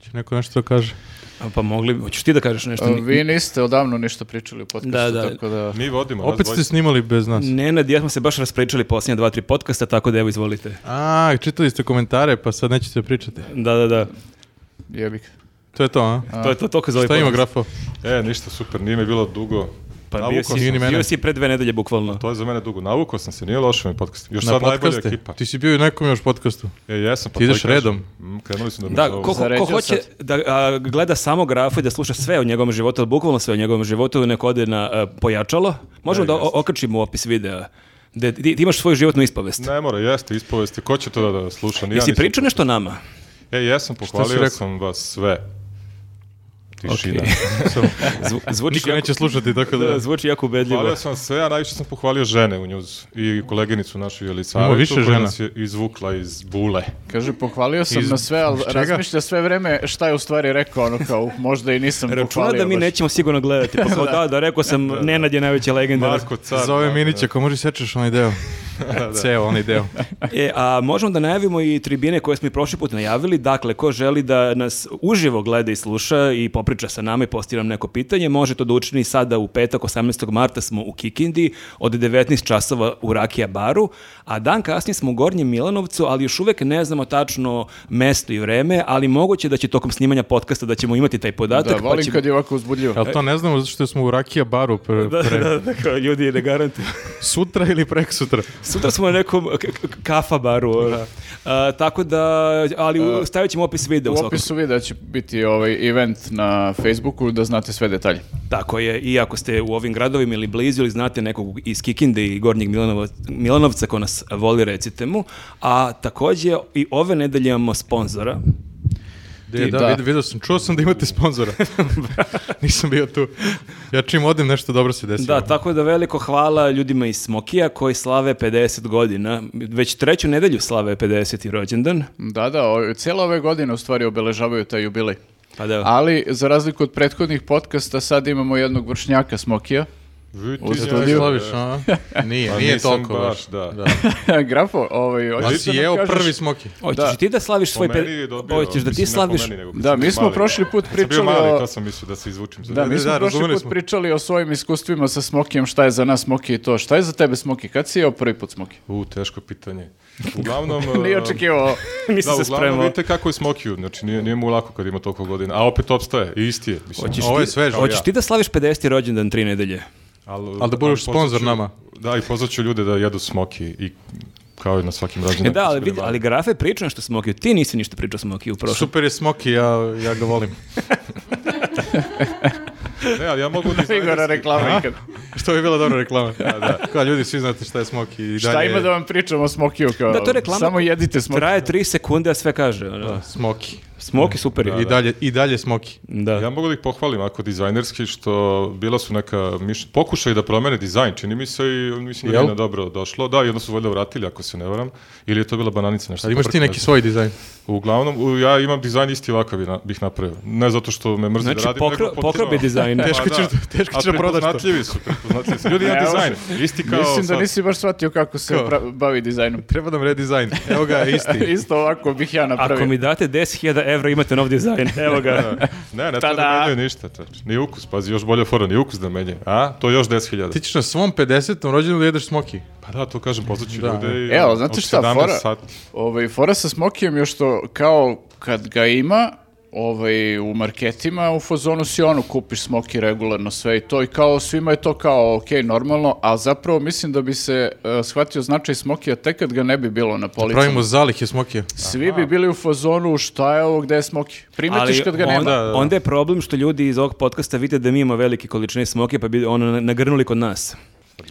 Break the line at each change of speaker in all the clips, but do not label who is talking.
Će neko nešto da kaže?
A, Pa mogli, hoćeš ti da kažeš nešto?
A, Vi niste odavno ništa pričali u podcastu,
Da, da.
tako da...
Mi vodimo. nas Opet ste dvojica. snimali bez nas.
Mm.
Nenad, i ja smo se baš raspričali posljednja dva, tri podcasta, tako da evo izvolite.
A, čitali ste komentare, pa sad nećete pričati.
Da, da, da.
Jebik.
To je to, a?
To je to, to za ovaj
Šta ima
podcast.
grafo?
E, ništa, super, nije mi bilo dugo.
Pa bio
Navukao sam
si,
nije ni mene.
bio si pre dve nedelje bukvalno.
To je za mene dugo. Navukao sam se, nije loše mi podcast. Još
Na
sad najbolja
podcaste?
ekipa.
Ti si bio i u nekom još podcastu.
E, jesam, pa
Ti
to i
ideš
kažem.
redom?
Mm, Krenuli su da me
Da,
zovu.
ko, ko- ko
Zaređao
hoće
sad.
da a, gleda samo grafu i da sluša sve o njegovom životu, ali bukvalno sve o njegovom životu, neko ode na a, pojačalo, možemo da,
Da,
o-
jeste.
okačimo opis videa. Da ti, ti imaš svoju životnu ispovest.
Ne mora, jeste, ispovesti. Ko će to da, da sluša? Ni ja
Jesi
nisam
pričao nešto nama?
E, jesam,
si rekao?
pohvalio sam vas sve. Tišina.
Zvu- zvuči,
Niko neće slušati, tako da...
da, zvuči jako ubedljivo.
Pohvalio sam sve, a najviše sam pohvalio žene u njuzu. I koleginicu našu Jelisavetu,
Ima više
koja
žena.
nas je izvukla iz bule.
Kaže, pohvalio sam
Iz-
na sve, ali
iz čega?
razmišlja sve vreme šta je u stvari rekao, ono kao, možda i nisam
Računa
pohvalio
da mi
baš.
nećemo sigurno gledati. Pa kao, da, da, rekao sam, Nenad je najveća legenda.
Marko, car.
Zove
da,
Minić, ako može sečeš onaj deo. Ceo onaj deo.
E, a možemo da najavimo i tribine koje smo i prošli put najavili. Dakle, ko želi da nas uživo gleda i sluša i popriča sa nama i postavi nam neko pitanje, može to da učini sada u petak 18. marta smo u Kikindi od 19 časova u Rakija baru, a dan kasnije smo u Gornjem Milanovcu, ali još uvek ne znamo tačno mesto i vreme, ali moguće da će tokom snimanja podcasta da ćemo imati taj
Da,
podatak. pa
volim
će-
kad je ovako uzbudljivo.
Ali to ne znamo zato što smo u Rakija baru pre,
Da,
pre-
da, da, kao ljudi ne garantuju.
sutra ili prek sutra.
Sutra smo na nekom k- k- kafa baru. A, tako da, ali u- stavit ćemo opis videa u,
U
svakom.
opisu videa će biti ovaj event na Facebooku da znate sve detalje.
Tako je, i ako ste u ovim gradovima ili blizu ili znate nekog iz Kikinde i Gornjeg Milanova, Milanovca ko nas voli, recite mu. A takođe i ove nedelje imamo sponzora.
Da, da,
da.
vid- vidio sam, čuo sam da imate sponzora. Nisam bio tu. Ja čim odem nešto dobro se desi.
Da, tako da veliko hvala ljudima iz Smokija koji slave 50 godina. Već treću nedelju slave 50. rođendan.
Da, da, o, cijela ove godine u stvari obeležavaju taj jubilej.
Pa da.
Ali, za razliku od prethodnih podcasta, sad imamo jednog vršnjaka Smokija.
Vidi
U
ti
Ti
studiju.
njega.
slaviš, a? Nije,
Pa
nije
nisam
toliko baš.
baš, da.
Grafo, ovaj...
Da
hoćeš
Pa,
si
da nam
jeo
kažeš-
prvi smoki.
Hoćeš
da.
i ti da slaviš
Po
svoj...
meni
pe-
je dobio,
Hoćeš da ti
mislim, ne po
slaviš...
meni, nego kad
Da,
sam bio
mi smo
mali.
prošli put
Kad sam
pričali
bio mali,
o-
to sam mislio da se izvučim. za
Da,
njega.
mi smo
da,
prošli
razumeli
put
smo.
pričali o svojim iskustvima sa Smokijem, šta je za nas Smoki i to. Šta je za tebe Smoki? Kad si jeo prvi put Smoki?
U, teško pitanje. Uglavnom...
Nije
um,
očekivao.
Mislim
Da,
se
uglavnom
spremao.
vidite kako je Smokiju, znači nije, nije mu lako kad ima toliko godina, a opet opstaje, i isti je. Mislim,
Hoćeš
Ovo je
ti-
sveže.
Hoćeš ti da slaviš 50. rođendan tri nedelje? E
Ali da budeš
pozvat ću-
sponzor nama.
Da, i pozvat ću ljude da jedu Smoki i kao i na svakim
E
rađenju.
da, ali, vidi, ali grafe priča nešto Smokiju. Ti nisi ništa pričao o Smokiju prošlo.
Pa Super je smoki, ja, ja ga volim.
Ne, ali ja mogu da
Igora
izvedem-
reklama ikad.
Što bi bila dobra reklama. Da, da. Kao ljudi, svi znate šta je smoki. i
Šta
dalje
ima da vam pričamo o Smokiju? Kao,
Da, to je reklama.
Samo jedite Smoki.
Traje tri sekunde, a sve kaže. ono.
je Smoki.
Smoki super je.
I dalje, I dalje smoki.
Da.
Ja mogu da ih pohvalim ako dizajnerski što bila su neka miš... pokušaj da promene dizajn, čini mi se i mislim da
Jel?
je na dobro došlo. Da, i onda su valjda vratili ako se ne varam. Ili je to bila bananica nešto.
Ali imaš ti
poprkano.
neki svoj dizajn.
Uglavnom, u- ja imam dizajn isti ovakav bi na- bih napravio. Ne zato što me mrzi
Znači,
da radim,
pokro-
nego potpuno-
pokrobi dizajn.
Pa
Teško
da.
ćeš- teško
A
ćeš da prodaš to.
prepoznatljivi su, prepoznatljivi su. Ljudi, imam
Ne, ovo
dizajn, isti kao
Mislim da
sad.
nisi baš shvatio kako se
Kao?
pra- bavi dizajnom.
Treba nam redizajn. Evo ga, isti.
Isto ovako bih ja napravio.
Ako mi date 10.000 evra, imate nov dizajn. Evo ga.
Ne, ne treba
Tada.
da menjaju ništa. čač. Ni ukus, pazi, još bolje fora, ni ukus da menjaju. A? To je još 10.000.
Ti ćeš na svom 50. rođenu da jedeš smoki.
Pa da, to kažem, pozvaću
Da.
ljude i...
Evo,
um,
E, znate
od
šta,
17
fora-
sati.
Ovaj, fora sa Smokijem je što kao kad ga ima, ovaj, u marketima, u fazonu si ono, kupiš smoki regularno sve i to i kao svima je to kao ok, normalno, a zapravo mislim da bi se eh, shvatio značaj smokija tek kad ga ne bi bilo na policama.
Pravimo zalihe smokija.
Svi bi bili u fazonu šta je ovo, gde je smoki. Primetiš kad ga nema.
onda, onda je problem što ljudi iz ovog podcasta vide da mi imamo velike količine smoke, pa bi ono nagrnuli kod nas.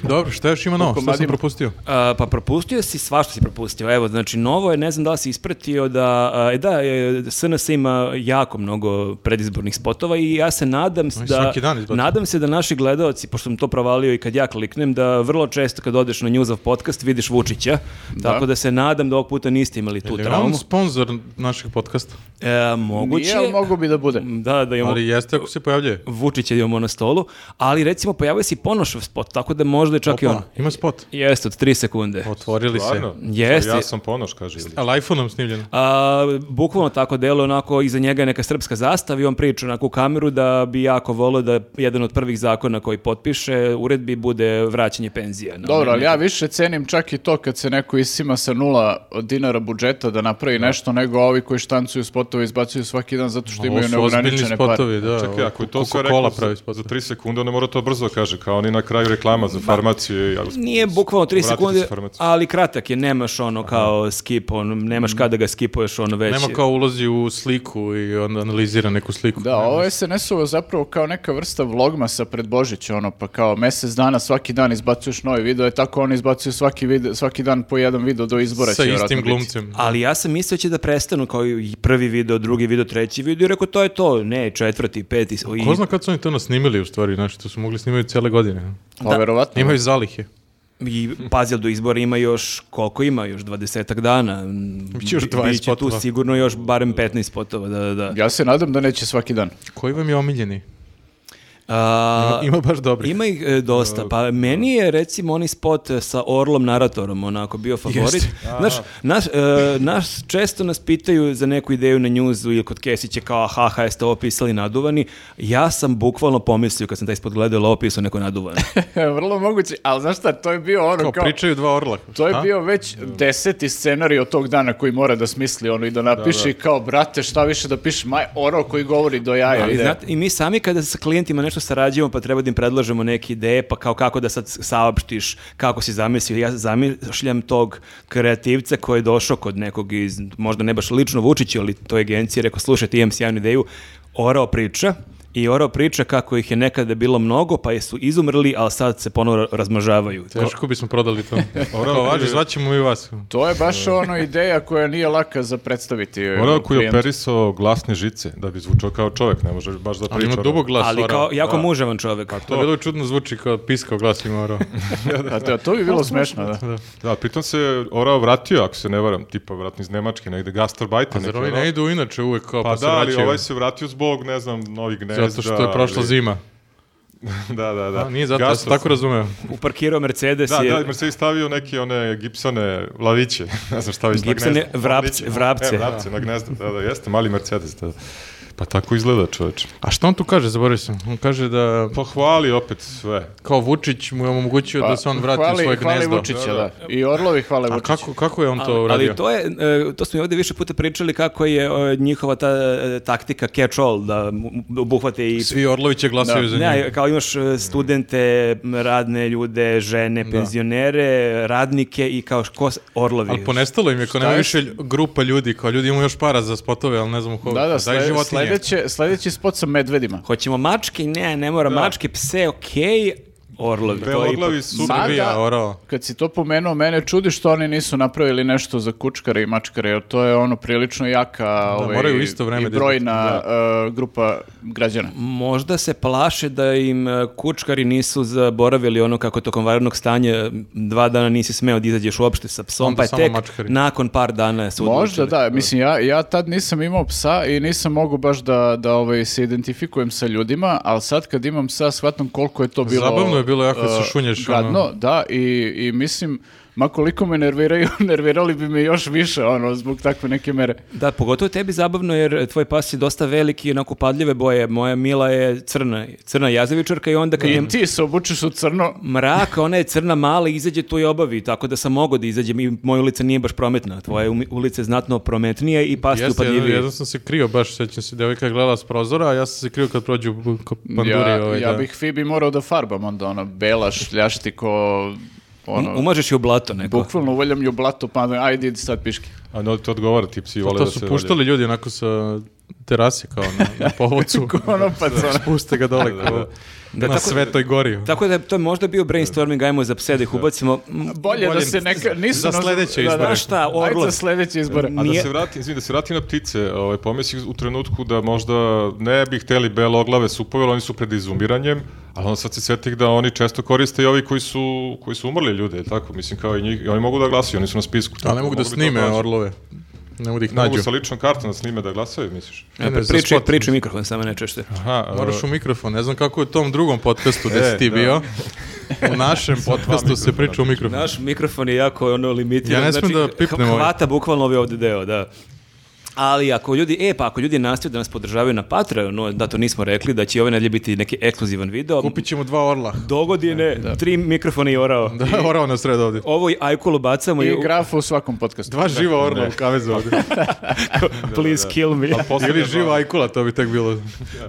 Dobro, šta još ima novo? Šta sam
komadima.
propustio?
A, pa propustio si svašta si propustio. Evo, znači, novo je, ne znam da li si ispratio da, a, e, da, e, SNS ima jako mnogo predizbornih spotova i ja se nadam s-
Oni
da,
svaki dan izbacuju.
nadam se da naši gledaoci, pošto sam to provalio i kad ja kliknem, da vrlo često kad odeš na Newsov podcast vidiš Vučića, tako da se nadam da ovog puta niste imali tu
Je li on
traumu.
sponsor našeg podcasta?
E, moguće.
Nije, ali mogo bi da bude.
Da, da imamo
Ali jeste ako se pojavljuje.
Vučića imamo na stolu, ali recimo pojavio se i Ponošov spot, tako da možda je čak i on.
Ima spot.
Jeste, od 3 sekunde.
Otvorili
Stvarno?
se.
Jeste.
Ja sam ponoš, kaže Ilić.
Ali iPhone-om snimljeno.
A, bukvalno tako delo, onako iza njega je neka srpska zastava i on priča onako u kameru da bi jako volio da jedan od prvih zakona koji potpiše uredbi bude vraćanje penzija. No,
Dobro,
ne-
ali ja više cenim čak i to kad se neko isima sa nula dinara budžeta da napravi nešto nego ovi koji štancuju spotove i izbacuju svaki dan zato što
Ovo
imaju
su ozbiljni
neograničene pare.
spotovi, da.
Čekaj,
ovo,
ako je to sve
Coca-Cola
rekao
pravi
za,
spotove.
za 3 sekunde, onda mora to brzo kaže, kao oni na kraju reklama za farmaciju. i-
Nije bukvalno 3
Vratite se
sekunde,
farmaciju.
ali kratak je, nemaš ono kao skip, on, nemaš kada ga skipuješ ono već.
Mhm. Nema kao ulazi u sliku i onda analizira neku sliku.
Da, ovo je SNS-ovo zapravo kao neka vrsta vlogmasa pred Božić, ono, pa kao mjesec dana svaki dan izbacuješ novi video, i tako oni izbacuju svaki, video, svaki dan po jedan video do izbora.
Sa
će vjerojatno
istim
biti.
glumcem.
Ali ja sam mislio da će da prestanu kao i prvi video, drugi video, treći video i rekao to je to, ne, četvrti, peti. i-
Ko zna kad su oni to nasnimili u stvari, znaš, to su mogli snimati cijele godine.
Pa verovatno.
Imaju zalihe.
I pazi, ali do izbora ima još, koliko ima, još 20 dana.
Biće još
Bi-
20
biće tu
spotova.
sigurno još barem 15 spotova, da, da, da.
Ja se nadam da neće svaki dan.
Koji vam je omiljeni?
A,
Ima baš dobrih.
Ima ih e, dosta, pa meni je recimo onaj spot e, sa Orlom naratorom onako bio favorit.
Jeste.
Znaš, naš, e, nas često nas pitaju za neku ideju na njuzu ili kod Kesića kao haha jeste ovo pisali naduvani. Ja sam bukvalno pomislio kad sam taj spot gledao, ovo pisao neko naduvani.
Vrlo moguće, ali znaš šta, to je bio ono
Kao,
kao...
pričaju dva orla.
To je
A?
bio već deseti scenarij od tog dana koji mora da smisli ono i da napiše i kao, brate, šta više da piše, maj, oro koji govori do
E,
jaja.
Ali
ide.
znate, i mi sami kada sa klijentima nešto sarađujemo, pa treba da im predlažemo neke ideje, pa kao kako da sad saopštiš, kako si zamislio. Ja zamišljam tog kreativca koji je došao kod nekog iz, možda ne baš lično Vučića, ali toj agenciji, rekao, slušaj, ti imam sjajnu ideju, orao priča, I orao priča kako ih je nekada bilo mnogo, pa su izumrli, ali sad se ponovo razmažavaju.
Teško bismo prodali to.
Orao
Kao, važi,
krivi.
zvaćemo i vas.
To je baš ono ideja koja nije laka za predstaviti. e,
Morao koji je
klijentu.
operisao glasne žice, da bi zvučao kao čovjek, ne može baš da ono.
Ali
priča.
ima dubog glas
Ali
orao.
kao jako
Da.
muževan čovek.
To je bilo čudno zvuči kao piskao glas ima orao.
A to, to bi bilo smešno, da.
Da, pritom se Orao vratio, ako se ne varam, tipa vratno iz Nemačke, negde gastarbajter. neki
Pa Zar ovi
Orao.
ne idu inače uvek kao pa,
Pa
se
da, ali
vraćaju?
ovaj se vratio zbog, ne znam, novih gnezda.
Zato što je prošla
ali-
zima.
Da, da, da.
A, nije zato, ja sam
Gastro
tako razumeo.
Uparkirao Mercedes
Da,
je...
da, Mercedes stavio neke one gipsane laviće, ne znam šta već
Gipsane
na gnezdo.
vrapce-
Laviće,
vrapce.
E, vrapce na gnezdo, da, da, jeste, mali Mercedes, da. Pa tako izgleda čoveč.
A šta on tu kaže, zaboravio sam. On kaže da
Pohvali opet sve.
kao Vučić mu je omogućio da se on vrati u
Pa, hvali,
svoje
hvali
gnezdo.
Vučića, da, I orlovi hvale
A
Vučića.
kako, kako je on to
Ali-
uradio?
Ali to je, e, to smo i ovdje više puta pričali kako je e, njihova ta e, taktika catch all, da mu- mu- obuhvate i...
Svi Orloviće glasaju za njega.
Ne, kao imaš e, studente, m, radne ljude, žene, penzionere, radnike i kao ko s- orlovi.
Ali ponestalo im je, kao
Šta
nema
je
više grupa ljudi, kao ljudi imaju još para za spotove, ali ne znam ko.
Da, da,
Pa Daj
slede-
životinje.
sledeće, sledeći spot sa medvedima.
Hoćemo mačke? Ne, ne mora mačke, pse, okej, orlovi. to je ipak-
Beloglavi super.
Sada-
Srbija, orao.
Kad si to pomenuo, mene čudi što oni nisu napravili nešto za kučkare i mačkare, jer to je ono prilično jaka ovaj,
moraju u isto vreme
i
da
brojna e, grupa građana.
Možda se plaše da im e, kučkari nisu zaboravili ono kako tokom varnog stanja e, dva dana nisi smeo da izađeš uopšte sa psom,
Onda
pa je
samo
tek
mačkari.
nakon par dana su
Možda
odlučili.
da, mislim ja, ja tad nisam imao psa i nisam mogao baš da, da ovaj, se identifikujem sa ljudima, ali sad kad imam psa shvatam koliko je to bilo...
Zabavno je bilo jako da se
e,
šunješ, ono.
Gadno, da, i, i mislim, ma koliko me nerviraju, nervirali bi me još više, ono, zbog takve neke mere.
Da, pogotovo tebi zabavno jer tvoj pas je dosta veliki i onako upadljive boje. Moja Mila je crna, crna jazavičarka i onda kad
Mhm.
je
I ti se obučeš u crno,
mrak, ona je crna mala, izađe tu i obavi, tako da sam mogao da izađem i moja ulica nije baš prometna. Tvoja je umi- ulica je znatno prometnija i pas je
Jeste, jedan,
upadljiviji.
jedan sam se krio, baš sećam se, devojka je gledala s prozora, a ja sam se krio kad prođu bu- ko- panduri.
ja,
ovaj,
ja
da.
bih Fibi morao da farbam onda, ono, bela šljašti ko, ono,
Um- Umažeš je u blato neko.
bukvalno uvaljam ju u blato, pa ajde, idi sad piški.
A no, to odgovara, ti psi vole
To
da
su
se
puštali ljudi onako sa terase kao na, na povodcu.
Ono, pa co-
Spuste ga dole kao na
Da, tako-
svetoj gori.
Tako da je to je možda bio brainstorming, ajmo za pse da ih ubacimo. M,
Bolje da
Bolje
se neka... Nisu
za
nas-
sledeće
da, da.
izbore.
Znaš šta,
Ajde
Orlo,
za sledeće izbore.
A
Nije-
da se vrati, izvini, da se vrati na ptice, ovaj, pomisli u trenutku da možda ne bi hteli beloglave supove, ali oni su pred izumiranjem, ali onda sad se svetih da oni često koriste i ovi koji su, koji su umrli ljude, je li tako, mislim, kao i njih, i oni mogu da glasuju, oni su na spisku.
A
tako,
ne mogu da
mogli bi to
snime
nađu.
orlove. Ne mogu da ih
Ne mogu
nađu.
sa ličnom kartom da snime da glasaju, misliš?
Ne, ne, za
Priči,
spot.
priči mikrofon, samo ne češće.
Aha,
Moraš
e,
u mikrofon, ne znam kako je u tom drugom podcastu gde
E,
si ti
da.
bio. U našem podcastu se
mikrofona.
priča u mikrofon.
Naš mikrofon je jako ono limitiran.
Ja ne smem da pipnem ovaj.
Hvata bukvalno ovaj ovdje deo, da. Ali ako ljudi, e pa ako ljudi nastaju da nas podržavaju na Patreonu, da to nismo rekli, da će ove nedelje biti neki ekskluzivan video.
Kupit ćemo dva orla.
Do godine tri mikrofona i orao.
Da, orao na sred ovdje.
Ovo i ajkulu bacamo i,
I grafa u svakom podcastu.
Dva živa orla u kavezu ovdje.
please kill me.
pa poslednja
Ili
dva.
živa ajkula, to bi tek bilo.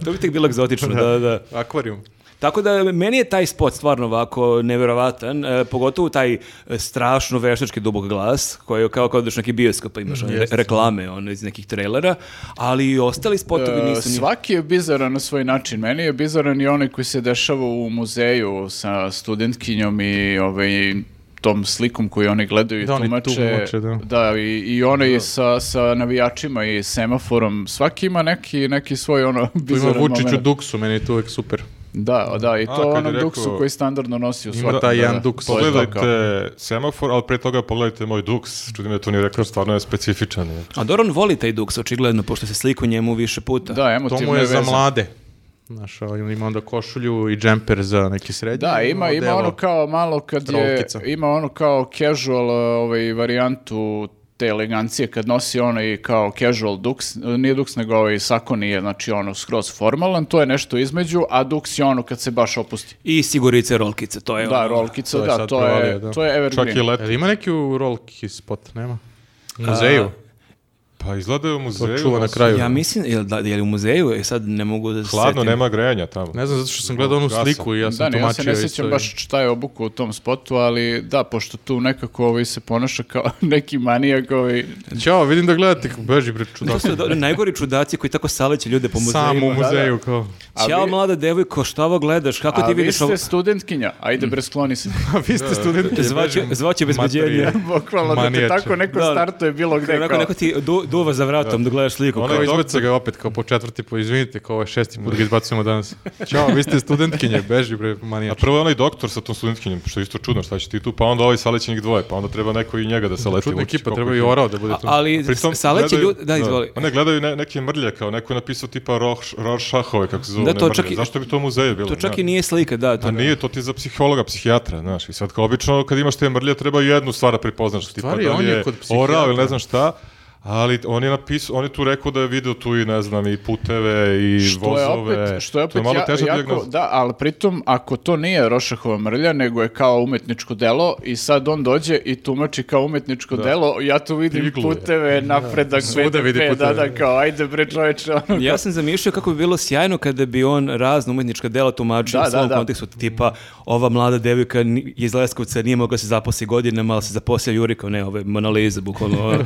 to bi tek bilo egzotično, da, da.
Akvarijum.
Tako da meni je taj spot stvarno ovako neverovatan, e, pogotovo taj e, strašno veštački dubog glas koji je kao kad odeš neki bioskop pa imaš one re- reklame one iz nekih trailera, ali i ostali spotovi
E,
nisu ni-
svaki je bizaran na svoj način. Meni je bizaran i onaj koji se dešava u muzeju sa studentkinjom i ovaj, tom slikom koju oni gledaju i
Da, oni
tumače.
tumače, da.
i, i onaj sa, sa navijačima i semaforom. Svaki ima neki, neki svoj ono
Tu ima
bizaran
Vučić u
moment.
Duksu, meni je to uvek super.
Da, da, i
A,
to
kad je
onom
rekao-
duksu koji standardno nosi u
Ima
svakom.
taj
da,
jedan
da.
duks.
To je to kao-
Pogledajte semafor, ali pre toga pogledajte moj duks. Čudim da to nije rekao, stvarno je specifičan. je.
A Doron voli taj duks očigledno, pošto se sliku njemu više puta.
Da,
To
emotivno
mu je za
vezan.
mlade. Znaš, ovaj, ima onda košulju i džemper za neki srednji.
Da, ima, ima
delo.
ono kao malo kad je,
Rolkica.
ima ono kao casual uh, ovaj, varijantu te elegancije kad nosi ono i kao casual duks, nije duks nego ovaj sako nije, znači ono skroz formalan, to je nešto između, a duks je ono kad se baš opusti.
I sigurice rolkice, to je
Da,
ono.
rolkica,
to je
da,
sad
to je,
provalio, da.
to je evergreen.
Čak i leto.
Jel ima neki u rolki spot, nema? U muzeju.
Pa izgleda je u muzeju.
čuva na
ali
kraju.
Ja mislim, jel, da, je li u muzeju, E, sad ne mogu da se
Hladno,
setim.
nema grejanja tamo.
Ne znam, zato što sam gledao onu
Gasa.
sliku i ja sam
Da, ne, ja se
tumačio.
ne
isto
sjećam
i-
baš šta je obuku u tom spotu, ali da, pošto tu nekako ovaj se ponaša kao neki manijak ovaj,
Ćao, Znači, vidim da gledate, kako beži pre
To
čudaka.
su do- najgori čudaci koji tako saleće ljude po muzejima.
Sam u muzeju, kao.
A
Ćao
vi-
mlada devojko, šta ovo gledaš? Kako
a
Pa ti
vi
vidiš ovo?
ste studentkinja, ajde bre skloni se.
A vi ste studenti.
Zvaće, zvaće bezbeđenje.
Pa
Bukvalno da te
Manijače.
tako neko
Da.
startuje bilo gde.
Onako,
kao-
neko ti du, duva za vratom da gledaš sliku.
Onaj
Kao
kao-
izbace ga opet, kao po četvrti, po izvinite, kao ovaj šesti put ga izbacujemo danas. Ćao, vi ste studentkinje, beži bre,
A
manijač.
prvo je onaj doktor sa tom studentkinjem, što je isto čudno, šta će ti tu, pa onda ovaj salećenih dvoje, pa onda treba neko i njega da se leti.
Čudna ekipa, treba i orao da bude tu.
Ali saleće ljudi... Da, izvoli.
Da, Ono ne, gledaju ne, neke mrlje, kao neko je napisao tipa Roš, Rošahove, kako se zove,
Da,
ne
to
mrlje.
čak i-
Zašto bi to u muzeju bilo?
To čak
ne?
i nije slika, da. To,
A Pa nije, to ti je za psihologa, psihijatra, znaš, i sad kao obično kad imaš te mrlje treba jednu stvar da prepoznaš, tipa
stvari,
da li
on je
je
kod psihijatra.
orao ili ne znam šta, ali on je napisao, on je tu rekao da je video tu i ne znam, i puteve, i
što je
vozove,
opet, što je opet
to je malo
ja-
teža
jako,
dijagnoza.
da, ali pritom ako to nije Rošahova mrlja, nego je kao umetničko delo i sad on dođe i tumači kao umetničko delo, ja tu vidim
Prigluje.
puteve, napredak, BDP,
vidi
da,
puteve.
da, kao ajde bre čoveče, ono,
Ja sam zamišljao kako bi bilo sjajno kada bi on razno umetnička dela tumačio
Da,
u svom
da, da.
kontekstu, tipa ova mlada devojka ni- iz Leskovca nije mogla se zaposli godinama, ali se zaposlija Jurikov, ne, ove Mona Lisa, bukvalno. ono.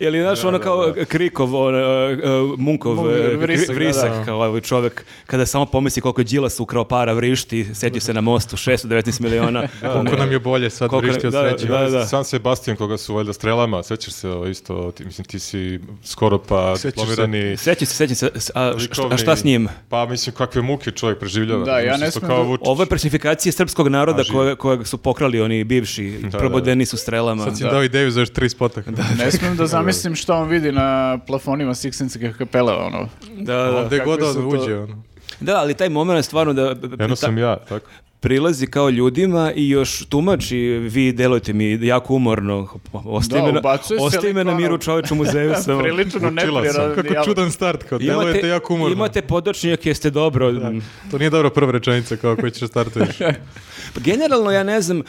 Ili, znaš, ono kao Krikov, ono, e, Munkov,
Munk,
e,
Vrisak, da,
Vri- Vrisak,
da.
kao ovaj čovek, kada samo pomisli koliko je Đilas ukrao para vrišti, sjeća se na mostu, 619 miliona.
Koliko nam je bolje sad
Koliko-
vrišti od
da,
sreće.
da, da.
San Sebastian koga su valjda strelama, sećaš se o, isto, ti, mislim ti si skoro pa
Sećaš se.
diplomirani
Sećam se, sećam se, s- a, šta,
likovni-
a šta s njim?
Pa mislim kakve muke čovjek preživljava.
Da, ja
Mislim,
ne
isto
smem
kao
da-
Vučić.
Ovo je personifikacija srpskog naroda
živi.
koje, kojeg su pokrali oni bivši,
da, da.
probodeni su strelama.
Sad si dao ideju za još tri spota.
ne smem da zamislim šta on vidi na plafonima Sixtinske kapele, ono.
Da, da.
Ovde
Kako
god
su
on
to-
uđe, ono.
Da, ali taj moment je stvarno da
Eno
ta-
sam ja, tako.
prilazi kao ljudima i još tumači vi delujete mi jako umorno. Ostaje
Da,
me na,
ubacuje se
ostaje me na
lik,
miru
ono-
čoveč u muzeju sam.
Prilično
Učila sam.
neprirodan
Kako čudan start, kao delujete jako umorno.
imate podočnjak, jeste dobro.
To nije dobro prva rečenica kao koji ćeš startuješ.
Pa Generalno, ja ne znam,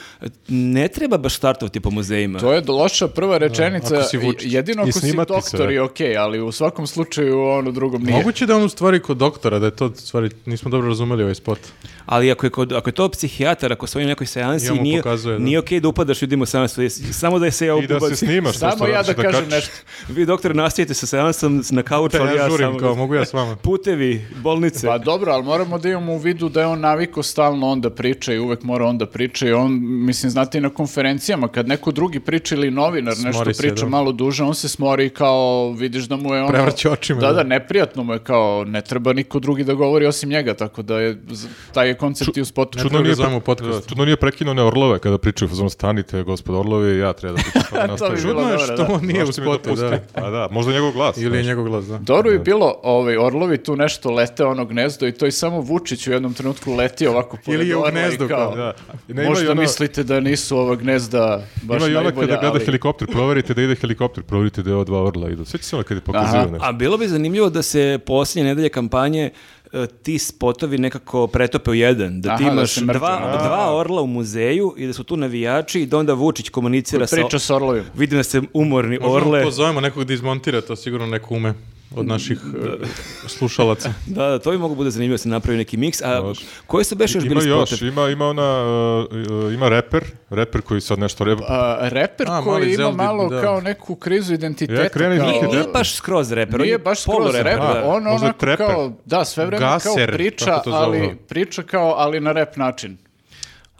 ne treba baš startovati po muzejima.
To je loša prva rečenica,
ako si Vučić.
jedino
I
ako si
snimati se,
doktor
da.
je okej, ali u svakom slučaju ono drugom nije.
Moguće da on u stvari kod doktora, da je to u stvari, nismo dobro razumeli ovaj spot.
Ali ako je, kod, ako je to psihijatar, ako svoji u nekoj seansi,
Ja mu
nije,
pokazuje, da.
nije okej da upadaš ljudima u seansu. jes- Samo da je se ja
I da se
ubacim.
snimaš.
Samo
pošto
ja da
hoćeš
kažem
kačiš.
nešto.
Vi, doktor, nastavite sa seansom na kauču,
Ja,
ali ja
žurim,
samo-
kao mogu ja s vama.
Putevi, bolnice.
Pa dobro, ali moramo da imamo u vidu da je on naviko stalno onda priča i uvek mora onda priča i on, mislim, znate i na konferencijama, kad neko drugi priča ili novinar nešto
Smori se,
priča
da.
malo duže, on se smori i kao, vidiš da mu je ono...
Prevrće očima,
Da,
da.
da, neprijatno mu je kao, ne treba niko drugi da govori osim njega, tako da je, z- taj je koncept i u spotu.
Čudno
Čudno nije tamo u podcastu.
Da, čudno nije prekinuo ne orlove kada pričaju, fazon stanite, gospod orlovi, ja treba da pričam, pa da nastavim.
bilo
Čudno je
dobro,
što
da.
on nije u
Zašto mi
spotu, da.
dopustili? A da, možda njegov glas.
Ili je
znaš.
njegov glas, da.
Dobro je bilo, ovaj, orlovi tu nešto lete ono gnezdo i to i samo Vučić u jednom trenutku leti ovako pored
Ili je u
orla i
gnezdu,
kao,
kao,
Da. I ne, ima
Možda
i ono-
mislite da nisu ova gnezda baš
Ima i ona
najbolja,
kada gleda
ali-
helikopter, proverite da ide helikopter, proverite da je ova dva orla idu. Sveći se ono kada je pokazio
Aha.
nešto.
A bilo bi zanimljivo da se posljednje nedelje kampanje e, ti spotovi nekako pretope u jedan. Da ti
Aha, da
imaš
se mrtvi.
dva, dva orla u muzeju i da su tu navijači i da onda Vučić komunicira sa...
Priča s orlovima.
Vidim da se umorni
Možemo
orle...
Pozovemo nekog da izmontira, to sigurno neko ume od naših e, slušalaca.
Da, da, to bi mogu bude zanimljivo da se napravi neki miks. A
Može.
koji su beše još
Ima
bili
još,
spotovi?
ima, ima ona, uh, uh, ima reper, reper koji sad nešto rep...
A, reper
A, mali
koji ima
Zeldi,
malo
da.
kao neku krizu identiteta.
Ja krenem
kao-
iz-
Nije, nije baš skroz reper. on
Nije
je
baš skroz
polureper,
rep,
da.
on
Možda
onako
treper.
kao, da, sve vreme
Gaser,
kao priča,
kako to zovu.
ali priča kao, ali na rep način.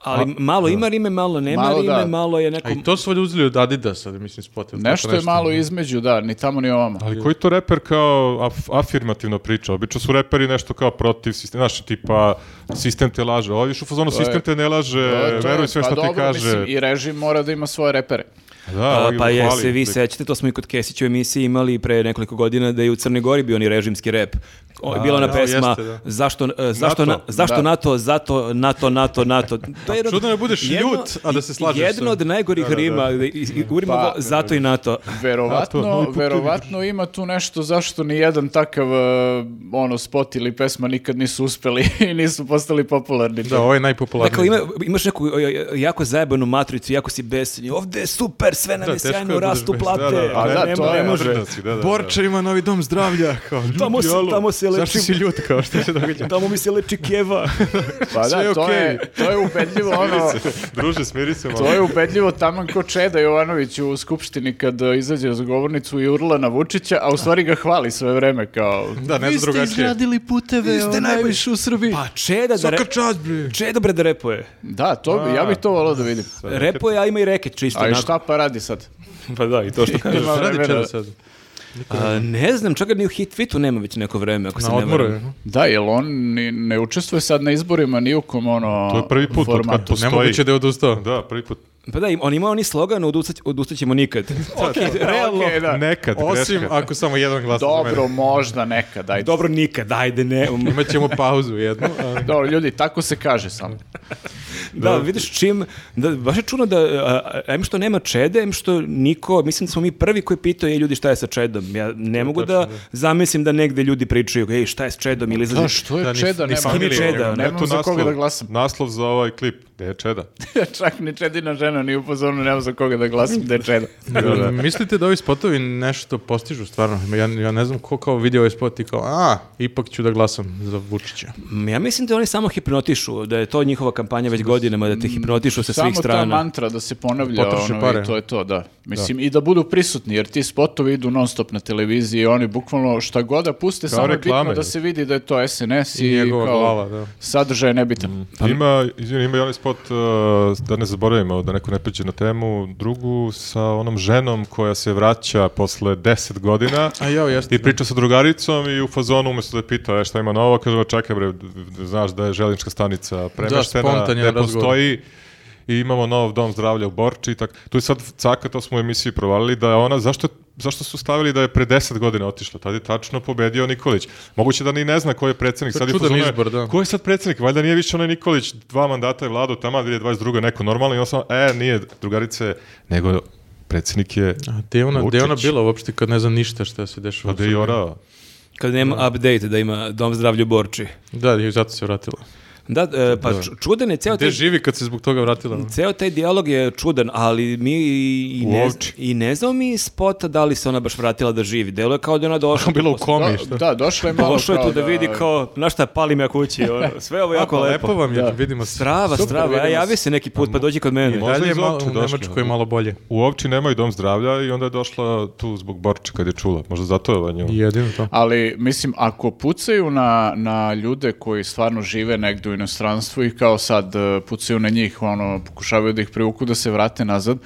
Ali malo ima rime, malo nema
Malo
rime,
da.
malo je neko...
A i to su valjda uzeli od Adidasa, da mislim, spotel.
Nešto je malo između, da, ni tamo ni ovamo.
Ali koji to reper kao af- afirmativno priča? Obično su reperi nešto kao protiv sistema, znaš, tipa sistem te laže. Ovo je još u fazonu sistem te ne laže,
To je- to je-
E, veruj sve
pa
što ti
dobro,
kaže.
Mislim, I režim mora da ima svoje repere.
Da,
A,
ovaj
pa je,
hvali
se vi
lik.
sećate, to smo i kod Kesića u emisiji imali pre nekoliko godina da je u Crnoj Gori bio oni režimski rep. O, je bila ona
da,
pesma
jeste, da.
zašto, e, zašto,
NATO,
na- zašto
da.
NATO, zato NATO, NATO, NATO. To je jedno-
čudno je da budeš ljut, a da se slažeš
Jedno
sa-
od najgorih rima, i- i- i- govorimo
Pa-
ovo, zato i NATO.
Verovatno,
A, to, novi putevi.
verovatno ima tu nešto zašto ni jedan takav e, ono spot ili pesma nikad nisu uspeli i nisu postali popularni.
Da, ovo je
Dakle,
najpopularniji.
ima, imaš neku o, o, jako zajebanu matricu, jako si besenji. Ovde je super, sve nam
Da,
je
teško je
sjajno,
da budeš
rastu
besen.
plate.
Da, da,
A
a
da,
nema-
to je-
ne može.
Brdaci, da, da, da.
Borča ima novi dom zdravlja, kao ljudi,
Tamo se-
alo,
tamo se
Zašto
lečim.
si ljut, kao što se događa?
Tamo mi se leči keva.
Pa da,
sve je
to,
okej.
je, to je ubedljivo ono...
Druže, smiri se malo.
To je ubedljivo taman ko Čeda Jovanović u Skupštini kad e, izađe za govornicu i urla na Vučića, a u stvari ga hvali sve vreme kao...
Da, ne znam drugačije.
puteve,
ste najbolji."
u Srbiji.
Pa čeda da, re,
Svaka čast, bre.
čeda bre da repuje.
Da, to, bi- ja bih to volao da vidim.
Repuje, a ima i reket čisto.
A i
onako.
šta pa radi sad?
Pa da, i to što kažeš.
Šta radi
vremena.
Čeda sad?
A, ne znam, čak ga ni u Hitfitu nema već neko vreme, ako se
Na
ne
odmoru
varam.
je. Pa
Da, jel on ni, ne učestvuje sad na izborima ni u kom ono...
To je prvi put od kad
formatu.
postoji.
Nemoguće da je odustao.
Da, prvi put.
Pa da, im- on ima oni slogan, odustat, odustat ćemo nikad. ok, realno.
Okej, da.
Nekad
Osim
greška.
ako samo jedan glas za mene.
Dobro, možda nekad, ajde.
Dobro, nikad, ajde, ne. um,
Imaćemo pauzu jednu. ali-
Dobro, ljudi, tako se kaže samo.
Da, vidiš čim, da, baš je čudno da, a, a, em što nema čede, em što niko, mislim da smo mi prvi koji pitao, je ljudi šta je sa čedom. Ja ne mogu da zamislim da negde ljudi pričaju, ej šta je s čedom ili izađe-
Da, što je
Da, ni-
Čeda?
ni
Nemam-
familije
Ni Čeda,
nemam
ono.
Eto
za koga
naslov-
da glasam.
Naslov za ovaj klip. Gde je Čeda?
Čak ni Čedina žena ni upozorno, nemam za koga da glasam da je Čeda.
Jel Mislite da ovi spotovi nešto postižu stvarno? Ja, ja ne znam ko kao vidi ovaj spot i kao, a, ipak ću da glasam za Vučića.
M, Ja mislim da oni samo hipnotišu, da je to njihova kampanja već godinama, da te hipnotišu sa
Samo
svih
ta
strana.
mantra da se ponavlja,
Potroše
ono,
pare.
i to je to, da. Mislim, i da budu prisutni, jer ti spotovi idu non stop na televiziji i oni bukvalno šta god da puste, samo je bitno
reklame.
da se vidi da je to SNS i,
I njegova
kao
glava, da.
sadržaj je nebitan.
Ima, izvini, ima i onaj spot, uh, da ne zaboravimo, da neko ne pređe na temu, drugu sa onom ženom koja se vraća posle 10 godina.
A jao, jeste.
I priča sa drugaricom i u fazonu umjesto da je pita e, šta ima novo, kaže "Ma čekaj bre, d- d- znaš da je želnička stanica premeštena,
spontan je
ne
razgovor.
postoji i imamo nov dom zdravlja u Borči i tak. Tu je sad caka, to smo u emisiji provalili, da je ona, zašto, zašto su stavili da je pre 10 godina otišla, tad je tačno pobedio Nikolić. Moguće da ni ne zna ko je predsjednik.
To je
sad
čudan
fazonu,
izbor, da.
Ko je sad predsjednik? Valjda nije više onaj Nikolić, dva mandata je vladao, tamo 2022. neko normalno i on samo, e, nije drugarice, nego predsjednik je
A gde je ona, gde je ona
Vučić.
bila uopšte kad ne znam ništa šta se dešava?
Pa da je i orao.
Kad nema update da ima dom zdravlja u Borči.
Da, i zato se vratila.
Da, e, pa ču- čudan je ceo
Gde
taj,
živi kad se zbog toga vratila?
ceo taj dijalog je čudan, ali mi i, i
U
ne,
Ovči.
i ne znamo mi iz spota da li se ona baš vratila da živi. Delo je kao da je ona došla.
Bila u
Da,
komi, šta?
da, došla je malo
Došla je
kao
tu da vidi kao, znaš šta, palim ja kući. ono, sve ovo jako
Pa
lepo.
lepo vam je,
Da.
vidimo se.
Strava,
Super,
strava, ja
vidimo
javi
se.
se neki put, pa dođi kod mene.
Možda
Dalje je
iz
malo,
Ovče
u
došla.
Nemačkoj je malo bolje.
U opći nemaju dom zdravlja i onda je došla tu zbog Borča kad je čula. Možda zato je ova nju.
Jedino to.
Ali, mislim, ako pucaju na, na ljude koji stvarno žive negdje u inostranstvu i kao sad e, pucaju na njih, ono, pokušavaju da ih privuku da se vrate nazad,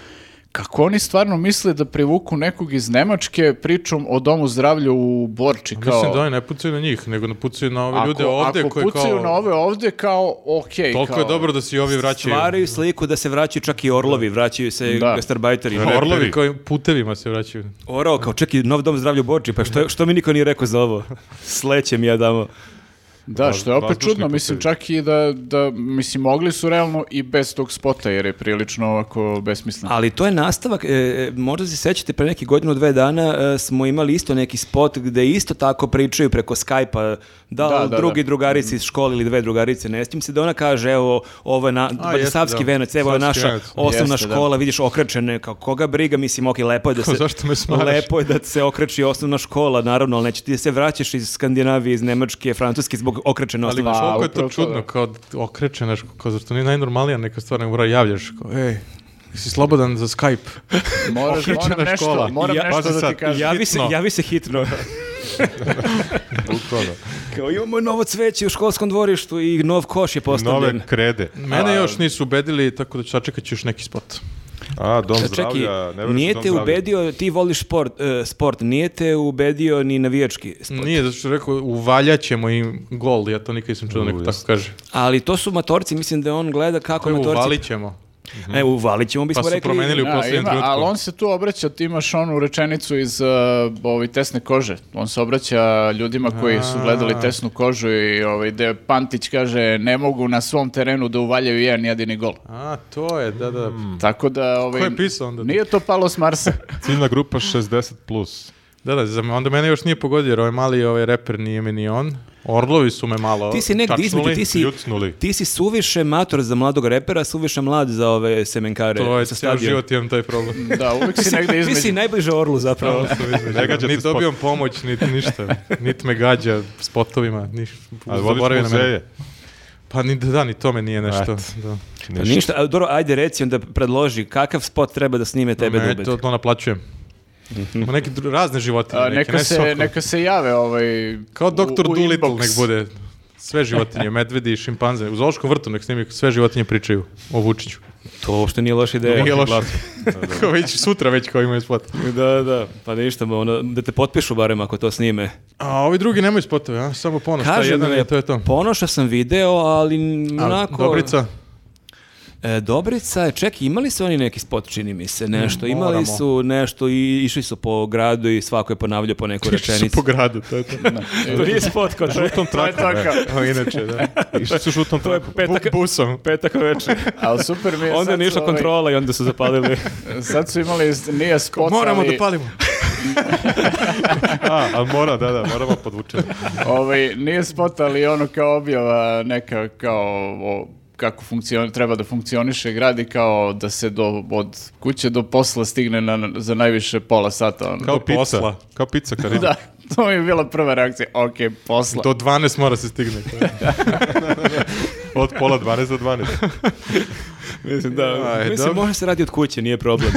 Kako oni stvarno misle da privuku nekog iz Nemačke pričom o domu zdravlja u Borči? Kao,
Mislim da oni ne pucaju na njih, nego ne pucaju na ove ljude
ako,
ovde
ako
koji kao...
pucaju na ove ovde kao ok.
Toliko
kao,
je dobro da se i ovi vraćaju.
Stvaraju sliku da se vraćaju čak i orlovi, vraćaju se
Da.
gastarbajteri.
Reperi.
Orlovi koji putevima se vraćaju.
Orao kao čak i nov dom zdravlja u Borči, pa što, što mi niko nije rekao za ovo? Slećem ja damo.
Da, što je opet
vazdušni
čudno, mislim
putevi.
čak i da, da, mislim mogli su realno i bez tog spota jer je prilično ovako besmisleno.
Ali to je nastavak, e, e, možda se sećate, pre neki godinu, dve dana e, smo imali isto neki spot gde isto tako pričaju preko Skype-a, da,
Da,
ali
da,
drugi
da.
drugarici iz škole ili dve drugarice, ne sjećam se, da ona kaže, evo, ovo je na,
A,
ba-
jeste,
savski
da.
venac, evo je
Savski
naša
venac.
osnovna
Jeste, da.
škola, vidiš, okrečene, kao koga briga, mislim, ok, lepo je da
Kao,
se...
zašto me smaraš?
Lepo je da se okreči osnovna škola, naravno, ali neće ti da se vraćaš iz Skandinavije, iz Nemačke, Francuske zbog okrečene
Ali
osnovne
znaš, koliko je
upravo
to
to,
čudno,
da.
kao da okreće nešto, kao zašto nije najnormalnija neka stvar, nego mora javljaš, kao, ej, si slobodan za Skype.
Moraš,
Okrećena
moram nešto,
škola.
moram
Ja-
nešto
pazi
da ti
sad,
kažem.
Javi se,
hitno.
javi se hitno.
Bukvalno.
Kao imamo novo cveće u školskom dvorištu i nov koš je postavljen.
Nove krede.
Mene još nisu ubedili, tako da ću sačekat ću još neki spot.
A, dom
Čekaj,
zdravlja. Ne
nije
dom
te
zdravlja.
ubedio, ti voliš sport, e, sport, nije te ubedio ni navijački sport.
Nije, zato što je rekao, uvaljaćemo im gol, ja to nikad nisam čuo,
U,
neko tako
jeste.
kaže.
Ali to su matorci, mislim da on gleda kako
Koje
matorci...
uvalit ćemo.
E, uvalit ćemo, bismo
Pa su
rekli.
promenili u
Da,
posljednjem
ima, ali
trenutku.
on se tu obraća, ti imaš onu rečenicu iz uh, ovaj, tesne kože. On se obraća ljudima koji su gledali tesnu kožu i ovaj, gde Pantić kaže ne mogu na svom terenu da uvaljaju jedan jedini gol.
A, to je, da, da.
Tako da... Ovaj,
Ko je pisao onda to?
Nije to palo s Marsa.
Ciljna grupa 60+. Plus.
Da, da, za- onda mene još nije pogodio, jer ovaj mali ovaj reper nije mi ni on. Orlovi su me malo
Ti si negdje između,
čačnuli.
ti si,
Kljucnuli.
ti si suviše mator za mladog repera, suviše mlad za ove semenkare
To je,
sa
cijel
stadiona.
život imam taj problem.
Da, uvek si negde
Ti si
između.
najbliže Orlu zapravo.
Ne gađate
Ni
spot.
dobijam pomoć, niti ništa. Niti me gađa spotovima, niš,
Ali voliš
zaboravi na mene.
muzeje.
Pa ni, da, ni to me nije nešto.
Eto.
Da.
Pa Ništa, a, dobro, ajde reci onda predloži kakav spot treba da snime tebe
Ne,
da
to,
ubedi.
to Ono, naplaćujem.
Mhm.
Ma neke dru- razne životinje.
A,
neke,
neka,
ne
se,
sokol.
neka se jave ovaj...
Kao
u-
doktor
u
Doolittle
inbox.
nek bude. Sve životinje, medvedi, šimpanze. U zoološkom vrtu nek snimi, sve životinje pričaju o Vučiću.
To uopšte nije loša
E,
ideja.
Nije loše. Kao već sutra već kao imaju spot.
Da, da, pa ništa, ma, ono, da te potpišu barem ako to snime.
A ovi drugi nemaju spotove, a? Samo ponos. Kaže
Kažem
jedan
da
je, to je to.
Ponoša sam video, ali n-
A,
onako...
Dobrica,
E, Dobrica, je, čekaj, imali su oni neki spot, čini mi se, nešto.
Mm,
imali
moramo.
su nešto i išli su po gradu i svako je ponavljao po neku
išli su
rečenicu.
po gradu, to je to.
To nije spot, kao to je
To je to kao.
A, inače, da.
Išli su žutom trakom.
petak,
Bu- busom.
petak večer.
Ali super mi je
Onda je
sad
nišla
ovaj,
kontrola i onda su zapalili.
Sad su imali, nije spot,
Moramo
ali-
da palimo.
A, ali mora, da, da, moramo podvučiti.
Ovaj, nije spot, ali ono kao objava neka kao o, kako funkcion, treba da funkcioniše grad i kao da se do, od kuće do posla stigne na, za najviše pola sata. Ono.
Kao
Do
pizza.
posla.
Kao pizza, Karina.
Da, to mi je bila prva reakcija. Ok, posla.
Do 12 mora se stigne.
Od pola 12 do 12.
Mislim, da.
Aj,
Mislim,
dobro.
može se radi od kuće, nije problem.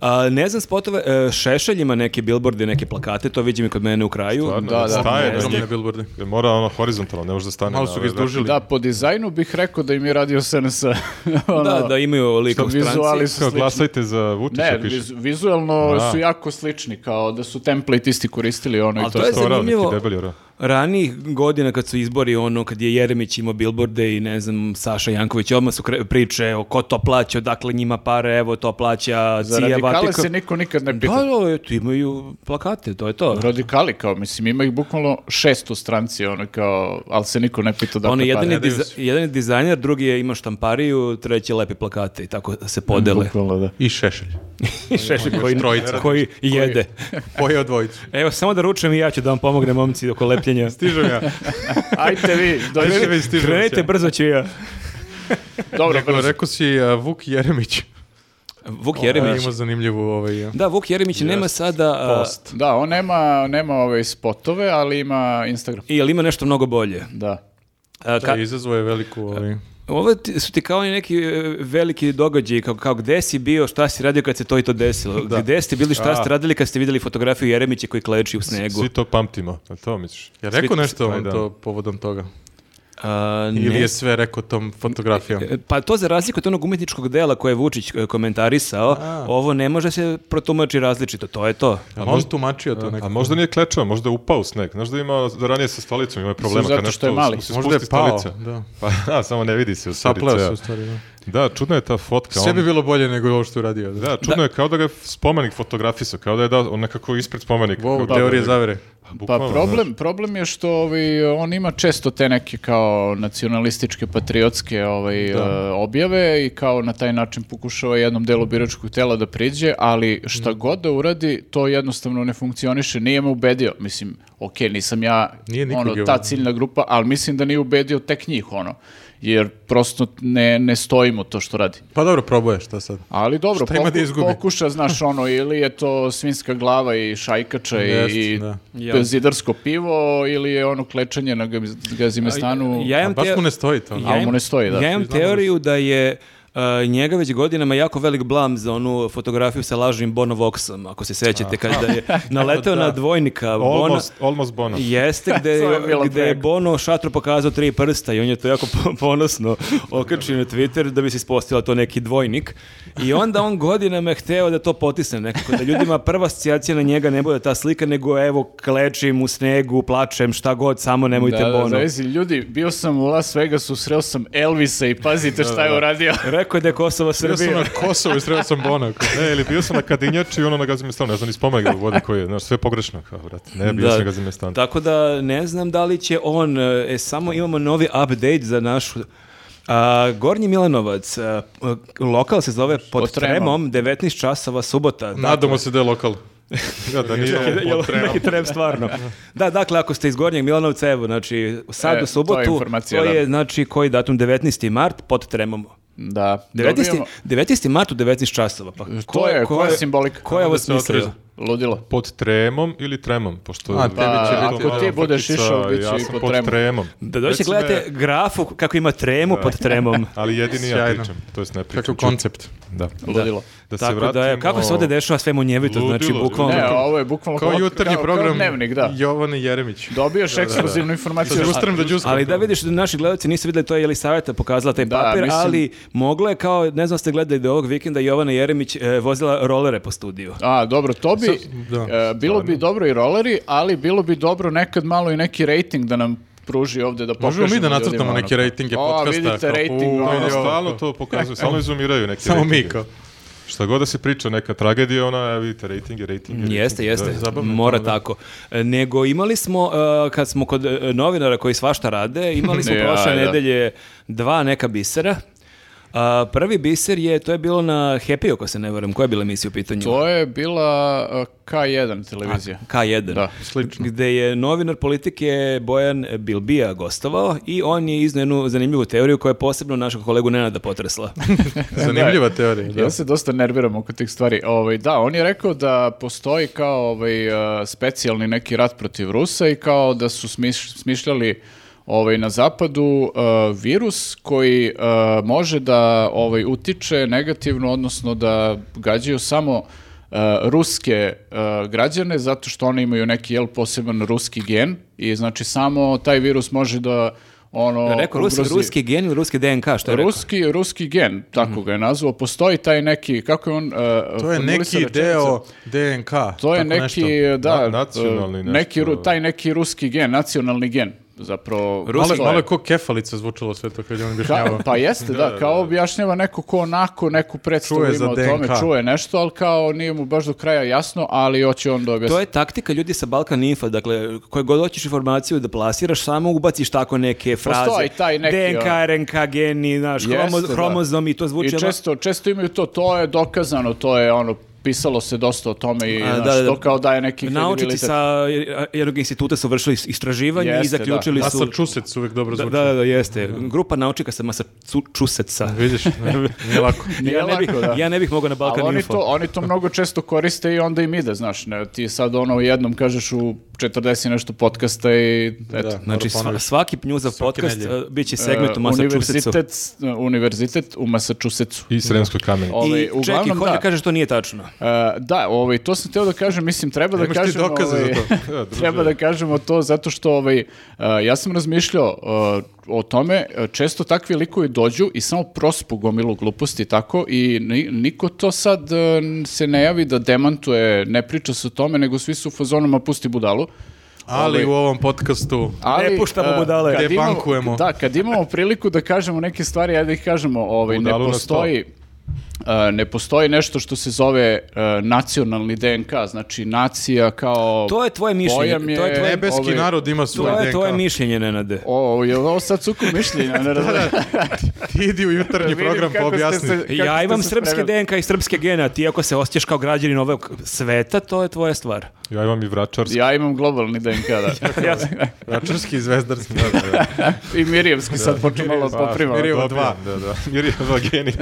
A, ne znam spotove, e, Šešelj ima neke bilborde, neke plakate, to vidim i kod mene u kraju.
Stvarno,
Da, da. Ne
staje. na
Dobro
njih.
na bilbordi.
Jer Mora ono horizontalno, ne može da stane.
Malo
na
su ga
ove
izdužili.
Da, po dizajnu bih rekao da im je radio SNS. ono,
Da, da, imaju lika u
vizuali
stranci.
vrste.
su
Kao,
slični.
glasajte za Vučića,
Ne,
piše.
vizu- vizualno
Da.
su jako slični, kao da su template isti koristili ono
Ali
i to.
to je
To je orao, neki
zanimljivo.
debeli orao.
Ranijih godina kad su izbori, ono, kad je Jeremić imao bilborde i, ne znam, Saša Janković, odmah su kre- priče o ko to plaća, odakle njima pare, evo to plaća,
Za
cija,
radikale
Vatikon.
se niko nikad ne
Da,
pita.
da, eto, imaju plakate, to je to.
Radikali kao, mislim, ima ih bukvalno šest u stranci, ono kao, ali se niko dakle, ne pita da
Ono, jedan, je
pare,
diza- jedan je dizajner, drugi je ima štampariju, treći lepi plakate i tako se podele.
Bukvalno, da.
I šešelj.
I šešelj koji,
trojica.
koji jede.
Pojeo dvojicu.
Evo, samo da ručam i ja ću da vam pomognem, momci, oko lepljenja.
Stižem ja.
Ajte vi,
Ajde
dođi.
vi stižem.
Krenite,
će.
brzo ću ja.
Dobro,
Rekao,
brzo.
rekao si a, Vuk Jeremić.
Vuk Jeremić.
Ima zanimljivu ovaj... a,
Da, Vuk Jeremić nema sada... a,
Da, on nema, nema ove spotove, ali ima Instagram.
I jel ima nešto mnogo bolje?
Da.
A,
Da,
ka-
izazvo je veliku ovaj...
ovo ti- su ti kao oni neki e, veliki događaji, kao, kao gde si bio, šta si radio kad se to i to desilo. Gde ste bili, šta ste radili kad ste vidjeli fotografiju Jeremića koji kleči u snegu.
Svi to pamtimo. A to misliš?
Ja rekao
Svi-
nešto
Taj
on
dan.
to povodom toga.
A, ne.
Ili je sve rekao tom fotografijom?
E, Pa to za razliku od onog umetničkog dela koje je Vučić e, komentarisao, ovo ne može se protumači različito, to je to.
A možda tumačio to
A
nekako?
možda nije klečao, možda je upao u sneg. Znaš da ima da ranije sa stolicom ima problema
Sve zato
kad nešto
što je mali.
mu se
Možda je
spusti
pao,
stolica.
da.
Pa da, samo ne vidi se u stvari.
Sapleo se
ceo. ono-
u stvari, da.
Da, čudna je ta fotka.
Sve
on-
bi bilo bolje nego ovo što je uradio. Da.
Da, čudno je kao da ga je spomenik fotografisao, kao da je dao on nekako ispred spomenika.
Wow,
Kao da-
teorije zavere.
Pa,
Pa
bukvalno,
problem, problem je što ovaj, on ima često te neke kao nacionalističke, patriotske ovaj, e, objave i kao na taj način pokušava jednom delu biračkog tela da priđe, ali šta
Mhm.
god da uradi, to jednostavno ne funkcioniše. Nije me ubedio. Mislim, ok, nisam ja
Nije nikog
ono,
je
ta
ubedio.
ciljna grupa, ali mislim da nije ubedio tek njih, ono. Jer prosto ne, ne stojimo to što radi.
Pa dobro, probuje, šta sad?
Ali dobro,
Šta ima da
poku-
izgubi?
pokuša, znaš, ono, ili je to svinska glava i šajkača i-
Jest,
i
da.
Ja.
zidarsko pivo, ili je ono klečanje na gaz- gazimestanu,
Ja
A
imam
baš
teo-
mu ne stoji to.
ali mu ne stoji, da.
Ja imam teoriju da je uh, njega već godinama jako velik blam za onu fotografiju sa lažnim Bono Voxom, ako se sećate, kada je naleteo na dvojnika Bona.
Almost, almost Bono.
Jeste, gde,
To je bilo
gde je
preko.
Bono šatru pokazao tri prsta i on je to jako po- ponosno okačio na Twitter da bi se ispostavila to neki dvojnik. I onda on godinama je hteo da to potisne nekako, da ljudima prva asocijacija na njega ne bude ta slika, nego evo klečim u snegu, plačem, šta god, samo nemojte
Da, da,
Bono.
zavisi, ljudi, bio sam u Las Vegasu, sreo sam Elvisa i pazite šta je uradio.
Rekao je da je Kosovo
Sreo sam
Srbija.
na Kosovo i sreo sam Bona.
Ne, E, ili bio sam na Kadinjači i ono na Gazimestanu, ne znam ni spomenik da vode koji je, znaš, sve pogrešno, kao, brate, ne, bio sam na Gazimestanu.
Tako da ne znam da li će on, e, samo imamo novi update za našu A, Gornji Milanovac, a, lokal se zove Pod,
Pod
tremom.
Tremom.
19 časova subota.
Nadamo se da je lokal.
Da, da nije
Dakle, jel-
on potrebno.
neki trem stvarno. Da, dakle, ako ste iz Gornjeg Milanovca, evo, znači, sad
E,
u
to je
subotu,
informacija,
to
da.
je, znači, koji datum, 19. mart, pod tremom.
Da,
19.
dobijamo-
19. mart u 19 časova. Pa, ko
je, koja
je-
simbolika?
Ko je ovo
Da se otreza.
smislio?
Ludilo.
Pod tremom ili tremom, pošto...
A, tebi
će biti
Ako
malo frkica, ja
ono ja
sam
sam
pod
pod tremom.
Da dođete,
Recimo,
gledate grafu kako ima tremu pod tremom.
Ali jedini ja
Sjajno.
pričam, to jest ne pričam.
Kakav
čujem.
koncept.
Da.
Ludilo.
Da se
Tako da je,
vratimo-
kako se ovde dešava sve munjevito, znači
Ludilo.
bukvalno...
Ne, ovo je bukvalno
Kao jutarnji
kao- kao
program
dnevnik, da.
Jovan Jeremić.
Dobioš ekskluzivnu informaciju.
Sa džustrom da džuskam.
Ali da vidiš da naši gledalci nisu videli, to je Jelisaveta pokazala taj
Da,
papir,
mislim-
ali mogla je kao, ne znam ste gledali da je ovog vikenda Jovana Jeremić e, vozila rolere po studiju.
A, dobro, to bi,
da,
e, bilo bi dobro i roleri, ali bilo bi dobro nekad malo i neki rating da nam pruži ovde da pokažemo
Možemo mi da
ljudima,
nacrtamo
ono,
neke
kao,
rejtinge
"O,
podcasta.
vidite
kao,
rejting,
u,
ono,
Ono
vidi ovo.
stalno to pokazuje, stalno izumiraju neke
Samo mi
rejtinge.
kao.
Šta god da se priča, neka tragedija, ona, evo vidite, rejtinge, rejtinge. rejtinge.
Mm, Jeste, jeste,
Da,
zabavno je
mora
to, da.
tako. E, Nego imali smo, e, kad smo kod e, novinara koji svašta rade, imali smo
Ja,
prošle
da.
nedelje dva neka bisera. A, prvi biser je, to je bilo na Happy, ako se ne varam, koja je bila emisija u pitanju?
To je bila e, K1 televizija.
K1.
Da,
slično.
Gde je novinar politike Bojan Bilbija gostovao i on je iznao jednu zanimljivu teoriju koja je posebno našeg kolegu Nenada potresla.
Zanimljiva teorija. Da.
Ja se dosta nerviram oko tih stvari. Ovaj, da, on je rekao da postoji kao ovaj, e, specijalni neki rat protiv Rusa i kao da su smiš- smišljali ovaj, na zapadu e, virus koji e, može da ovaj, utiče negativno, odnosno da gađaju samo e, ruske e, građane zato što oni imaju neki jel, poseban ruski gen i znači samo taj virus može da ono
rekao ruski,
ugrozi-
ruski gen ili ruski DNK, što je rekao? Mhm.
Ruski, ruski gen, tako ga je nazvao. Postoji taj neki, kako je on... uh,
To je neki
formulisao
deo
rečenicu?
DNK.
To je
tako
neki,
nešto.
da,
Na- nacionalni
uh,
nešto.
neki, ru- taj neki ruski gen, nacionalni gen, zapravo.
Malo,
postoje.
malo je ko kefalica zvučalo sve to kad je on objašnjavao.
Ka- pa jeste, da, kao objašnjava neko ko onako neku predstavu
Čuje za
ima o tome,
DNK.
čuje nešto, ali kao nije mu baš do kraja jasno, ali hoće on da
To
objasni.
je taktika ljudi sa Balkan Infa, dakle, koje god hoćeš informaciju da plasiraš, samo ubaciš tako neke fraze.
Postoji taj neki,
DNK,
ono.
RNK, geni, znaš, hromo,
Jeste, da.
hromozom i to zvuči...
I
ono-
često, često imaju to, to je dokazano, to je ono, pisalo se dosta o tome i
A,
znaš,
da, da.
to kao daje neki
Naučici
kredibilitet.
sa e, jednog instituta su vršili istraživanje i
Jeste,
zaključili su...
Massachusetts uvek dobro
Da,
zvuči.
da, da, jeste. Grupa naučnika sa Massachusettsa.
Vidiš, ne, nije lako.
Nije
ja, ne bih,
lako, da.
ja ne bih mogao na Balkan
Ali oni
Info.
to, oni to mnogo često koriste i onda im ide, znaš, ne, ti sad ono jednom kažeš u 40 i nešto podcasta i eto.
Da.
Znači
Mora
sva,
ponoviš.
svaki nju za
Svake
podcast
nedjelje.
uh, bit će segment u Massachusettsu.
Eh, Univerzitet, e, univerzitet u Massachusettsu.
I sremskoj kameni.
O- Ovaj,
I čekaj,
uglavnom,
hoće
da.
da kaže što nije tačno.
E, da, ovaj, to sam teo da kažem, mislim, treba da
Imaš ti
kažem...
dokaze
ovaj,
za to.
E, druže,
Treba da kažemo to zato što ovaj, e, ja sam razmišljao e, o tome, e, često takvi likovi dođu i samo prospu gomilu gluposti i tako i ni- niko to sad e, se ne javi da demantuje, ne priča se o tome, nego svi su u fazonama pusti budalu.
Ali u ovom podcastu...
Ovaj- Ali,
Ne puštamo
e,
budale.
kad
Gde
imamo-
bankujemo.
Da, kad imamo priliku da kažemo neke stvari, ajde ih kažemo, ovaj, ne
Budalu na sto.
postoji... e, ne postoji nešto što se zove e, nacionalni DNK, znači nacija kao...
To je tvoje mišljenje,
pojam
to je tvoje-
Nebeski
ovaj,
narod ima
To
svoj
je
DNK.
tvoje mišljenje, Nenade.
O, je li ovo sad sukob mišljenja? Ne razumem.
Ti idi u jutarnji
Vidim
program pa
kako ste
objasni.
se- kako
Ja
ste
imam
se
srpske
spremili.
DNK i srpske gene, a ti ako se osjećaš kao građanin ovog sveta, to je tvoja stvar.
Ja imam i vračarski.
Ja imam globalni DNK, da.
Ja,
Račarski i zvezdarski. Da, da, da.
I Mirjevski sad počne malo
Pa,
poprimalo.
Mirjevo
Mirjeva
dva.
Da, da. Mirjeva geni.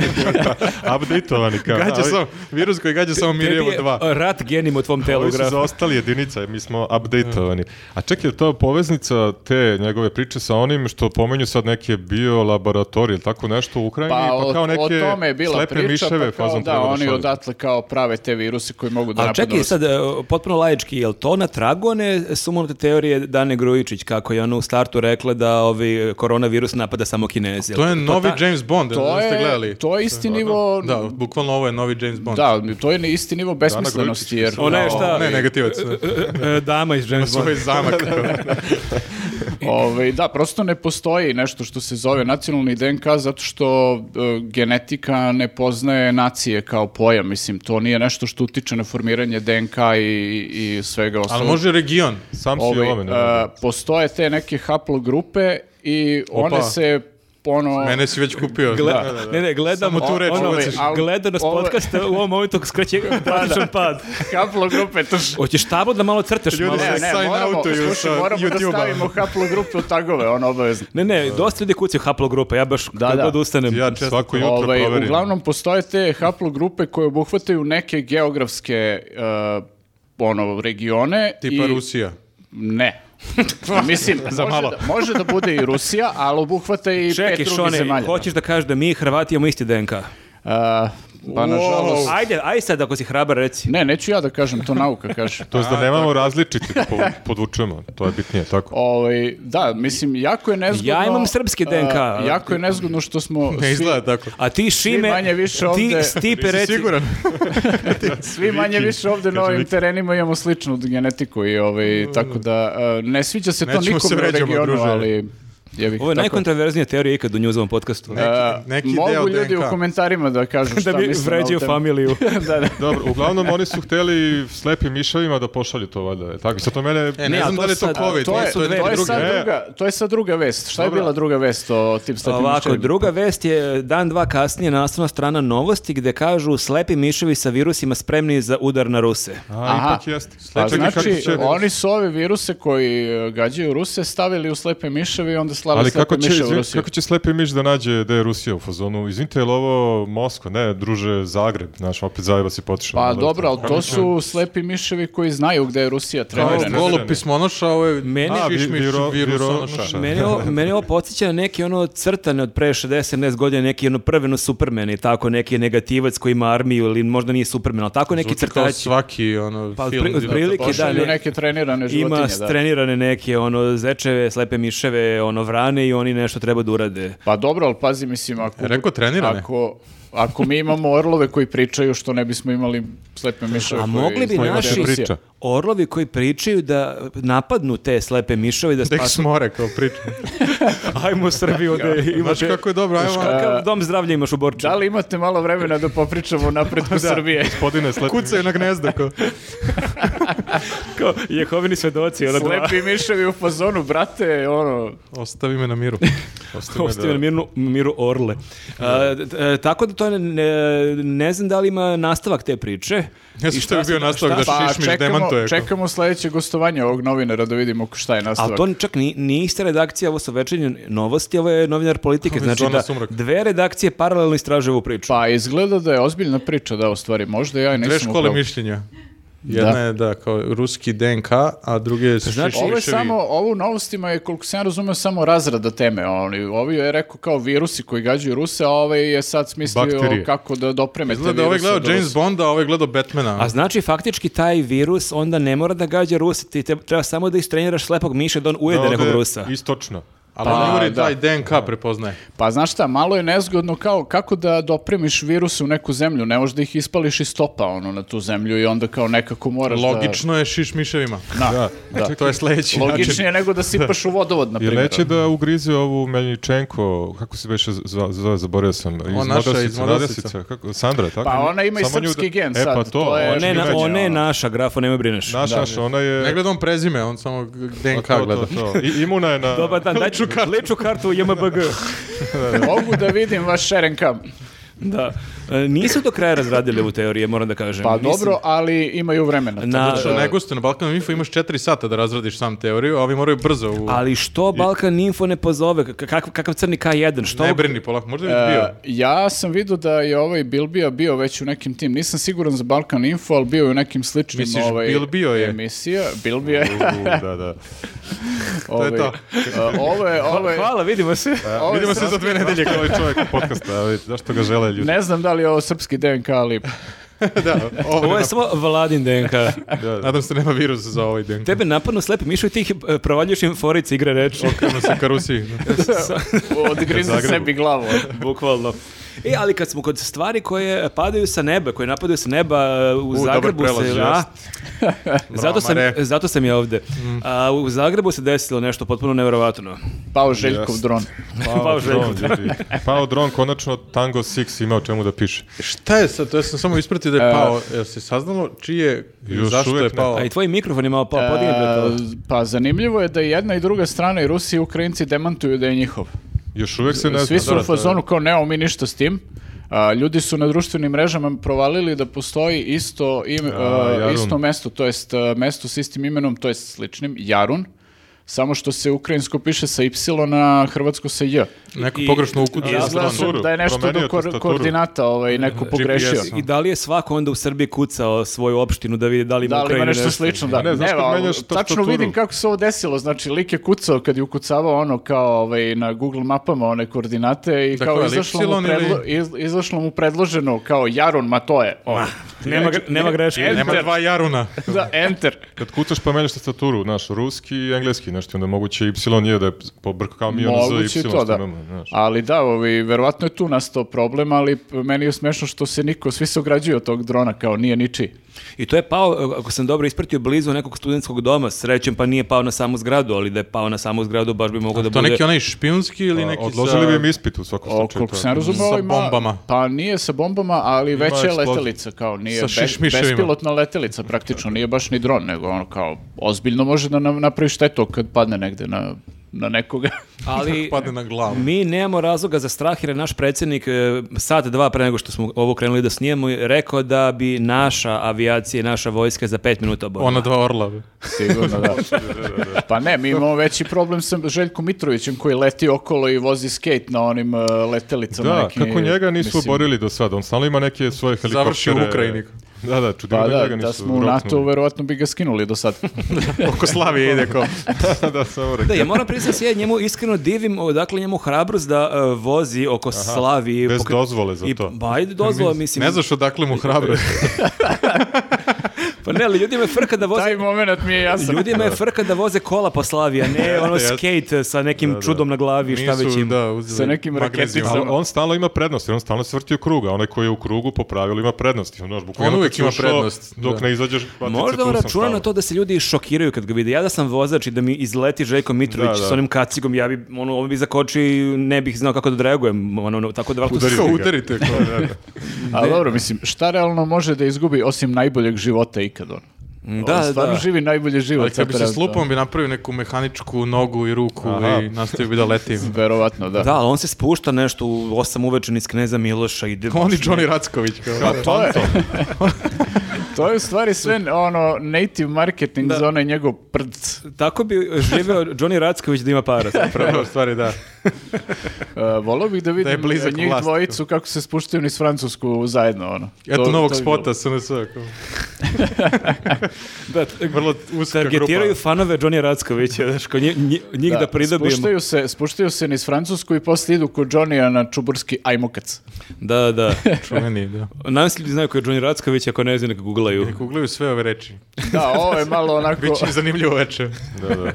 Updateovani kao.
Gađa
ali-
samo, virus koji gađa samo Mirjevo
Tebi je
2.
rat genim u tvom telu,
Ovi su
graf.
zaostali jedinica, mi smo updateovani. A čekaj, je li to poveznica te njegove priče sa onim što pomenju sad neke biolaboratorije ili tako nešto u Ukrajini,
Pa,
pa,
o,
kao neke
o tome je bila
slepe
priča,
miševe
pa kao,
fazom
da,
treba
oni
šalju.
odatle kao prave te viruse koji mogu da
A
napadnu.
čekaj
nas.
sad, e, potpuno laički, je li to na tragu one sumonute teorije Dane Grujičić, kako je ona u startu rekla da ovi koronavirus napada samo kinezi? jel
To je novi
ta-
James Bond, ne
Pa To
znam ste
je,
gledali.
to je isti nivo...
Da, bukvalno ovo je novi James Bond.
Da, to je isti nivo besmislenosti, jer...
Grujičić,
Ona je
kao,
šta?
Ne, negativac.
E, Dama iz James Bonda.
Svoj zamak.
Ovaj, da, prosto ne postoji nešto što se zove nacionalni DNK zato što e, genetika ne poznaje nacije kao pojam, mislim, to nije nešto što utiče na formiranje DNK i, i svega ostalog.
Ali može region.
Sam si
Ovaj,
omen.
e, postoje te neke haplogrupe i
Opa.
one se ono...
Mene si već kupio.
Gle-
Da, da, da.
Ne, ne, gledam,
Samo tu reč
ono,
ubaciš.
Al-
gledanost
ovo- Pa
podcasta e, u ovom momentu skreće drastičan pad.
haplogrupe, to š-
Hoćeš tablo da malo crteš?
Ljudi
malo?
se-
Ne, ne,
sign
moramo,
outuju
slušaj,
sa
moramo da
YouTube-a.
stavimo haplogrupe u tagove, ono obavezno.
Ne, ne, dosta ljudi kucaju haplogrupe, ja baš da,
da.
god ustanem.
Ja često svako jutro
Ovaj,
proverim.
uglavnom postoje te haplogrupe koje obuhvataju neke geografske e, ono, regione.
Tipa
i-
Rusija.
Ne. Mislim,
Za malo.
Može, da, može da bude i Rusija, ali obuhvata i
Čekaj,
pet drugih
Šone,
zemalja.
hoćeš da kažeš da mi i Hrvati imamo isti DNK?
E, pa nažalost...
Ajde, aj sad ako si hrabar reci.
Ne, neću ja da kažem, to nauka kaže.
To je da nemamo različiti, po- podvučujemo. To je bitnije, tako.
Ovaj, da, mislim, jako je nezgodno...
Ja imam srpski DNK.
a, jako je nezgodno što smo...
Ne
svi-
izgleda tako.
A ti Šime,
manje više
ti
ovde-
Stipe
Jesi
reci.
siguran?
Svi manje više ovde na ovim terenima imamo sličnu genetiku i
Mm.
ovaj, tako da e, ne sviđa se to
Nećemo se
nikom u
vređamo,
regionu,
druže.
ali... Jebi,
Ovo je
tako.
najkontraverznija teorija ikad u njuzovom podcastu.
Ne.
E,
Neki- neki
mogu
deo
ljudi
DNK.
u komentarima da kažu šta
da bi
misle na ovu
vređio
temu.
familiju.
da, da.
Dobro, uglavnom oni su hteli slepim miševima da pošalju to valjda. je Tako, sad to mene...
E,
Ne,
ne,
a
znam
to
da li je to
sad-
COVID.
To je,
nisu dve
to, je
druge.
sad
E.
druga, to je sad druga vest. Šta je bila druga vest o tim slepim
Ovako,
miševima?
druga vest je e, dan dva kasnije naslovna strana novosti gde kažu slepi miševi sa virusima spremni za udar na Ruse.
A,
Aha.
ipak jeste.
Pa
Čekaj, kako
znači,
će-
oni su ove viruse koji e, gađaju Ruse stavili u slepe miševe i onda slali
Ali
slepe
kako će,
miševe u
izvin-
Rusiju.
kako će slepi miš da nađe da je Rusija u fazonu? Izvinite, je li ovo Moskva? Ne, druže, Zagreb. Znaš, opet Zajeba si potišao.
Pa dobro, ali to su slepi miševi koji znaju gde je Rusija
Ovo je
trenirana.
Kao
golub pismonoša, ovo je
Meni-
Meni, šišmiš
viro-
virusonoša.
vironoša.
Mene ovo, mene ovo podsjeća na neki ono crtane od pre 60-70 godina, neki ono prveno Superman i tako, neki negativac koji ima armiju ili možda nije Superman, ali tako neki
Zvuči kao
crtači.
svaki ono,
Pa,
film.
otpri-
gdje
otprilike,
to pošalju.
da, ne-
Pošalju neke trenirane
Ima
životinje, da.
strenirane neke ono zečeve, slepe miševe, ono vrane i oni nešto treba da urade.
Pa dobro, ali pazi, mislim, ako...
E, rekao trenirane.
Ako, ako mi imamo orlove koji pričaju, što ne bismo imali slepe miševe
A
koji
mogli bi
znaju gde je
naši
Rusija?
priča.
orlovi koji pričaju da napadnu te slepe miševe i da
Tek
spasu...
smore kao priča.
Ajmo u Srbiju da
Znaš
imate...
kako je dobro, ajmo.
Kakav dom zdravlja imaš u Borči?
Da li imate malo vremena da popričamo o napretku Srbije?
Gospodine, slepi
Kucaju na gnezda. Ko.
Kao Jehovini svedoci, ono dva.
Slepi miševi u fazonu, brate, ono...
Ostavi me na miru.
miš.
Ostavi na mirnu, miru orle. A, t- e, tako da to ne, ne, ne znam da li ima nastavak te priče.
Ne
I
znam što je
šta
bio
se-
nastavak
šta-
da
Pa
šišmiš
čekamo,
demantuje. kao.
čekamo sledeće gostovanje ovog novinara da vidimo šta je
Ali
nastavak.
to čak ni, nije ista redakcija, ovo su večernje novosti, ovo je novinar politike.
Ovo je
Znači
Zona
da
Sumrak. Pa.
dve redakcije paralelno istražuju ovu priču.
Pa izgleda da je ozbiljna priča, da, u stvari, možda ja i nisam
Dve
u pravu.
škole mišljenja. Jedna
Da.
je, da, kao ruski DNK, a druge je
Znači,
šiševi.
Ovo je samo, ovo u novostima je, koliko sam ja razumeo, samo razrada teme. Oni, ovi je rekao kao virusi koji gađaju Ruse, a ovaj je sad smislio
Bakterije.
kako da dopremete
Izgleda da je ovaj
viruse
gledao
do
James
Rusa.
Bonda, a ovaj gledao Batmana.
A znači, faktički, taj virus onda ne mora da gađa Rusa, ti te- treba samo da istreniraš slepog miša da on ujede
Da,
nekog
ovde
Rusa.
Istočno.
Ali
Pa,
on mora i
da.
taj DNK prepoznaje.
Pa znaš šta, malo je nezgodno kao kako da dopremiš viruse u neku zemlju, ne možeš da ih ispališ iz topa ono, na tu zemlju i onda kao nekako moraš
Logično je šiš miševima.
da... Da.
Da.
Pa Da.
To je sledeći način.
Logičnije nego da sipaš u vodovod, na
Jer
primjer.
neće da ugrize ovu Meljičenko, kako se beše zva- zove, zaboravio sam, iz
naša,
Modasice,
iz Modasice.
Radasica, kako, Sandra, tako?
Pa ona ima i
Samo nju
srpski gen
E
sad,
pa to,
to je-
Ona je, na,
gađa,
ona je
ono.
naša, grafo, nemoj brineš.
Naš, naš, ona je... pa
Ne gleda on prezime, on samo DNK
to, to,
gleda.
to. I, imuna je na...
Dobar dan, daj ću kartu. Liču kartu u JMBG.
Mogu da vidim vaš Sharon Cam.
Da. E, Nisu do kraja razradili ovu teoriju, moram da kažem.
Pa
Mislim-
dobro, ali imaju vremena. tako
Na-
da-
Što ne gusto, na Balkanu Info imaš 4 sata da razradiš sam teoriju, a ovi moraju brzo u...
Ali što Balkan Info ne pozove? K- kakav, kakav crni K1? Što?
Ne brini polako, možda bi
E,
bio.
ja sam vidio da je ovaj Bilbija bio već u nekim tim, nisam siguran za Balkan Info, ali bio je u nekim sličnim
Misliš,
ovaj,
Bilbio je?
emisija. Bilbio je.
U, da, da.
ovaj,
to.
a, ovo je, ovo je,
Hvala, vidimo se.
Pa,
E,
Ovo je
vidimo se za
srpski-
dve nedelje kao ovaj čovjek podcasta, ali zašto ga žele ljudi.
ne znam da li je ovo srpski DNK, ali
Ovo je samo Vladin DNK.
Da, da.
Nadam se nema virus za ovaj DNK.
Tebe napadnu slepi mišu i ti ih e, provaljuješ im forice igre reči.
Okrenu se ka Rusiji.
odgrizam
Zagrebu.
sebi glavu.
Bukvalno. E, ali kad smo kod stvari koje padaju sa neba, koje napadaju sa neba e, u,
dobar
Zagrebu
prelaz,
se...
jest.
a? zato, sam,
Mramare. Mm.
zato sam ja ovde. A, u Zagrebu se desilo nešto potpuno nevjerovatno.
Pao Željkov
Jest.
dron.
Pao Željko.
Dron, ljudi. Pao dron, konačno Tango 6 ima o čemu da piše.
Šta je sad, to ja sam samo ispratio da je pao. Jel se saznalo čije,
Još
zašto je
uvek ne.
pao?
A i tvoj mikrofon je malo pao, podigni bre to.
A, pa zanimljivo je da i jedna i druga strana i Rusi i Ukrajinci demantuju da je njihov.
Još uvek se ne zna.
Svi su
Da,
u fazonu kao nemamo mi ništa s tim. A, ljudi su na društvenim mrežama provalili da postoji isto, im, a,
Jarun.
isto mesto, to jest a, mesto s istim imenom, to jest sličnim, Jarun, samo što se ukrajinsko piše sa Y, a hrvatsko sa J.
Neko
I-
pogrešno ukucao.
Ja
Izgleda
tastaturu,
su da je nešto do
promenio
ko-
tastaturu.
koordinata ovaj, neko pogrešio.
GPS-om.
I da li je svako onda u Srbiji kucao svoju opštinu da vidi da li ima
Da li ima
Ukrajina
nešto slično, da.
A ne, znaš
Ne,
kad
ali
menjaš
tačno
tastaturu?
vidim kako se ovo desilo, znači lik je kucao kad je ukucavao ono kao ovaj, na Google mapama one koordinate i
Dakle,
kao
ali
izašlo mu,
Y ili-
predlo, iz- izašlo mu predloženo kao Jarun, ma to je. O,
Nema, gre- nema greške.
Nema dva Jaruna.
da, enter.
Kad kucaš pa menjaš tastaturu, znaš, ruski i engleski, znaš, ti onda moguće y je da je pobrkao kao mi ono
Moguće
za
je
y,
to,
što
da.
imamo, znaš.
Ali da, ovaj, verovatno je tu nastao problem, ali p- meni je smešno što se niko, svi se ograđuju od tog drona, kao nije ničiji.
I to je pao, ako sam dobro ispratio, blizu nekog studentskog doma. Srećem, pa nije pao na samu zgradu, ali da je pao na samu zgradu, baš bi mogao da
To
bude...
neki onaj špijunski ili
Pa,
neki
Odložili
sa...
bi im ispit u svakom
O,
slučaju.
koliko
to je.
sam ja razumeo,
Sa
ovaj ma-
bombama.
Pa nije sa bombama, ali veća je
eksploziv.
letelica, kao nije
Sa
be-
šišmiševima.
bespilotna letelica praktično, nije baš ni dron, nego ono kao ozbiljno može da nam napravi štetu kad padne negde na, na nekoga.
Ali
Padne na glavu.
mi nemamo razloga za strah jer je naš predsjednik e, sat dva pre nego što smo ovo krenuli da snijemo je rekao da bi naša avijacija i naša vojska za pet minuta oborila.
Ona dva orla. bre.
Sigurno da. Pa ne, mi imamo veći problem sa Željkom Mitrovićem koji leti okolo i vozi skate na onim uh, letelicama.
Da,
nekim,
kako njega nisu
mislim.
oborili do sada, on stalno ima neke svoje helikoptere.
Završi u Ukrajini.
Da, da, čudno
Pa
da,
da,
njega nisu
da smo u NATO,
roknuli.
verovatno bi ga skinuli do sad.
Oko Slavije ide kao.
da, da, samo
Da,
rekao.
ja moram priznati da se ja njemu iskreno divim, odakle njemu hrabrost da e, vozi oko Slavi.
bez dozvole za
I,
to.
ba, ajde dozvola, mislim.
Ne znaš odakle mu hrabro.
Pa ne, ali ljudima je frka da voze
Taj moment mi je jasan.
Ljudima je frka da voze kola po Slavi, a ne ono
Jeste, jeste.
skate sa nekim čudom na glavi i šta već
Nisu,
ima.
da, uzeli
Sa nekim
magnezijum.
Ali
raketicama.
on stalno ima prednost, jer on stalno se vrti u krug, a onaj koji je u krugu po pravilu ima prednost. On, znaš, bukvalno
On uvijek
kad si
ima
ušao,
prednost,
Dok
da.
ne izađeš, hvatit se,
Možda
tu
on
sam
računa na
stalno.
to da se ljudi šokiraju kad ga vide. Ja da sam vozač i da mi izleti Željko Mitrović
Da, da.
s onim kacigom, ja bi, ono, on bi zakočio i ne bih znao kako da odreagujem. Ono, ono, tako da vrlo...
Udari.
Kao udarite. Kao,
A dobro, mislim, šta realno može da izgubi osim najboljeg života ikad on?
Da,
on stvarno
da.
živi najbolje život.
Ali kad bi
sad
se
trenutno.
slupom bi napravio neku mehaničku nogu i ruku
Aha.
i nastavio bi da leti.
Verovatno, da.
Da, ali on se spušta nešto u 8 uveče niz Kneza Miloša. Ide,
On i Johnny Racković. Kao,
To je, to je u stvari sve ono native marketing za onaj njegov E, prd.
Tako bi živeo Johnny Racković da ima para.
Prvo, u stvari da.
Uh, volao bih da vidim
blizak
njih
vlast.
dvojicu kako se spuštaju niz Francusku zajedno. Ono.
Eto
To-
novog
to bi bilo.
spota SNS. kao,
Da,
Vrlo uska
targetiraju
grupa.
fanove Johnny Rackovića, znaš, ko nje- nje- njih da, pridobijemo.
Spuštaju se, spuštaju se niz Francusku i posle idu kod Johnny-a na čuburski ajmokac.
Da, da.
Čuveni, da.
Nadam se ljudi znaju ko je Johnny Racković, ako ne znaju, neka googlaju.
Googlaju sve ove reči.
Da, ovo je malo onako
Biće zanimljivo večer.
Da, da.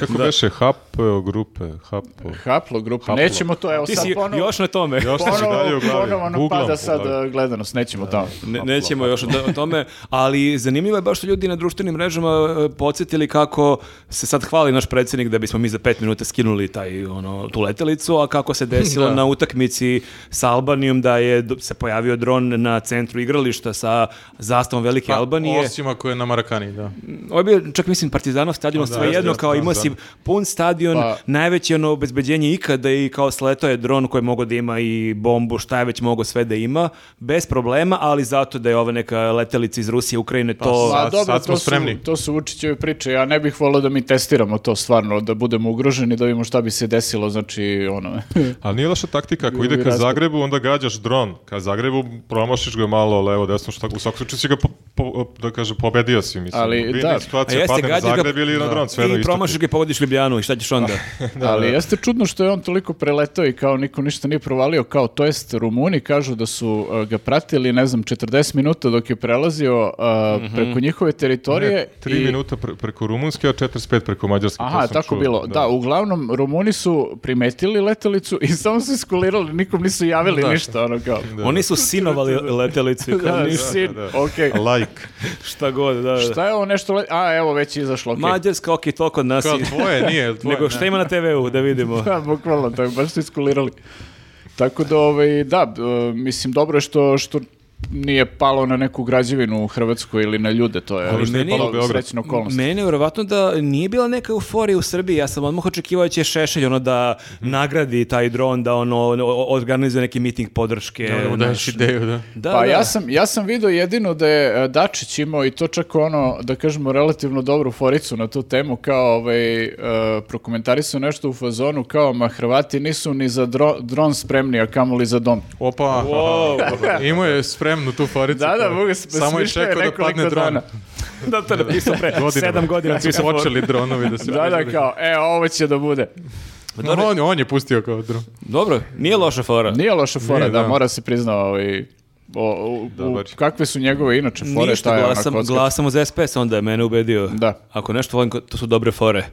Kako beše, Hapo grupe, Hapo.
haplo grupa.
Haplo.
Nećemo to, evo
Ti
sad
si
ponovo.
još na tome.
Još sam se dalje
Ponovo,
u glavi.
ponovo nam
Googlam
pada
u
sad
glavi.
uh, gledanost, nećemo tamo.
Ne, nećemo još o, o tome, ali zanimljivo je baš što ljudi na društvenim mrežama e, podsjetili kako se sad hvali naš predsjednik da bismo mi za pet minuta skinuli taj, ono, tu letelicu, a kako se desilo
Da.
na utakmici sa Albanijom da je do- se pojavio dron na centru igrališta sa zastavom Velike Albanije.
Pa, Osim ako je na Marakani, da.
Ovo je bio čak mislim Partizanov stadion, sve jedno
jeste,
kao imao
Pa da.
si pun stadion,
Pa-
najveće ono obezbeđenje ikada i kao sletao je dron koji je mogao da ima i bombu, šta je već mogao sve da ima, bez problema, ali zato da je ova neka letelica iz Rusije, Ukrajine,
Pa
to...
sad- sad smo
to su,
spremni.
to su Vučićeve priče. Ja ne bih volio da mi testiramo to stvarno, da budemo ugroženi, da vidimo šta bi se desilo, znači ono...
Ali nije loša taktika, ako
Bilo bi
ide ka
raspad.
Zagrebu, onda gađaš dron. Ka Zagrebu promašiš ga malo levo, desno, što tako. U svakom slučaju si ga, po, po- da kaže, pobedio si, mislim.
Ali,
Biljna
da.
A
situacija,
jeste,
padne na
gađa ga-
Zagreb ili na dron, sve jedno
I
isto ti je.
promašiš ga i pogodiš Ljubljanu i šta ćeš onda?
Ali jeste čudno što je on toliko preletao i kao niko ništa nije provalio, kao to jest Rumuni kažu da su uh, ga pratili, ne znam, 40 minuta dok je prelazio uh, preko njihove teritorije.
Ne, E, tri
i-
minuta pre- preko rumunske, a 45 preko mađarske.
Aha,
to sam
tako
čuo.
bilo. Da. uglavnom, Rumuni su primetili letelicu i samo su iskulirali, nikom nisu javili ništa, ono kao.
Oni su sinovali letelicu, kao
Da,
ništa,
sin,
da, da.
okej.
Like.
šta god, da, da.
Šta je ovo nešto? le- A, evo, već je izašlo, okej.
Mađarska, ok, to kod nas
Kao
je-
tvoje, nije, jel tvoje.
Nego šta ima na TV-u, da vidimo.
Da, bukvalno, to je baš su iskulirali. Tako da, ovaj, da, b- e, mislim, dobro je što, što nije palo na neku građevinu u Hrvatskoj ili na ljude, to je
Ali
što je
meni-
palo
palo u Beograd.
srećna okolnost.
Mene je vjerovatno da nije bila neka euforija u Srbiji. Ja sam odmah očekivao da će Šešelj ono da
Mhm.
nagradi taj dron, da ono o- o- organizuje neki miting podrške.
Evo, daješ
znaš.
ideju, da.
Da,
pa
da.
ja sam, ja sam vidio jedino da je e, Dačić imao i to čak ono, da kažemo, relativno dobru foricu na tu temu, kao ovaj, e, prokomentarisao nešto u fazonu, kao, ma Hrvati nisu ni za dro- dron spremni, a kamoli za dom.
Opa, imao je spremnu tu foricu.
Da, da,
kao,
mogu se pa
Samo je
smišljao je
čekao da
nekoliko
padne dron.
dana.
da to je napisao pre sedam godina.
Kad su
pisao foru.
počeli dronovi da se
Da, da,
viđali.
kao, e, ovo će da bude.
Ma dobro, On, on je pustio kao dron.
Dobro, nije loša fora.
Nije loša fora,
Nije,
da,
da.
mora se prizna ovaj, o, u- u-
Dobar.
kakve su njegove inače fore, šta
Ništa,
je ona
glasam,
kocka.
glasamo za SPS, onda je mene ubedio.
Da.
Ako nešto volim, to su dobre fore.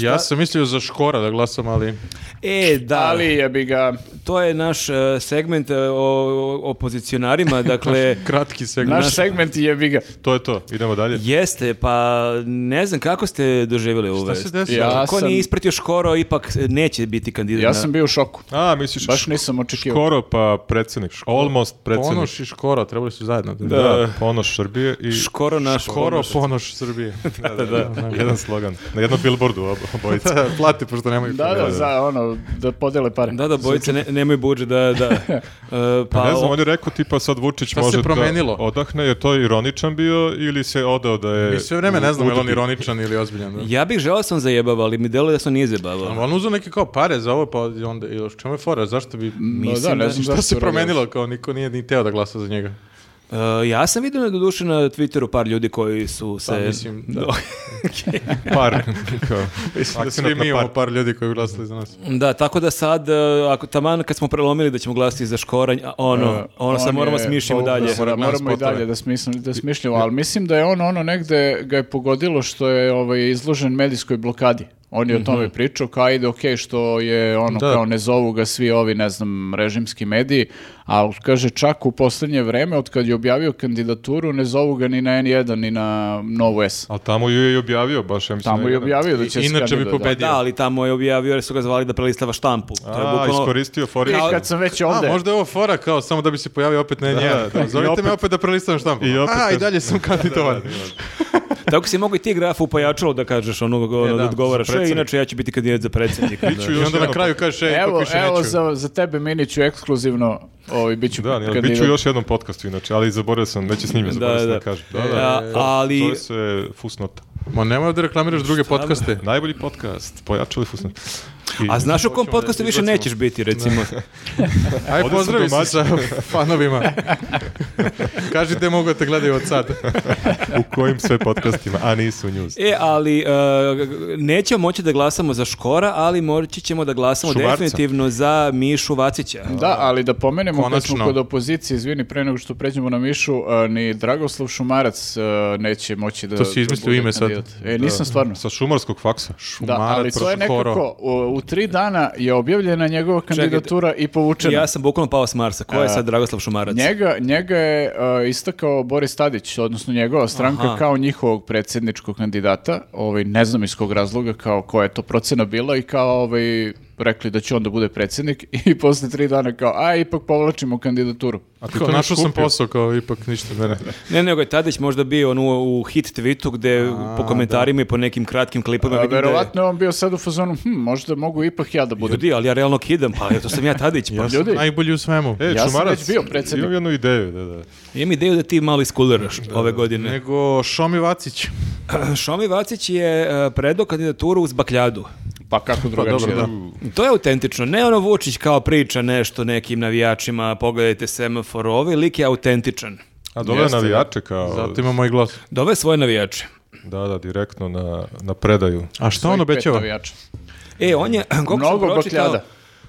Ja sam mislio za Škora da glasam, ali...
E, da.
Ali je bi ga,
To je naš e, segment e, o, o opozicionarima,
E,
dakle...
Kratki segment.
naš segment je bi ga.
To je to, idemo dalje.
Jeste, pa ne znam kako ste doživjeli ovo.
Šta se desilo?
Ja-
Ako
sam-
nije ispratio Škoro, ipak neće biti kandidat.
Ja
na-
sam bio u šoku,
A, misliš
baš
Ško-
nisam očekivao.
Škoro pa predsjednik. Almost predsjednik.
Ponoš i Škora, trebali su zajedno. Da.
Da, Ponoš Srbije i
Škoro naš.
Škoro, Ponoš Srbije. da, da,
jedan slogan. Na jednom billboardu ob- obojica.
da. Plate, pošto nemaju...
Da, da, za ono, da podele pare.
Da, da, bojice ne, nemaju budžet, da, da. E, pa,
ne znam,
o-
on je rekao tipa sad Vučić
Šta Pa se
može da
promenilo?
odahne, jer to je ironičan bio ili se odao da je...
Mi sve vreme ne znam je li on
utopi.
ironičan ili ozbiljan. Da.
Ja bih želao sam zajebavao, ali mi deluje da sam nije zajebavao.
Ali On uzeo neke kao pare za ovo, pa onda... ili Čemu je fora? Zašto bi...
No, da, ne znam
Šta
zašto
se
je radio.
promenilo? Kao niko nije ni teo da glasa za njega.
E, ja sam vidio na doduše na Twitteru par ljudi koji su se...
Pa, mislim, da.
No,
Par. kao,
Da
akcenat
svi
na
mi
par.
imamo par ljudi koji glasali za nas.
da, tako da sad, e, ako taman kad smo prelomili da ćemo glasiti za Škoranj, a ono,
E,
ono sad
on
moramo
je-
smišljamo
pa,
dalje.
da,
Moram gledam
moramo i
spotove.
dalje da, smislim, da smišljamo, ali mislim da je on ono negde ga je pogodilo što je ovaj, izložen medijskoj blokadi. On je o tome pričao, kao ide okej što je ono,
Da.
kao ne zovu ga svi ovi, ne znam, režimski mediji, ali kaže čak u posljednje vreme, od kad je objavio kandidaturu, ne zovu ga ni na N1, ni na Novu S.
Ali tamo ju je i objavio baš, ja mislim.
Tamo
na
je
jedan.
objavio da će
I-
se
inače bi
kandidat-
pobedio.
Pa Da, ali tamo je objavio jer su ga zvali da prelistava štampu. To je
A,
bukvalno-
iskoristio foricu.
I kad sam već ovde,
A, možda je ovo fora kao samo da bi se pojavio opet na
da,
nja.
da. I
Zovite
opet-
me opet da prelistam štampu.
I opet
A, i
kažem-
dalje sam kandidovan.
Tako si mogu i ti grafu upojačalo da kažeš ono, ono
E,
da,
da,
odgovaraš.
za
E,
predsjednika."
inače ja ću biti kandidat za predsjednika. da.
Biću
I
još pa-
onda na
jednom-
kraju kažeš, ej,
evo,
ipak više
evo
neću.
za, za tebe Miniću ekskluzivno, ovaj, bit ću
Da, ali bit ću
kandidat.
u još jednom podcastu inače, ali zaboravio sam, već je snimio, zaboravio sam da,
da.
kažem.
E, a- ali-
To je se fusnota.
Ma nemoj da reklamiraš druge podcaste.
Najbolji podcast, pojačali fusnota. Srpski.
A znaš u kom
Hoćemo da
podcastu više
izbacimo.
nećeš biti, recimo?
Aj,
Ovde su
pozdravi se
domaći.
sa fanovima. Kažite mogu da te gledaju od sad.
U kojim sve podcastima, a nisu news.
E, ali e, nećemo moći da glasamo za Škora, ali moći ćemo da glasamo
Šumarca.
definitivno za Mišu Vacića.
Da, ali da pomenemo kad smo
Konačno.
kod opozicije, izvini, pre nego što pređemo na Mišu, a, ni Dragoslav Šumarac a, neće moći da...
To si izmislio
bude
ime sad.
kandidat. E, nisam stvarno.
Sa šumarskog faksa.
Da, ali to je
Proškoro.
nekako, u, u tri dana je objavljena njegova kandidatura i povučena.
Ja sam bukvalno pao s Marsa. Ko
E,
je sad Dragoslav Šumarac?
Njega, njega je uh, istakao Boris Tadić, odnosno njegova stranka
Aha.
kao njihovog predsjedničkog kandidata. Ovaj, ne znam iz kog razloga, kao koja je to procena bila i kao ovaj, rekli da će on da bude predsjednik i posle tri dana kao, a ipak povlačimo kandidaturu.
A ti
Kao,
to našao sam
skupio.
posao kao ipak ništa. Ne, ne.
Ne, nego je Tadić možda bio on u, u hit tweetu gde po komentarima i po nekim kratkim klipovima
A,
vidim da je...
verovatno je on bio sad u fazonu, hm, možda mogu ipak ja da budem.
Ljudi, ali ja realno kidam, pa eto sam ja Tadić. Pa.
Ljudi,
Najbolji u svemu.
E,
Ja sam
Šumarac,
već bio predsednik.
Imam jednu ideju, da, da.
Imam ideju da ti malo iskuliraš ove godine.
Nego Šomi Vacić.
Šomi Vacić je e, predao kandidaturu uz Bakljadu.
pa kako drugačije.
dobro,
da.
da.
To je autentično. Ne ono Vučić kao priča nešto nekim navijačima, pogledajte semafor, ovaj lik je autentičan.
A dole
Jeste, da.
navijače kao...
Zato ima moj glas.
Dove svoje navijače.
Da, da, direktno na, na predaju.
A šta on
Svojih pet
obećava?
navijača.
E, on je, koliko sam
Mnogo
pročitao-
bakljada.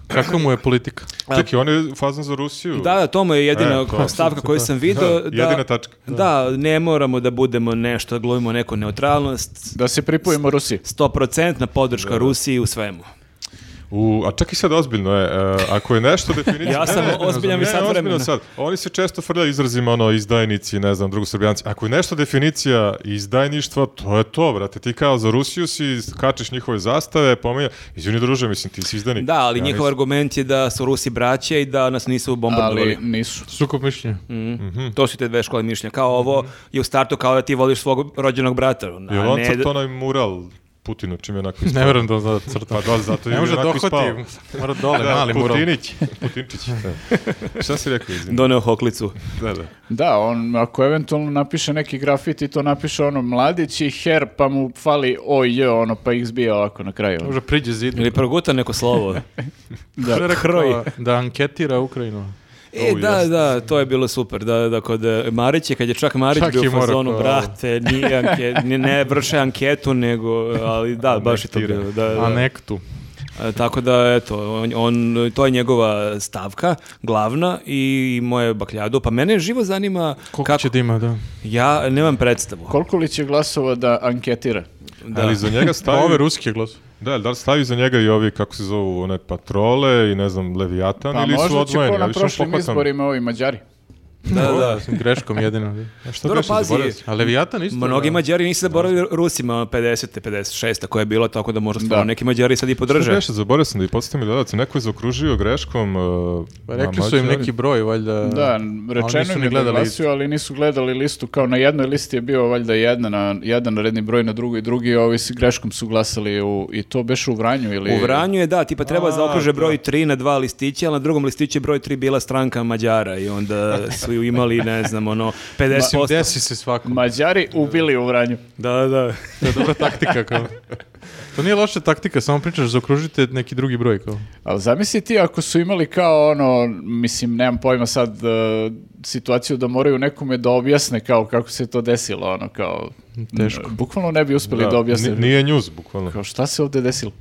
Kakva mu je politika?
Čekaj, on je fazan za Rusiju.
Da, da, to mu je jedina
E, to,
stavka koju sam video. Da,
jedina tačka.
Da, ne moramo da budemo nešto, da glumimo neku neutralnost.
Da se pripojimo Rusiji.
Stoprocentna podrška Rusiji u svemu.
U, a čak i sad ozbiljno je, e, ako je nešto definicija...
Ja sam ozbiljan
ne,
i sad
ozbiljno
vremena.
sad. Oni se često frljaju izrazima, ono, izdajnici, ne znam, drugosrbijanci. Ako je nešto definicija izdajništva, to je to, brate. Ti kao za Rusiju si, kačeš njihove zastave, pominja... Izvini, druže, mislim, ti si izdajnik.
Da, ali
Ja
njihov
nisam-
argument je da su Rusi braće i da nas nisu bombardovali. Mhm.
Ali nisu.
Sukup mišljenja.
Mm.
Mhm.
To su te dve škole mišljenja. Kao ovo je u startu kao da ti voliš svog rođenog brata. a
Jel on
ne
crta
da-
onaj mural Putinu, čim je onako ispao?
Ne verujem da on zna da crta.
Pa da, zato je
Ne može da
onako ispao.
dohvati. Mora dole, mali mural.
Putinić. Putinčić. da. Šta si rekao, izvini?
Doneo hoklicu.
Da, da.
Da, on ako eventualno napiše neki grafit i to napiše ono mladić i her pa mu fali oj je ono pa ih zbija ovako na kraju.
Može priđe zidu.
Ili proguta neko slovo.
Da,
Hroj.
da anketira Ukrajinu.
E,
O,
da,
jeste.
da, to je bilo super. Da, da, kod e, Marića, kad je čak Marić
Čak
bio
je
u
morao
fazonu,
kao-
brate, nije anke- ni- ne vrše anketu, nego, ali da, baš je to
Anektira.
bilo. Da, da.
A nek tu.
E, Tako da, eto, on, on- to je njegova stavka, glavna, i moje bakljado. Pa mene živo zanima
Koliko
kako...
će da ima, da.
Ja nemam predstavu.
Koliko li će glasova da anketira?
Da.
Ali za njega
Pa ove
stavio...
ruske glas.
Da, da li stavi za njega i ovi, kako se zovu, one patrole i ne znam, Leviatan
Pa
ili su
možda će
odvojeni?
ko na
više
prošlim
pohvatam.
izborima ovi Mađari.
Da, da.
Mislim, greškom jedino. da.
A Šta
Dobro,
Dobro,
pazi.
pazi.
A Leviatan isto.
Mnogi
da.
Mađari nisu zaboravili Rusima 50. 56. koja je bila, tako da možda stvarno
Da.
neki Mađari sad i
Šta
podrže.
beše, zaboravio sam da i podsjetim i gledalac, neko je zaokružio greškom... Uh,
Pa
na
rekli su im
Mađari.
neki broj, valjda.
Da,
E, Ali
rečeno
nisu
im
ni
je da
gledali
glasuju, ali nisu gledali listu. Kao na jednoj listi je bio valjda jedna na, jedan redni broj na drugoj i drugi, a ovi s greškom su glasali u, i to beše u Vranju ili...
U Vranju je, da, tipa treba
A,
zaokruže
da.
broj 3 na dva listića, ali na drugom listiću je broj 3 bila stranka Mađara i onda su ju imali, ne znam, ono, 50%.
Desi se svako.
Mađari ubili u Vranju.
Da, da.
To je dobra taktika. Kao. To nije loša taktika, samo pričaš, zaokružite neki drugi broj. Kao.
Ali zamisli ti ako su imali kao ono, mislim, nemam pojma sad e, situaciju da moraju nekome da objasne kao kako se to desilo, ono kao...
Teško.
n- Bukvalno ne bi uspeli da,
Da,
objasne.
ni- Nije njuz, bukvalno.
Kao šta se ovdje desilo?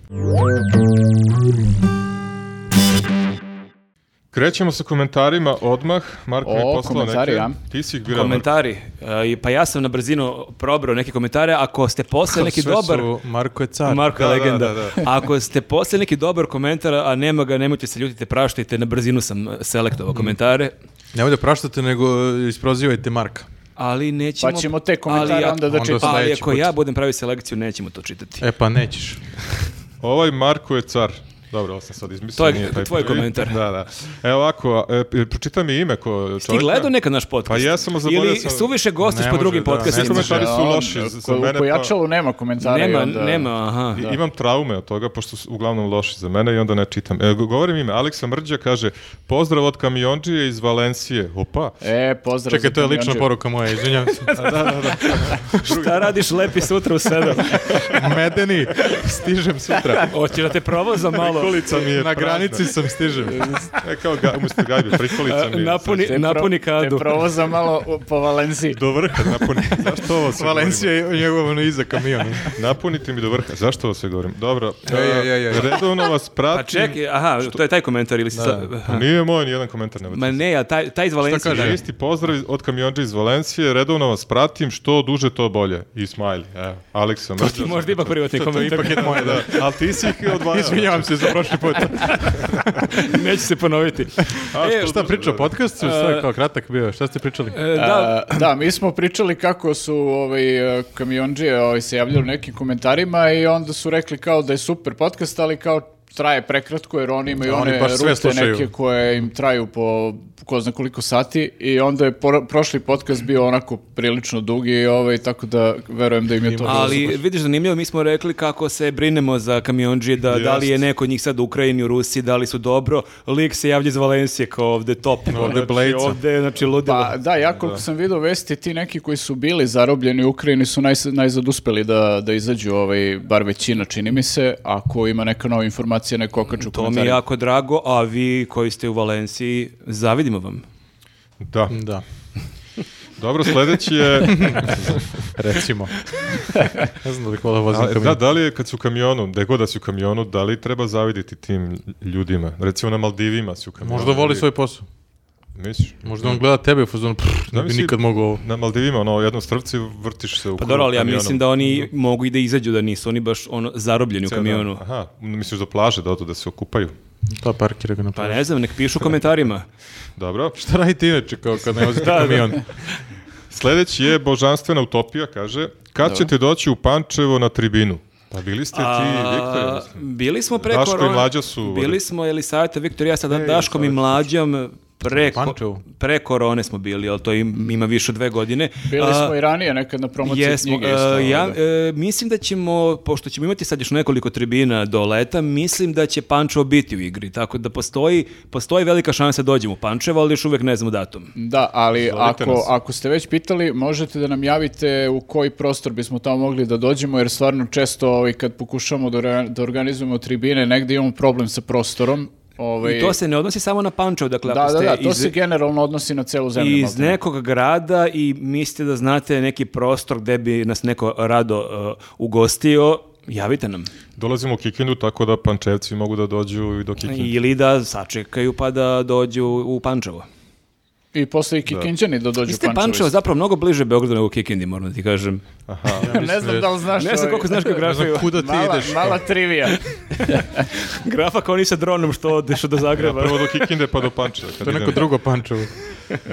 Krećemo sa komentarima odmah. Marko mi je
O,
poslao
komentari,
neke.
a?
Ti si ih birao. Marko.
Komentari. E, i- pa ja sam na brzinu probrao neke komentare. Ako ste posle neki
Sve
dobar...
su Marko je car.
Marko je
Da, da,
legenda.
da, da.
Ako ste posle neki dobar komentar, a nema ga, nemojte se ljutite, praštite, na brzinu sam e,
Mm.
selektovao komentare.
Nemoj da praštate, nego e, isprozivajte Marka.
Ali nećemo...
Pa ćemo te komentare
ja-
onda da
Onda
čitamo.
Ali
sledeći
ako
put. pa
ja budem pravio selekciju, nećemo to čitati.
E pa nećeš.
Ovaj Marko je car. Dobro, ovo sam sad izmislio.
To je
nije taj
tvoj
prvi.
komentar.
Da, da. Evo ovako, e, pročitaj mi ime ko čovjeka.
Ti gledao nekad naš podcast?
Pa jesam, ali zaboravio
Ili
sam.
suviše gostiš
Ne
po
može,
drugim
da,
Svi
podcastima?
ne može.
komentari su
A on,
loši za, za
ko- u
mene.
Pojačalu nema komentara. i
Nema,
onda-
nema, aha.
I, imam traume od toga, pošto su uglavnom loši za mene i onda ne čitam. E, go- govorim ime, Aleksa Mrđa kaže, pozdrav od kamionđije iz Valencije. Opa,
E, pozdrav.
Čekaj,
za
to je lična
kamionđiju.
poruka moja, izvinjam se.
Šta radiš lepi sutra u sedam?
Medeni, stižem sutra.
Hoćeš da te provoza malo?
prikolica mi je
Na
prazna.
granici sam stižem.
E, kao ga, umjesto gajbi, prikolica mi je.
E, Napuni,
sad
Te pro-
napuni
Te
kadu.
provoza malo u- po Valenciji.
Do vrha napuni. Zašto ovo sve
Valencija je njegov ono iza kamion.
govorim? Napunite mi do vrha. Zašto ovo sve govorim? Dobro.
Ej, ej, ej, ej.
Redovno vas pratim.
Pa čekaj, aha, to je taj komentar ili si sad...
Nije moj ni jedan komentar ne
Ma ne, a taj, taj iz Valencije.
kaže?
Isti pozdrav od kamionđa iz Valencije, redovno vas pratim, što duže to bolje. I smajli, evo, Aleksa Mrđa.
Ti možda ipak privatni komentar.
Ipak je moje, da.
Ali ti si ih odvajao. znači.
Izvinjavam se za prošli put.
Neće se ponoviti.
A,
E,
što
Šta
duže,
priča
da.
o podcastu? Šta je kao kratak bio? Šta ste pričali?
E, Da,
A, da, mi smo pričali kako su ovaj, e, kamionđije ovaj, se javljali u nekim komentarima i onda su rekli kao da je super podcast, ali kao traje prekratko jer oni imaju
Da, oni
one
baš sve
rute
slušaju.
neke koje im traju po ko zna koliko sati i onda je poro- prošli podcast bio onako prilično dugi i ovaj, tako da verujem da im je to...
ali vidiš zanimljivo, mi smo rekli kako se brinemo za kamionđije, da, da li je
Jest.
neko od njih sad u Ukrajini, u Rusiji, da li su dobro. Lik se javlja iz Valencije kao ovde top, ovde
Blejca.
ovde, znači ludilo.
Pa da, ja koliko sam vidio vesti, ti neki koji su bili zarobljeni u Ukrajini su naj, najzad uspeli da, da izađu, ovaj, bar većina čini mi se, ako ima neka nova informacija, neko okaču
To mi je jako drago, a vi koji ste u Valenciji, zavidimo vam.
Da.
Da,
Dobro, sledeći je...
recimo. Ne znam da li kola vozim
A,
kamion.
da, da li je kad su u kamionu, gde god da si u kamionu, da li treba zaviditi tim ljudima? Recimo na Maldivima si u kamionu.
Možda voli
Ili-
svoj posao.
Misliš?
Možda on gleda tebe u fazonu, "Pff, ne bi
Zamisli-
nikad mogao ovo.
Na Maldivima, ono, jedno strvce vrtiš se u
Pa
krug
dobro, ali ja
kamionom.
mislim da oni mogu i da izađu, da nisu oni baš ono, zarobljeni u
Ceo dan.
kamionu.
Aha, misliš do plaže, da odu da se okupaju.
Pa parkira ga na
Pa
plaži.
ne znam, nek pišu u komentarima.
Dobro.
Šta radite inače kao kad ne vozite kamion?
Sledeći je Božanstvena utopija, kaže, kad ćete doći u Pančevo na tribinu? Pa bili ste ti,
A,
Viktor, ja mislim.
Bili smo preko...
Daško i Mlađa su-
Bili smo, je li savjeta, Viktor, i ja sada
Ne,
Daškom i
Elisaveta.
Mlađom preko,
Pančevu.
pre korone smo bili, ali to im- ima više od dve godine.
Bili
A,
smo i ranije nekad na promociji
Jesmo,
knjige.
e,
isto, ovaj,
ja,
da.
e, mislim da ćemo, pošto ćemo imati sad još nekoliko tribina do leta, mislim da će Pančevo biti u igri, tako da postoji, postoji velika šansa da dođemo u Pančevo, ali još uvek ne znamo datum.
Da, ali
Zovite nas.
ako, ako ste već pitali, možete da nam javite u koji prostor bismo tamo mogli da dođemo, jer stvarno često ovaj, kad pokušamo da, orga- da organizujemo tribine, negdje imamo problem sa prostorom. Ovaj,
I to se ne odnosi samo na Pančevo, dakle
da,
ako
da,
ste
da, to
iz,
se generalno odnosi na celu zemlju.
iz
maltene.
nekog grada i mislite da znate neki prostor gde bi nas neko rado uh, ugostio, javite nam.
Dolazimo u Kikindu, tako da Pančevci mogu da dođu i do Kikinde.
Ili da sačekaju pa da dođu u Pančevo.
I posle i Kikinđani da
Vi
dođu
ste Pančevo zapravo mnogo bliže Beogradu nego Kikindi, moram ti kažem.
ne znam da li znaš.
Ne znam
ovaj,
koliko znaš geografiju.
Kuda ti
mala,
ideš?
mala trivija.
Grafa kao oni sa dronom što odeš do Zagreba.
Prvo do Kikinde, pa do Pančeva. kad
To je neko
idem.
drugo pančevo.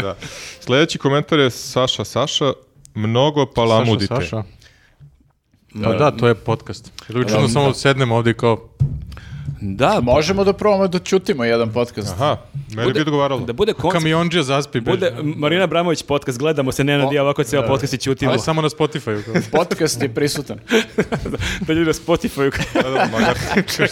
Da. Sledeći komentar je Saša Saša, mnogo palamudite.
Saša, Saša. Pa da, to je podcast. Ručno samo sednemo ovdje i kao
Da,
Možemo da probamo da ćutimo jedan podcast.
Aha, meni bi odgovaralo.
da bude koncept.
kamionđija zaspi. beži.
Bude Marina Bramović podcast, gledamo se, Nenad i ja ovako ceo podcast i ćutimo.
Ali samo na Spotify. kao.
Podcast je prisutan.
da ljudi na Spotify
Da, da, magar.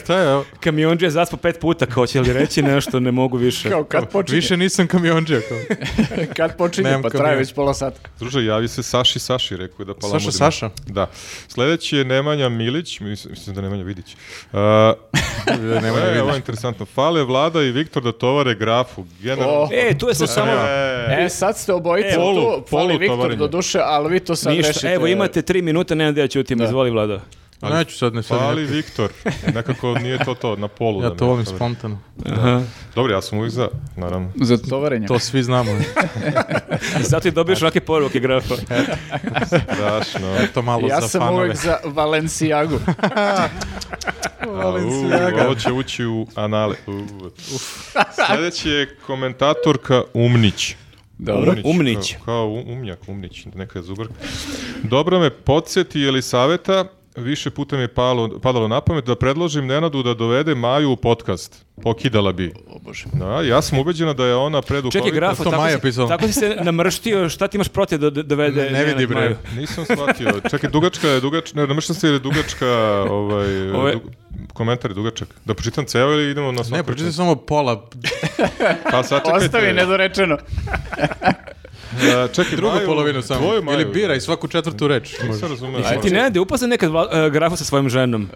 Šta je ovo?
kamionđe zaspo pet puta, kao će li reći nešto, ne mogu više.
Kao kad počinje,
Više nisam kamionđija. kao.
kad počinje
Nemam
pa
kamion.
traje već pola sata.
Druže, javi se Saši Saši, rekao je da palamudimo.
Saša Saša?
Da. Sledeći je Nemanja Milić, mis- mislim da je Nemanja Vidić. Uh,
Nema
e,
ne
ovo je interesantno. Fale Vlada i Viktor da tovare grafu. Generalno.
Oh.
O,
E, tu je sad samo...
E,
E, sad ste obojica
E, polu-
tu,
polu
fali Viktor
tovarenje.
do duše, ali vi to sad
Ništa,
rešite.
evo imate tri minuta, Nenad i ja ćutim, izvoli vlada.
ovo. Neću sad ne sad.
Fali
ne-
Viktor. Nekako nije to to, na polu. da
Ja
mi
to volim
tovare.
spontano.
Aha.
Dobro, ja sam uvijek za, naravno.
Za tovarenje.
To svi znamo.
I zato i dobiješ ovakve poruke grafa.
Strašno.
To malo
ja
za
sam
fanove.
uvek za Valencijagu.
A, u, Ovo će ući u anale. U. Sljedeći je komentatorka Umnić.
Dobro.
Umnić.
Kao, kao um- umnjak, umnić, neka je zubrka. Dobro me podsjeti, je li saveta, više puta mi je palo, padalo na pamet da predložim Nenadu da dovede Maju u podcast. Pokidala bi.
O Bože.
Da, ja sam ubeđena da je ona preduhovita.
Čekaj, grafo,
to
tako,
Maja
si,
pisala.
tako si se namrštio, šta ti imaš protiv da da dovede?
Ne- ne vidi,
Nenad
bre.
Maju?
Nisam shvatio. Čekaj, dugačka je, dugačka, ne, namrštam se jer je dugačka, ovaj,
Ove-
dug- komentar je dugačak. Da pročitam ceo ili idemo na svakog?
Ne, pročitaj samo pola.
Pa sad čekajte.
Ostavi nedorečeno.
E, čekaj,
Drugu
Maju,
polovinu samo.
tvoju Maju,
Ili biraj svaku četvrtu reč.
Nisam razumeo.
Ti ne je upazan nekad vla- e, grafu sa svojom ženom.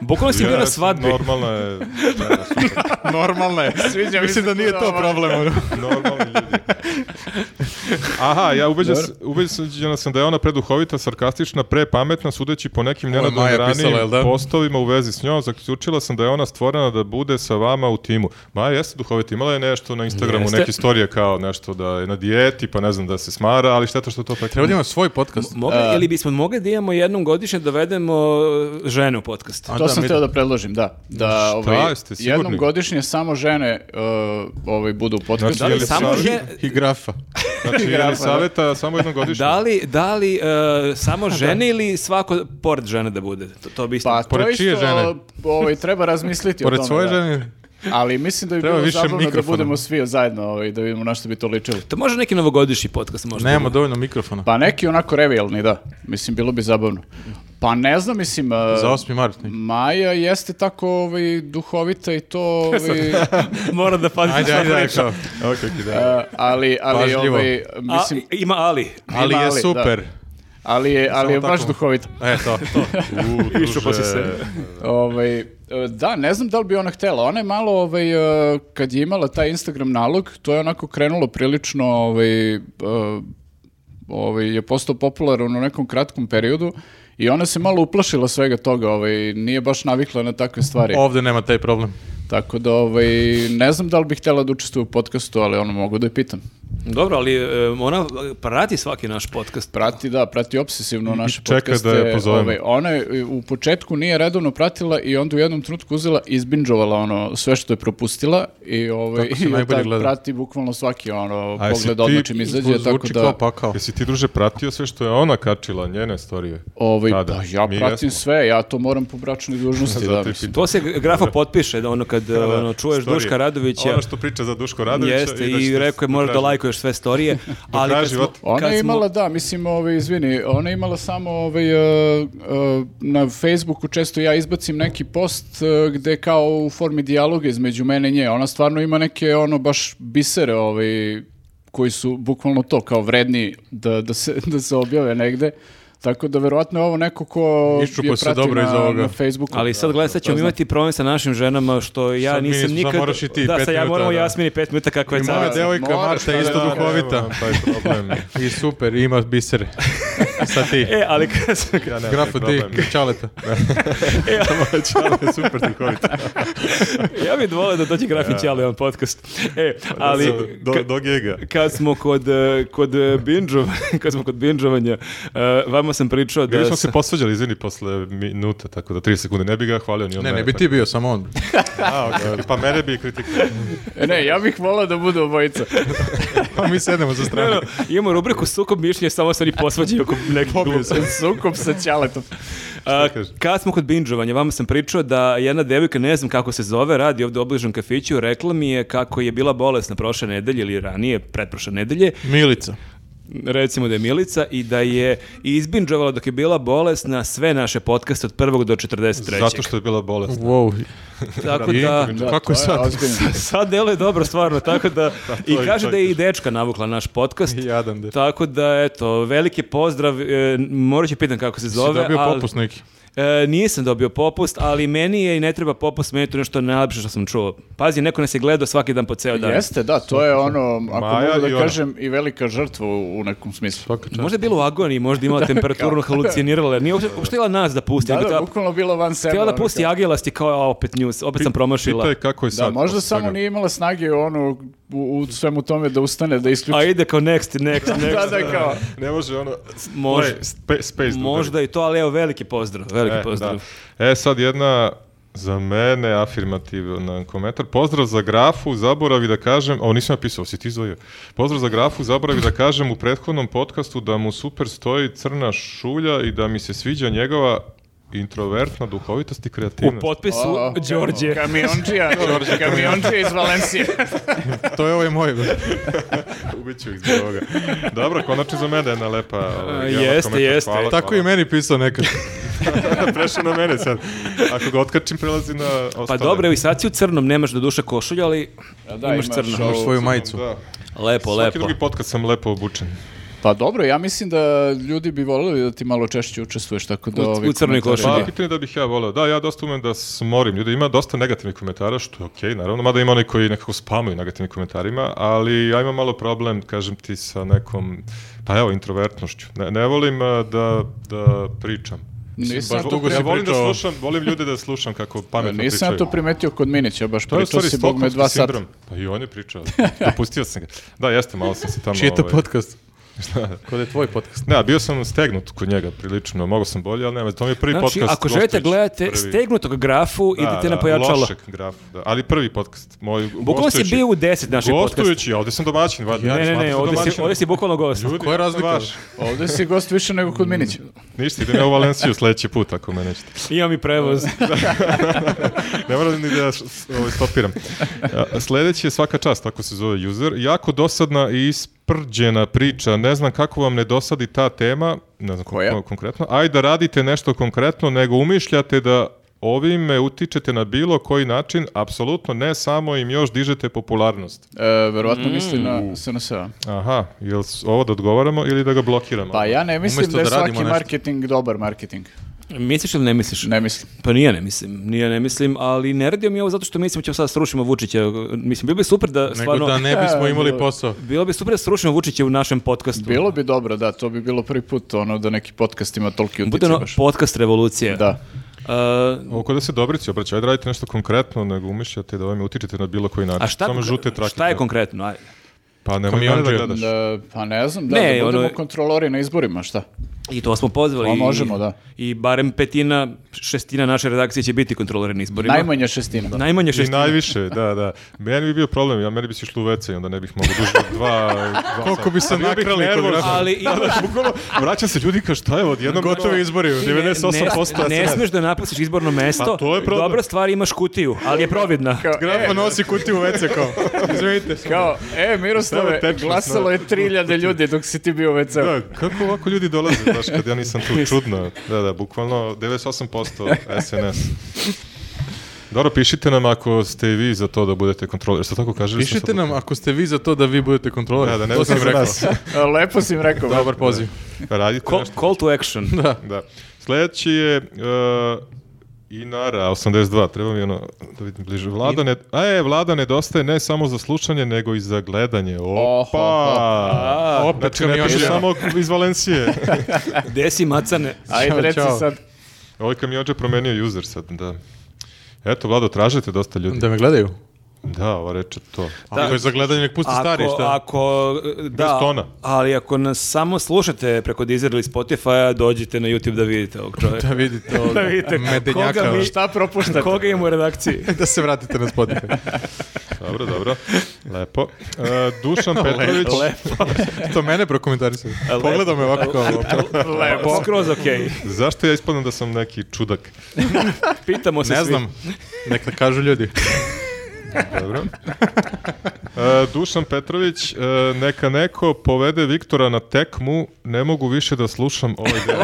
Bukvalno si bio na
Ja,
svadbi.
Normalno je. da, super.
Normalno je.
Sviđa mi
Mislim da
se
nije to
ovo.
problem. ono.
Normalni ljudi. Aha, ja ubeđen
Dobro.
ubeđen sam da je ona preduhovita, sarkastična, prepametna, sudeći po nekim
je
njenadom
Maja
ranijim
pisala, jel da?
postovima u vezi s njom, zaključila sam da je ona stvorena da bude sa vama u timu. Maja jeste duhovita, imala je nešto na Instagramu,
Jeste.
neke storije kao nešto da je na dijeti, pa ne znam da se smara, ali šteta što to tako...
Treba da imamo svoj podcast.
Mogli, ili bismo mogli da imamo jednom godišnje dovedemo e, ženu u podcast.
A
To
da,
sam
mi-
teo da predložim, da. Da, ovaj,
jeste sigurni?
jednom godišnje samo žene uh, ovaj, budu u podcastu.
Znači, Da li je li
Samo
Savi?
žen,
I grafa.
Znači,
Grafa, da.
je saveta samo jednom godišnje?
da li, da li e, samo žene ili svako pored žene da bude? To, to bi isto...
Pa to
Pored
isto
čije žene?
ovaj, treba razmisliti o
Pored
tome.
svoje
da.
žene.
Ali mislim da bi
Treba
bilo
više
zabavno da
mikrofona.
budemo svi zajedno ovaj, da vidimo na što bi to ličilo.
To može neki novogodišnji podcast možda.
Nemamo dovoljno mikrofona.
Pa neki onako revijalni, da. Mislim, bilo bi zabavno. Pa ne znam, mislim... e,
Za 8. mart. neki.
Maja jeste tako ovaj, duhovita i to, ovaj,
Mora da pazi
Ajde,
šta
ajde, ajde.
priča.
kao.
Okej, da.
e, ali, ali
Pažljivo.
ovaj,
A,
mislim,
ima Ali.
Ali
Ima
je
ali, da.
super.
ali je, ali je
Samo
baš
tako.
duhovita.
E, to.
U,
Išao pa si
druže.
se.
Ovaj, e, da, ne znam da li bi ona htela. Ona je malo, ovaj, e, kad je imala taj Instagram nalog, to je onako krenulo prilično, ovaj, e, ovaj, je postao popularan u nekom kratkom periodu i ona se malo uplašila svega toga, ovaj, nije baš navikla na takve stvari.
Ovde nema taj problem.
Tako da, ovaj, ne znam da li bi htela da učestvuje u podcastu, ali ono mogu da je pitam.
Dobro, ali e, ona prati svaki naš podcast.
Prati, da, prati obsesivno naše
čeka
podcaste.
da je pozovemo.
Ovaj, ona je u početku nije redovno pratila i onda u jednom trenutku uzela i izbinđovala ono sve što je propustila i ovaj
Tako se
i
najbolje
tak
gleda.
prati bukvalno svaki ono
A jesi
pogled
ti- pa-
odmah čim izađe tako
Zvuči kao
da
pakao.
Jesi ti, druže, pratio sve što je ona kačila, njene storije?
ovaj
Tada.
pa ja
Mi
pratim
jesmo.
sve, ja to moram po bračnoj dužnosti
Zato
da.
i
mislim.
pitam.
To se grafo potpiše da ono kad ono, čuješ
Storije.
Duška Radovića.
Ono što priča za Duško Radovića.
Jeste,
da
i,
ćete
rekao je možda da
tražiti.
lajkuješ sve storije, ali
kraja
kad smo,
života.
Ona
kad
je
smo-
imala, da, mislim, ovaj, izvini, ona je imala samo ovaj, e, e, na Facebooku često ja izbacim neki post e, gde kao u formi dijaloga između mene i nje. Ona stvarno ima neke ono baš bisere ovaj, koji su bukvalno to kao vredni da, da, se, da se objave negde. Tako da verovatno je ovo neko ko
Iščupo se
je prati
dobro iz
na,
ovoga.
na Facebooku.
Ali sad gledaj, sad ćemo imati problem sa našim ženama, što ja
Sad mi
nisam
sad
nikad...
moraš i ti
da,
pet
sad ja
minuta,
moram
da.
Jasmini pet minuta kako je
Pa I moja
cara.
devojka
moraš,
Marta je
da,
isto
da, da,
duhovita.
nemam taj problem.
I super, i ima bisere. Sa ti.
E, ali kad sam-
Ja pa nemam
Grafu
taj
ti,
problem.
čaleta.
Čale, super ti korita.
ja bih volio da dođe grafin ja. ali on podcast. E, ali...
Do,
ka-
do gega.
kad smo kod e, kod e, binđova, kad smo kod binđovanja, e, vama sam pričao da
Bili smo se
sam-
posvađali, izvini, posle minuta, tako da 30 sekunde. Ne pa bi ga hvalio ni on
Ne, ne
mene,
bi
tako-
ti bio, samo on.
A, okej. Pa mene bi kritikao.
E, ne, ja bih volao da budu obojica.
Pa mi sedemo za
Ne,
stranu.
no, imamo rubriku sukob mišljenja, samo se oni posvađaju oko nekih gluposti.
Sukob sa ćaletom.
A,
kaže?
kad smo kod binđovanja, vama sam pričao da jedna devojka, ne znam kako se zove, radi ovdje u obližnom kafiću, rekla mi je kako je bila bolesna prošle nedelje ili ranije, pretprošle nedelje,
Milica.
recimo da je Milica, i da je izbinđovala dok je bila bolesna sve naše podcaste od prvog do 43.
Zato što je bila bolest.
Wow.
Tako da...
Da,
Kako je
to
sad?
ozbiljno.
Sad delo je dobro stvarno, tako da...
Pa
I
to je-
kaže
to je
da je i dečka navukla naš podcast.
Jadan de.
Tako da, eto, veliki pozdrav, e, morat ću pitan kako se
Si
zove,
dobio
ali-
popust neki.
E, nisam dobio popust, ali meni je i ne treba popust, meni je to nešto najlepše što sam čuo. Pazi, neko nas je gledao svaki dan po ceo dan.
Jeste, da, to je ono, ako
Maja
mogu
i
da
ona.
kažem, i velika žrtva u, u nekom smislu.
Možda je bila u agoniji, možda je imala temperaturnu halucinirala, jer nije uopšte, uopšte htjela nas da pusti.
Da,
nego
da,
htjela-
bukvalno bilo van sebe.
htjela da
ono
pusti
kao-
agilasti kao a, opet news, opet sam promašila.
Pitaj kako je sad.
Da, možda
posle
samo
svega.
nije imala snage ono, u, u svemu tome da ustane, da isključi.
A ide kao next, next,
da,
next.
da, kao.
Ne može ono...
Može.
Play, spe- space da
Možda i to, ali evo veliki pozdrav, veliki
udari. E,
pozdrav.
da. E, sad jedna za mene afirmativan komentar. Pozdrav za grafu, zaboravi da kažem, o nisam napisao, si ti zvojio. Pozdrav za grafu, zaboravi da kažem u prethodnom podcastu da mu super stoji crna šulja i da mi se sviđa njegova introvertna duhovitost i
U
kreativnost.
potpisu
O,
Đorđe.
Kamionđija, kamionđija iz Valencije.
To je ovaj moj.
Ubiću ih zbog ovoga. Dobro, konačno za mene jedna lepa... ovaj,
A,
jedan
jeste,
komentar.
jeste.
Hvala,
Tako
hvala.
i meni pisao nekad.
Prešao na mene sad. Ako ga otkačim, prelazi na ostale.
Pa dobro, evo i sad si u crnom, nemaš do duše košulju, ali
da,
imaš
imaš
crno.
ovo.
Imaš svoju majicu.
Da.
Lepo,
Svaki
lepo.
drugi podcast sam lepo obučen.
Pa dobro, ja mislim da ljudi bi volili da ti malo češće učestvuješ, tako da...
U-
ovi
u crnoj
komentari-
košulji.
Pa,
Da.
pitanje da bih ja voleo. Da, ja dosta umem da smorim ljude. Ima dosta negativnih komentara, što je okej, naravno. Mada ima oni koji nekako spamuju negativnim komentarima, ali ja imam malo problem, kažem ti, sa nekom, pa evo, introvertnošću. Ne, ne volim a, da, da pričam.
Nisam
Baš
to
dugo
pri-
ja volim da
pričao.
slušam, volim ljude da slušam kako pametno pričaju.
Nisam to primetio kod Minića, baš
To je u
pričao
stvari
si bog me
Stockholmski
dva sata.
sindrom. Pa i on je pričao. Dopustio sam ga. Da, jeste, malo sam se tamo...
Čiji je to
ovaj,
podcast? Kod je tvoj podcast.
Ne, bio sam stegnut kod njega prilično, mogao sam bolje, ali nema, to mi je prvi
Znači,
podcast.
ako želite
Gostović,
gledate
prvi.
stegnutog grafu,
Da,
idite na
da,
pojačalo.
Lošeg graf, da, ali prvi podcast. Moj,
Bukvalno si
gostujući-
bio u deset naših podcasta.
Gostujući, ja ovde sam domaćin, valjda.
Ne,
ja
ne, ne,
smatram
ovdje si,
domaćin.
ovdje si bukvalno gost.
Ljudi,
Koja je razlika?
Vaš,
Ovde si gost više nego
Mm.
kod Minića.
ništa, idem ja u Valenciju sledeći put ako me nećete.
Imam i prevoz.
Ne moram ni da s- s- ovaj, stopiram. A, Sledeći je svaka čast, tako se zove user. Jako dosadna i isprđena priča. Ne znam kako vam ne dosadi ta tema. Ne znam
Koja?
Koja? konkretno. Aj da radite nešto konkretno, nego umišljate da ovime utičete na bilo koji način, apsolutno ne, samo im još dižete popularnost.
E,
Mm.
verovatno misli na SNS-a.
Aha, jel s- ovo da odgovaramo ili da ga blokiramo?
Pa ja ne mislim
Umesto
da je
da radimo
svaki
nešto.
marketing dobar marketing.
misliš ili ne misliš?
Ne mislim.
Pa nije ne mislim, nije ne mislim, ali ne radio mi ovo zato što mislim ćemo sad srušimo Vučića. Mislim, bilo bi super da
Nego
stvarno...
da ne bismo
E,
imali
da.
posao.
Bilo bi super da srušimo Vučića u našem podcastu.
Bilo bi dobro, da, to bi bilo prvi put ono da neki podcast ima toliki
Bude
utjecaj
ono
baš.
podcast revolucije. Uh,
Da.
A,
Ovo kod da se Dobrici obraća, ajde radite nešto konkretno, nego umišljate da ovime utičete na bilo koji način.
a šta,
Samo
konkre-
žute trake.
šta je konkretno? Ajde.
Pa nemoj mene da
Kamiondžija.
gledaš.
Da, pa ne znam, da,
Ne,
da budemo
ono-
kontrolori na izborima, šta?
I to smo pozvali.
Pa
i-
možemo, da.
I barem petina, šestina naše redakcije će biti kontrolirani izborima.
Najmanja šestina.
Najmanje
I
šestina.
najviše, da, da. Meni bi bio problem, ja meni bi se išlo u WC i onda ne bih mogao duže od dva, dva
Koliko bi se
sata. Bio bih
nakrali kod
nervozan.
nas.
Ali imaš-
Bukvalno, vraćam se ljudi kao šta je odjednom.
Gotovi izbori.
Ne, ne,
98%
Ne, smiješ da napustiš izborno mesto.
Pa to je problem.
Dobra stvar, imaš kutiju, ali je providna.
Grafa nosi kutiju u WC kao. Izvinite.
e, Kao, e, Miroslave,
Samo tečnost,
glasalo
da.
je 3000 ljudi dok si ti bio u WC-u.
Da, kako ovako ljudi dolaze, znaš, kad ja nisam tu, čudno. Da, da, bukvalno 98% SNS. Dobro, pišite nam ako ste i vi za to da budete kontroler. Šta tako kažeš?
Pišite nam ako ste vi za to da vi budete kontrolori.
Da, da, ne
to sam
znam za
rekao.
nas.
A, E, Lepo si im rekao.
Dobar poziv.
Radite
Call,
nešto.
call to action.
Da. Sljedeći je uh, Inara 82, treba mi ono da vidim bliže. Vlada ne, a je, vlada nedostaje ne samo za slušanje, nego i za gledanje.
Oho,
Opa!
A, opet
Znači, ne piše
kamionđija.
samo iz Valencije.
Gde si macane?
Ajde,
Ćao,
reci
ćao.
sad.
Ovaj kamionđe promenio user sad, da. Eto, Vlado, tražite dosta ljudi.
Da me gledaju.
Da, ova reč je to.
Da. Ako je za gledanje, nek pusti stari, šta?
Ako, da,
tona.
ali ako nas samo slušate preko Deezer ili Spotify, dođite na YouTube da vidite ovog čovjeka.
Da vidite ovog
vidite
medenjaka. E,
koga mi-
Šta propuštate?
Koga ima u redakciji?
Da se vratite na Spotify.
Dobro, dobro. Lepo. Uh, Dušan Petrović.
to mene prokomentarisali. Pogledao me ovako kao...
Lepo. Skroz okej.
Zašto ja ispadam da sam neki čudak?
Pitamo se
Ne
svi.
znam, neka kažu ljudi.
Dobro. E, Dušan Petrović, e, neka neko povede Viktora na tekmu, ne mogu više da slušam ovaj deo.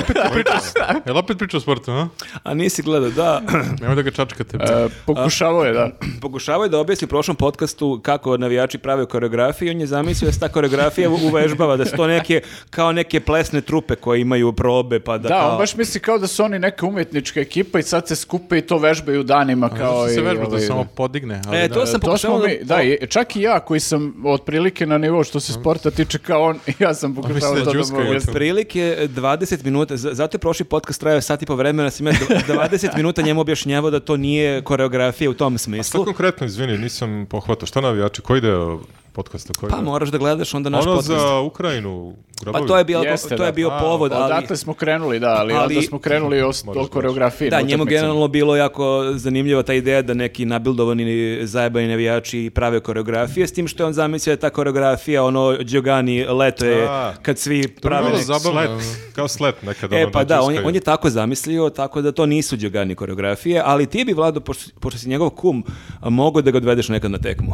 Jel opet priča o sportu, a?
A nisi gledao, da.
Nemoj da ga čačkate.
E, pokušavao je, da.
Pokušavaju da objasni u prošlom podcastu kako navijači prave koreografije. On je zamislio da se ta koreografija uvežbava, da su to neke, kao neke plesne trupe koje imaju probe, pa da,
Da,
kao...
on baš misli kao da su oni neka umjetnička ekipa i sad se skupe i to vežbaju danima kao
Kao
i...
se vežba da
ovaj,
samo podigne. Ali
E,
da.
to sam
To smo
pokušao da...
mi, da, i- čak i ja koji sam otprilike na nivou što se sporta tiče kao on, ja sam pokušao
misli da
to da mu
đuskaju.
objasnim.
Prilike 20 minuta, z- zato je prošli podcast trajao sat i po vremena, sam ja dv- 20 minuta njemu objašnjavao da to nije koreografija u tom
Šta
smislu.
konkretno, izvini, nisam pohvatao. Šta navijači, koji deo podcasta koji
Pa moraš da gledaš onda naš
Ono
podcast.
za Ukrajinu,
Pa
grabovi.
to je, bio,
Jeste,
to je
da.
bio
A,
povod, ali...
Odatle smo krenuli, da, ali,
Ali-
onda smo krenuli o, o koreografiji.
Da,
na
njemu
utakmicama.
generalno bilo jako zanimljiva ta ideja da neki nabildovani zajebani navijači prave koreografije, s tim što je on zamislio da ta koreografija, ono, Giogani leto je,
A,
kad svi prave...
bilo
nek-
zabavno.
Slet, Ono kao slet nekada.
E,
ono,
pa da, on je,
čuskaju.
on je tako zamislio, tako da to nisu Đogani koreografije, ali ti bi, Vlado, pošto, pošto si njegov kum, a, mogao da ga odvedeš nekad na tekmu.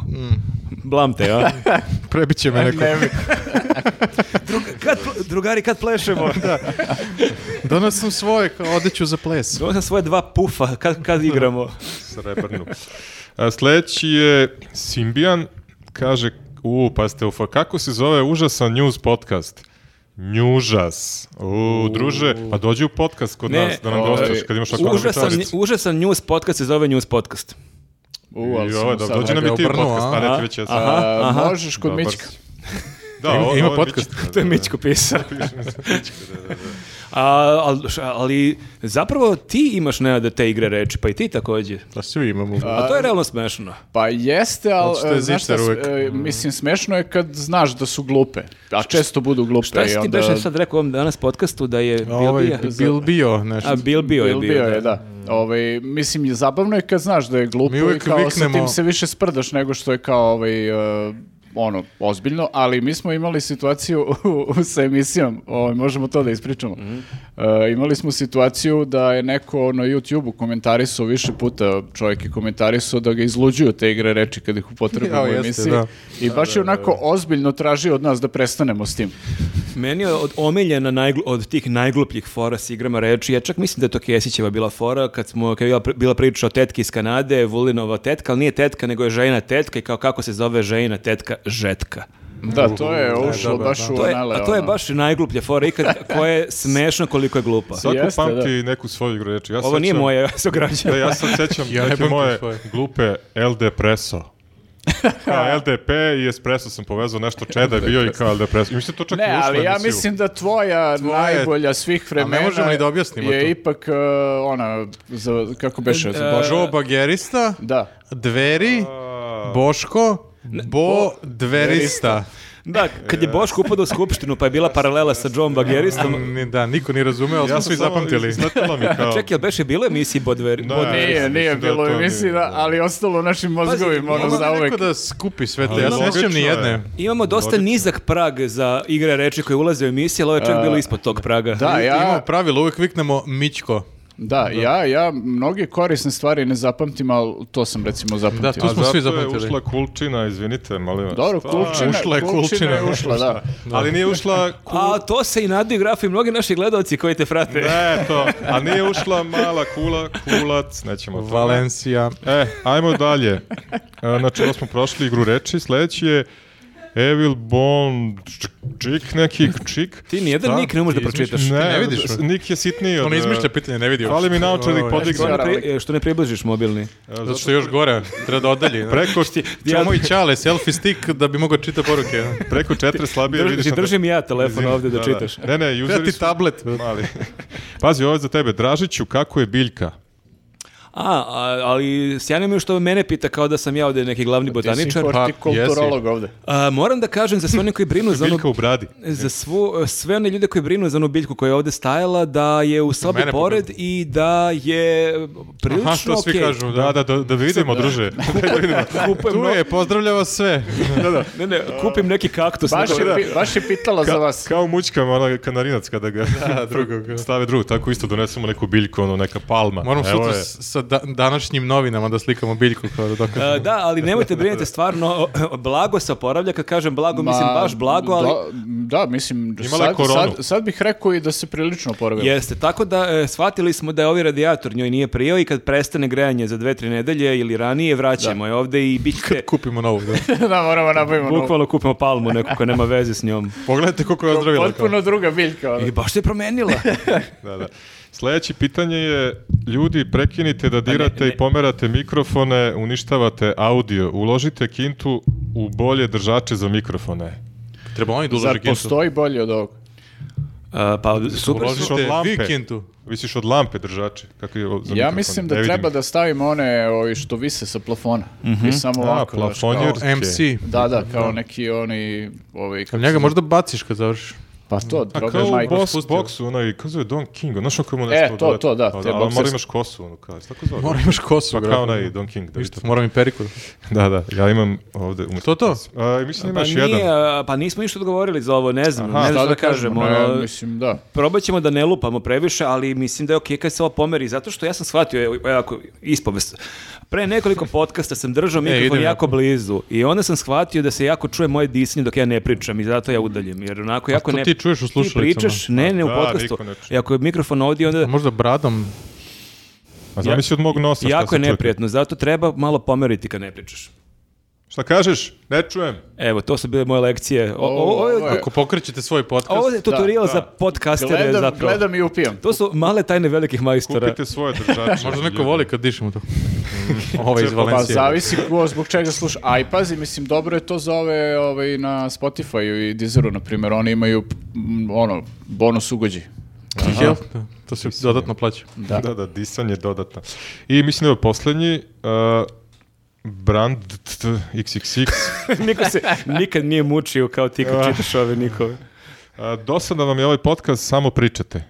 Blam te, a?
Prebit će me neko.
Ne bi-
Kad pl- drugari, kad plešemo? da.
Donos sam svoje, kao odeću za ples.
Donosam svoje dva pufa, kad, kad igramo.
Srebrnu. A, Sljedeći je Simbijan, kaže, u, pa ste ufa, kako se zove užasan news podcast? Njužas. U, druže, pa dođi u podcast kod
Ne,
nas da nam
ovaj,
gostaš kad imaš tako
Užasan, užasan news podcast se zove news podcast.
U, ali
I
sam
ovo je dobro,
sad-
dođi nam
ga
i ti u
obrnuo,
podcast,
a?
pa ne ti već jesam.
A,
aha.
Možeš kod
Dobar
Mićka.
si. Da, ovo-
ima
ovo je
podcast.
Mićka,
To je
da,
Mićko pisao.
da.
A, al- š- ali zapravo ti imaš nenade te igre reči, pa i ti takođe.
Da svi imamo.
A to je realno smešno.
Pa jeste, ali
Zato što je
e, znaš šta,
zicer
s- e, mislim, smešno je kad znaš da su glupe, a često budu glupe.
Šta si
i
ti
onda-
beše sad rekao ovom danas podcastu da je
A
Bilbija?
ovaj bi- bil bio nešto.
A Bil bio je
Bil
bio. da.
je, da. Ovaj, mislim, je zabavno je kad znaš da je glupo
Mi
i
uvijek
kao sa
viknemo-
tim se više sprdaš nego što je kao ovaj, e, ono, ozbiljno, ali mi smo imali situaciju u- sa emisijom, ovaj, možemo to da ispričamo.
Mhm.
E, imali smo situaciju da je neko na YouTube-u komentarisao više puta, čovjek je komentarisao da ga izluđuju te igre reči kad ih upotrebuju
Jao,
u
jeste,
emisiji.
da.
I baš je onako ozbiljno tražio od nas da prestanemo s tim.
Meni je od omiljena najglu- od tih najglupljih fora s igrama reči. Ja čak mislim da je to Kesićeva bila fora kad smo kad je bila pri- bila priča o tetki iz Kanade, Vulinova tetka, ali nije tetka nego je žena tetka i kao kako se zove žena tetka, žetka.
Da, to je ušlo
dobar,
baš
da.
u
To je,
anale,
a to je
ono.
baš najgluplja fora ikad koja je smešna koliko je glupa.
Svako
Jeste,
pamti neku svoju igru reči. Ja
Ovo nije
sećam-
moje, ja se ograđujem.
Da, E, ja sam sećam
Ja ne
neke
pamtim
moje
svoje.
glupe LD Preso. Kao LDP i espresso sam povezao nešto čeda je bio i kao LD Preso. I mislim to čak i
Ne,
ušlo
ali ja
emisiju.
mislim da tvoja
Tvoje-
najbolja svih vremena
A ne možemo ni da objasnimo
je
to.
ipak uh, ona, za, kako beše, za Božo?
Joe Bagerista,
Da.
Dveri, Boško, Bo Dverista.
Da, kad je Boško upadao u skupštinu pa je bila paralela sa John Baggeristom.
Ni- Da, niko nije razumeo, ali
Ja
smo
sam
svi
samo-
zapamtili.
izletelo mi kao...
Čekaj, jel beše bilo emisiji Bodveri?
Da,
Bod-
ja
Nije,
mislim
nije
da je
bilo
to
u emisiji,
nije
da,
bilo.
ali ostalo u našim mozgovima, ono,
Mogu li
za
neko
uvek.
da skupi sve te,
Ali
ja
logično
se sjećam ni
je.
jedne.
Imamo dosta nizak prag za igre reči koje ulaze u emisije, ali ovo je čak bilo ispod tog praga.
Da,
Imamo
ja,
pravilo, uvijek viknemo Mićko.
da, ja, ja mnoge korisne stvari ne zapamtim, ali to sam recimo zapamtio.
Da, tu
A
smo
zato
svi
je
zapamtili.
ušla kulčina, izvinite, molim vas.
Dobro,
To-
kulčina,
ušla je
kulčina je
kulčina.
ušla, da.
Ali nije ušla... Ku...
A to se i nadu i grafi mnogi naši gledalci koji te prate.
Ne, E, to. A nije ušla mala kula, kulac, nećemo o tome.
Valencija.
E, ajmo dalje. E, Znači, ovo smo prošli igru reči. Sljedeći je Evil Bond čik neki čik.
Ti nijedan
Šta?
nik ne možeš da
Ti
pročitaš.
izmišljaš? Ne vidiš.
s- Nik je sitniji od...
On Ono, izmišlja
e,
pitanje, ne vidi.
Fali mi naočar da ih
Ovo je-
podignem.
Što ne, pri- e, što ne približiš mobilni?
Zato što je još gore, treba da odalji. Preko
Preko, sti-
Čamo i čale, selfie stick da bi mogao čita poruke.
preko četiri slabije
Drži-
vidiš... na-
držim ja telefon
Izvini,
ovdje da čitaš.
Ne, ne,
Treba
useri
ti
su
tablet.
mali. Pazi, ovo je za tebe. Dražiću, kako je biljka?
A, a- ali sjajno mi je što mene pita kao da sam ja ovdje neki glavni
Ti si
botaničar.
hortikulturolog ovde.
A, moram da kažem za sve one koji brinu za ono- onu
Biljka u bradi.
za svu, sve one ljude koji brinu za onu biljku koja je ovdje stajala, da je u sobi
Mene
pored i da je prilično
Aha, to svi
okej.
kažu.
Da, da, da, da vidimo, druže. Da vidimo.
Tu je, pozdravlja vas sve.
Ne, ne, kupim neki kaktus.
Baš
neko-
je, pi- baš je pitala za vas.
Kao mućka, onaj kanarinac kada ga stave drugu, tako isto donesemo neku biljku, ono, neka palma.
Moram
Evo
sutra
je.
s- sa da- današnjim novinama da slikamo biljku kao da dokažemo.
A, da, ali nemojte brinuti, stvarno, blago se oporavlja, kad kažem blago, mislim
Ma,
baš blago, ali...
Da, da, mislim,
Imala je
sad,
koronu.
sad, sad bih rekao i da se prilično oporavila.
Jeste, tako da e, shvatili smo da je ovaj radijator njoj nije prijao i kad prestane grejanje za dve, tri nedelje ili ranije, vraćamo je ovdje i bit će...
Kupimo novu, da.
da, moramo nabavimo novu.
Bukvalno kupimo palmu neku koja nema veze s njom.
Pogledajte koliko je ozdravila. kao.
Potpuno druga biljka. ono.
I baš se promenila. E,
Da, da. Sljedeće pitanje je, ljudi, prekinite da dirate
ne.
i pomerate mikrofone, uništavate audio, uložite kintu u bolje držače za mikrofone.
Treba oni da
Zar
uloži kintu.
postoji bolje od ovog?
A, pa super su.
Uložite
od lampe.
vi kintu.
Visiš od lampe držači. Kakvi, o,
Ja
za mikrofon,
mislim
ne
da
vidim
treba
ih.
da stavimo one ovi što vise sa plafona. I samo
A,
ovako. znaš, kao-
plafonjerke.
MC.
Da, da, kao neki oni... Ovi, kako
Ali njega
se-
možda baciš kad završiš.
Pa to,
A
Drogan
kao u
Michael.
boss,
spustio.
boksu, onaj, kako zove Don King, ono znaš on mu
E,
nešto
to, to, da, te
te ali mora
bokserske.
imaš kosu, ono, kao, tako zove.
Mora imaš kosu.
Pa kao
vjerojatno.
onaj Don King, da
Ništa,
vidite.
moram i periku.
Da, da, ja imam ovde... umjesto-
To, to?
A, mislim
Pa,
imaš
nije,
jedan.
a, pa nismo ništa odgovorili za ovo, ne znam,
Aha,
ne
Šta
znam da kažemo.
Ne,
ono,
mislim, da.
Probat ćemo da ne lupamo previše, ali mislim da je okej kad se ovo pomeri, zato što ja sam shvatio, evo, evo ako ispovest, pre nekoliko podcasta sam držao mikrofon
idem
jako blizu i onda sam shvatio da se jako čuje moje disanje dok ja ne pričam i zato ja udaljim, jer onako jako
što
ne...
ti čuješ u slušalicama?
Ti pričaš, ne, ne u
Da,
podcastu.
niko ne čuje.
I ako je mikrofon ovdje, onda
Možda bradom.
A zamisli od mog nosa šta
jako
se
je
čuje.
neprijatno, zato treba malo pomeriti kad ne pričaš.
Šta kažeš? Ne čujem.
Evo, to su bile moje lekcije. O- o- Ovo
Ovo
je-
je-
Ako pokrećete svoj podcast,
ovo je tutorial
da.
za podcastere
Gledam,
zapravo.
gledam i upijam.
To su male tajne velikih majstora.
Kupite svoje držače.
možda neko voli kad dišemo to. Ove iz
Pa,
Pa
Valencije.
zavisi ko, zbog čega sluša. A i pazi, mislim, dobro je to za ove ovaj, na Spotify i Deezeru, na primjer. Oni imaju, m, ono, bonus ugođi.
Jel? Da, To se dodatno plaća.
Da. da, da, disanje dodatno. I mislim da je ovo poslednji uh, brand t- XXX.
Niko se nikad nije mučio kao ti kad čitaš ove nikove.
Uh, dosadno vam je ovaj podcast, samo pričate.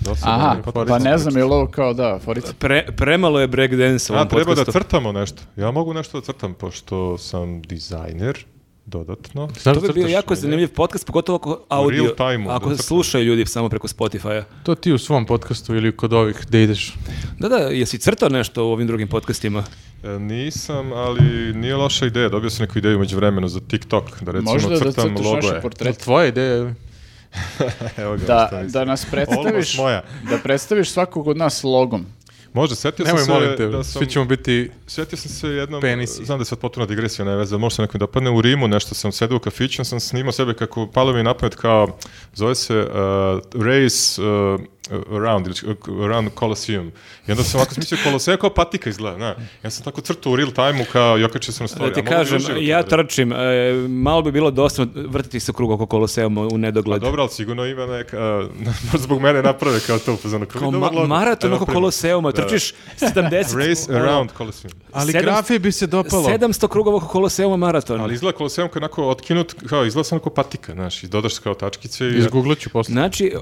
Dosadno vam
Aha,
je
pa,
podcast,
pa
samo
ne znam
pričate.
je li ovo kao, da, forica.
Pre, premalo je breakdance u
A,
ovom
treba
podcastu.
da crtamo nešto. Ja mogu nešto da crtam, pošto sam dizajner, dodatno.
Znaš
To
da
bi bio
crtaš?
jako zanimljiv podcast, pogotovo ako audio,
real time-u,
ako
da crtam.
slušaju ljudi samo preko Spotify-a.
To ti u svom podcastu ili kod ovih gde ideš.
Da, da, jesi crtao nešto u ovim drugim podcastima?
E, Nisam, ali nije loša ideja. Dobio sam neku ideju među vremenu za TikTok, da recimo
Možda da
crtam
crtaš naše
logoje.
Jel
portrete.
tvoja ideja ili?
Evo ga,
Da,
ostavi se.
da nas predstaviš,
Almost moja.
da predstaviš svakog od nas logom.
Može, setio sam
Nemoj,
se
molim te,
da sam...
svi ćemo biti...
Sjetio sam se jednom,
Penisi.
znam da je sad potpuno digresija, ne veze, možda se nekom dopadne, u Rimu nešto sam sedeo u kafiću, onda sam snimao sebe kako palo mi je na pamet kao, zove se uh, Race uh, Around, ili, uh, Around Colosseum. I onda sam ovako smislio Colosseum kao patika izgleda, na. Ja sam tako crtao u real time-u kao, jokače sam na story.
Da ti kažem, ja trčim, e, malo bi bilo dosta vrtiti se u krug oko koloseuma u
Pa
nedogled.
dobro, ali sigurno ima neka, uh, možda zbog mene naprave kao to, pa zonu,
Kao ma- maraton oko koloseuma, trčiš 70...
Race
ono,
Around Colosseum.
Ali
Sedam-
grafije bi se dopalo.
700 krugova oko koloseuma maraton.
Ali izgleda Colosseum kao onako otkinut, kao izgleda samo kao patika, znaš, i dodaš kao tačkice i...
Izgooglat ću posle.
Znači, e,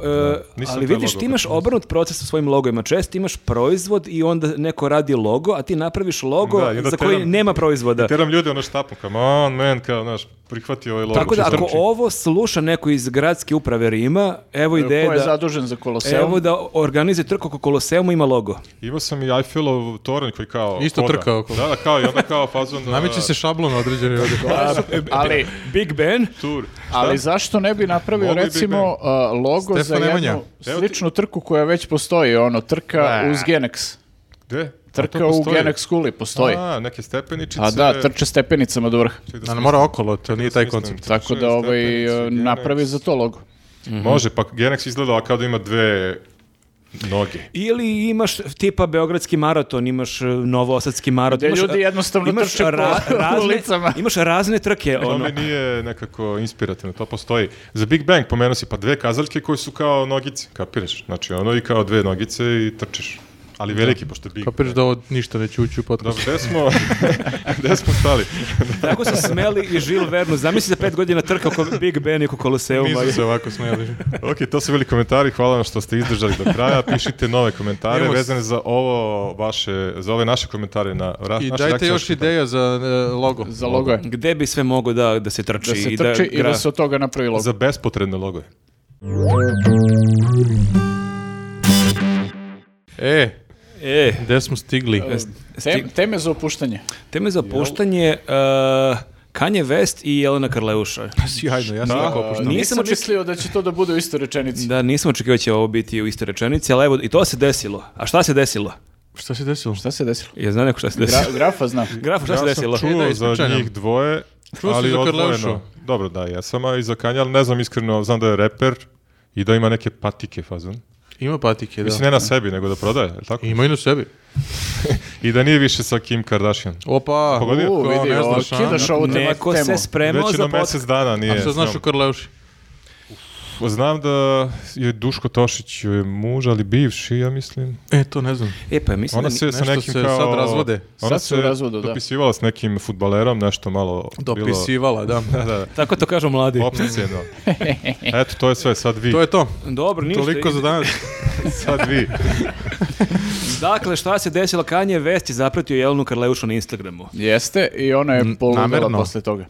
nisam
ali
taj
vidiš,
logo
ti imaš obrnut proces u svojim logovima. Često imaš proizvod i onda neko radi logo, a ti napraviš logo
Da, i onda
za koji
teram-
nema proizvoda.
Teram ljude ono štapom, kao, on, man, kao, znaš, prihvati ovaj logo.
Tako da, ako
četrči."
ovo sluša neko iz gradske uprave Rima, evo ideje
E, Ko je
da...
zadužen za koloseum?
Evo da organizuje trku oko Koloseuma ima logo.
Imao sam i Eiffelov toranj koji kao...
Isto
koda.
trkao oko.
Da, da, kao, i onda kao fazon...
Nameće se šablon određeni ovdje.
ali,
Big Ben?
Tur.
ali zašto ne bi napravio
Mogli bi
recimo a, logo
Stefan
za
Nemanja.
jednu
Evo ti-
sličnu trku koja već postoji, ono, trka uz Genex.
Gde? A to
Trka u
postoji?
Genex kuli postoji.
A, neke stepeničice.
A da, trče stepenicama do vrha.
Ček da
Da
smislim.
nam mora okolo, to nije taj
Smislim.
koncept.
Tako da
Trče,
ovaj,
stepenice,
e,
Genex.
napravi za to logo.
Može, pa Genex izgleda kao da ima dve noge.
Ili imaš tipa Beogradski maraton, imaš e, Novosadski maraton.
Gde
imaš,
ljudi
e,
jednostavno trče po
razne,
ulicama.
Imaš razne trke.
To
Ono.
mi Pa nije nekako inspirativno, to postoji. Za Big Bang pomenuo si pa dve kazaljke koje su kao nogice, kapiraš? Znači ono i kao dve nogice i trčiš. Ali veliki, pošto je Big
Kapiraš da ovo ništa neće ući u podcast.
Dobro, gde smo, gde smo stali?
Tako se smeli i Žil Vernu. Zamisli za pet godina trka oko Big Ben i oko Koloseuma.
Nisu se ovako smijeli.
ok, to su bili komentari, hvala vam što ste izdržali do kraja. Pišite nove komentare
Imamo s-
vezane za ovo vaše, za ove naše komentare na ra,
I
naše
dajte
reakcije
još
vaših komentara.
ideja za e, logo.
Za logo je.
Gde bi sve mogo da, da se trči?
Da se
i
trči i da
gra-
se od toga napravi logo.
Znači, Za bespotrebne logoje.
E,
E,
gde smo stigli?
Tem- teme za opuštanje.
teme za opuštanje... e, Kanje West i Jelena Karleuša.
Sjajno, ja sam
Da.
tako
A,
opušten.
Nisam
Nisam
oček-
mislio da će to da bude u istoj rečenici.
Da, nisam očekivao da će ovo biti u istoj rečenici, ali evo, i to se desilo. A šta se desilo?
Šta se desilo?
Šta se desilo?
Je zna neko šta se desilo?
Gra- grafa zna.
Grafo, šta se
Ja sam
desilo?
E, da,
čuo za
ispričaj nam.
njih dvoje,
Čuo si
ali
za
odvojeno.
Karleušu?
Dobro, da, jesam, a i za Kanja, ali ne znam iskreno, znam da je reper i da ima neke patike fazon.
Ima patike,
Mislim,
da.
ne na sebi, nego da prodaje, je li tako?
Ima i na sebi.
I da nije više sa Kim Kardashian.
Opa,
Pogodio?
kao
U, vidi,
ono, ne
ovo,
znaš, a?
ono-
kidaš ovu tema-
Neko
temu.
se spremao
Već
za
jedno
podcast.
mjesec dana nije.
A šta znaš
s
o
njom.
Karleuši?
znam da je Duško Tošić joj muž, ali bivši, ja mislim.
E, to ne znam.
E pa mislim
Ona
da ni-
se sa
nešto
nekim
se
kao...
sad razvode.
Ona
Sad su u razvodu, da.
dopisivala s nekim futbalerom, nešto malo...
Dopisivala, da.
Bilo... Da, da,
Tako to kažu mladi.
obsesivno. Eto, to je sve, sad vi.
To je to.
Dobro, ništa.
Toliko za danas.
Sad vi.
Dakle, šta se desilo? Kanje Vest je zapratio Jelenu Karleušu na Instagramu.
Jeste, i ona je poludela
namerno.
posle toga.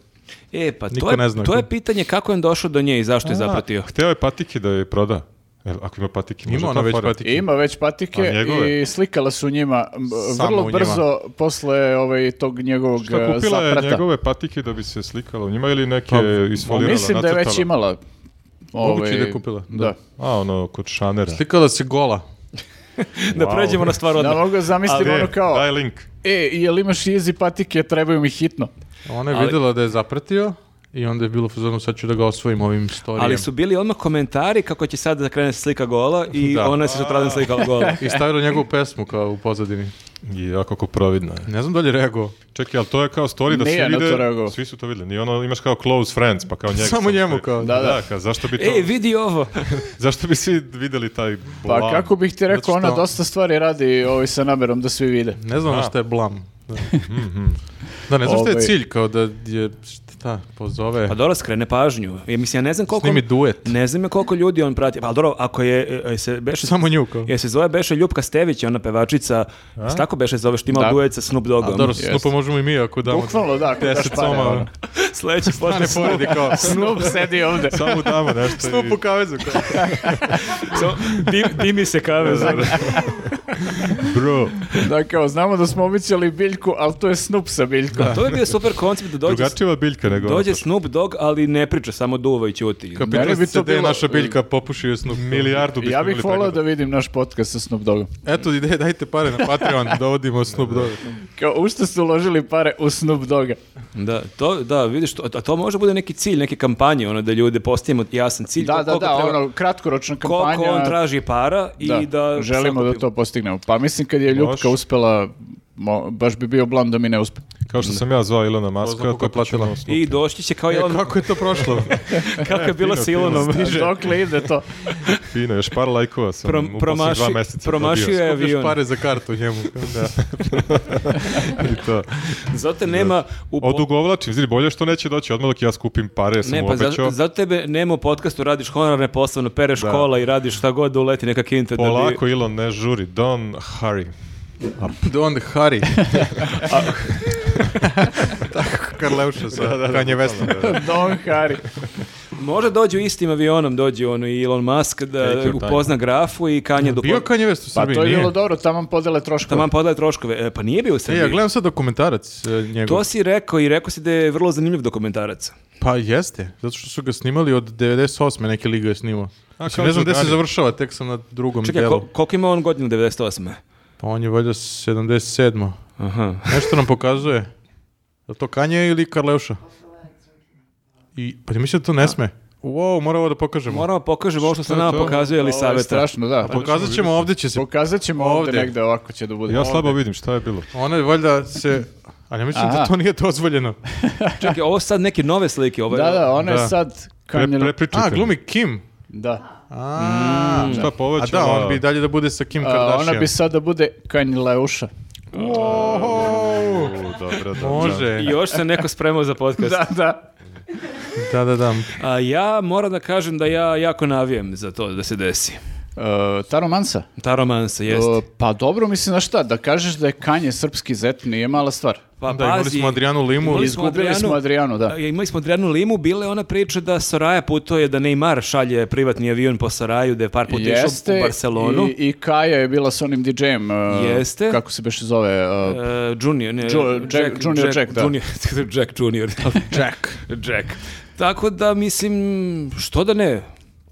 E, pa to
Niko
je,
ne zna
to
ko.
je pitanje kako je on došao do nje i zašto je
A,
zapratio.
Hteo Pa, je patike da je proda. Jel, ako ima patike, može
Ima ona
to
već
fora.
patike.
Ima već patike
A njegove?
i slikala su njima m,
Samo
vrlo
u njima.
brzo posle ovaj, tog njegovog
Šta
eh,
kupila je
zaprata.
njegove patike da bi se slikala u njima ili neke
Pa,
isfolirala,
Mislim da je već
nacrtala?
imala. ovaj,
Moguće da je kupila, da.
da.
A, ono, kod šanera.
Slikala se gola.
Da pređemo na stvar
Da
odmah.
mogu zamislim
E,
ono kao,
Daj link.
e, jel imaš easy patike, trebaju mi hitno.
Ona je
Ali-
vidjela da je zapratio i onda je bilo u fazonu sad ću da ga osvojim ovim storijem.
Ali su bili odmah komentari kako će sad da krene slika gola i
Da.
ona se sutradan slikala gola.
I stavila njegovu pesmu kao u pozadini.
I jako ko providno je.
Ne znam da li je reagovao.
Čekaj, ali to je kao story da
Nije
svi
na to
vide,
reagovao.
svi su to videli. Nije ono, imaš kao close friends, pa kao njega.
Samo
sam
njemu
ste-
kao. E,
Da,
Da,
da,
da.
kao, zašto bi to,
Ej, vidi ovo.
zašto bi svi videli taj
Pa
blam?
kako bih ti rekao,
Zato
ona
što-
dosta stvari radi ovaj, sa namerom da svi vide.
Ne znam
A.
šta je blam. Da, da ne znam šta je
Ovaj.
cilj, kao da je, šta, pozove,
Pa dobro, skrene pažnju. Ja, mislim, ja ne znam koliko...
snimi duet.
Ne znam ja koliko ljudi on prati. Pa dobro, ako je... e, se beše,
Samo nju kao.
Je se zove Beše Ljupka Stević, ona pevačica. s Tako Beše zove što ima
Da.
duet sa Snoop Doggom.
A dobro, sa
Jeste.
Snoopa možemo i mi ako damo
Bukvalno, da, ako daš
10
pare,
soma,
ono.
Sledeći
a ne
podcast.
poredi kao.
Snoop sedi ovde.
Samo damo nešto i...
Snoop u kavezu kao.
Samo Dim, dimi se kave. za-
Bro,
Da, kao, Dakle, znamo da smo omićali biljku, ali to je Snoop sa biljkom.
To bi bio super koncept da dođe,
drugačiva biljka nego... ono
dođe
ovo.
Snoop Dogg, ali ne priča, samo duva i ćuti.
Kao
Meni
pitali
bi
ste se
to
gde je
bilo-
naša biljka, popušio Snoop.
Milijardu bismo
Ja bih
imali
volao
pregleda.
da vidim naš podcast sa Snoop Doggom.
Eto ideje, dajte pare na Patreon, dovodimo Snoop Dogg.
Kao, u što su uložili pare u Snoop Dogga?
Da, to, da, vidiš, to, a to može bude neki cilj, neke kampanje, ono, da ljudi postavimo jasan cilj.
Da,
kol-
da,
koliko
da,
treba-
ono, kratkoročna kampanja.
Koliko on traži para i da,
želimo da
sakupimo.
to postignemo. Pa mislim kad je Ljupka
Može.
uspela, mo- baš bi bio blam da mi ne uspe.
Kao što sam ja zvao Ilona
Ko zna
Maska,
koga
to
je platila.
platila.
I doći će kao
E,
i on,
kako je to prošlo?
kako je bilo
fino,
s Ilonom.
Dokle ide to?
Fino, još par lajkova sam
Prom-
u posljednjih
promaši-
dva meseca
promašio
dobio.
je
Skupljaš
avion.
pare za kartu njemu. kao Da.
I to.
Zato nema u po-
Odugovlačim, zili, bolje što neće doći odmah dok ja skupim pare, sam
Ne,
mu
pa za-
obećao.
zato tebe nema u podcastu, radiš honorarne poslovno, pereš kola i radiš šta god da uleti neka kinta. Da
Polako,
bi...
Ilon, ne žuri. Don't hurry.
Don Harry. Tako Karleuša sa
Da, da, da,
Kanye Westom.
Don Harry.
Možda dođu istim avionom, dođu ono i Elon Musk da
Take your time.
upozna grafu i Kanje do
Bio Kanye West u
Pa
Srbiji,
to je
nije?
bilo dobro, tamo podele troškove.
Taman podaje troškove. E, pa nije bio u
E,
Srbiji.
ja gledam sad dokumentarac e, njegov.
To si rekao i rekao si da je vrlo zanimljiv dokumentarac.
Pa jeste, zato što su ga snimali od 98. neke liga je snimao.
A,
Mislim,
kao
ne znam gde se
Đordani.
završava, tek sam na drugom
Čekaj,
delu.
kol- koliko ima on godina 98.
Pa on je valjda 77.
Aha.
Nešto nam pokazuje. Je to Kanje ili Karleuša? I, pa ti mislim da to ne sme. Wow, mora ovo da pokažemo.
Moramo pokažemo ovo što se
je
nama
to?
pokazuje ili
Ovo je
saveta.
strašno, da.
Pokazat ćemo, ovdje će se.
Pokazat ćemo ovde,
Ovde.
negde, ovako će da bude.
Ja slabo
Ovde.
vidim šta je bilo.
Ona je valjda se... Ali ja mislim da
Aha.
to nije dozvoljeno.
Čekaj, ovo su sad neke nove slike. Ovo je-
Da, da, ona
Da.
je sad...
Pre,
Kanye-
prepričajte
A,
mi.
glumi Kim.
Da.
A,
Šta
a
poveća?
da, on bi i dalje da bude sa Kim
A,
Kardashian.
ona bi sad da bude Kanye Leuša.
Oho!
Dobro, dobro.
Može.
I još se neko spremao za podcast.
Da, da.
Da, da, da.
A ja moram da kažem da ja jako navijem za to da se desi.
E, ta romansa.
Ta romansa, jeste.
E, pa dobro, mislim, na šta, da kažeš da je Kanje srpski zet nije mala stvar.
Pa
Da, imali
pazi,
smo Adrianu Limu.
imali smo
Izgubili smo Adrianu, da.
a, Imali smo Adrianu Limu, bila je ona priča da Soraja putuje, da Neymar šalje privatni avion po Saraju, da je par puta išao u Barcelonu.
I, i Kaja je bila sa onim DJ-em. e,
Jeste.
Kako se beše zove? e,
E, junior, ne,
Ju- Jack- Junior Jack, da.
Junior, Jack Junior. Jack. Jack. Tako da, mislim, što da ne?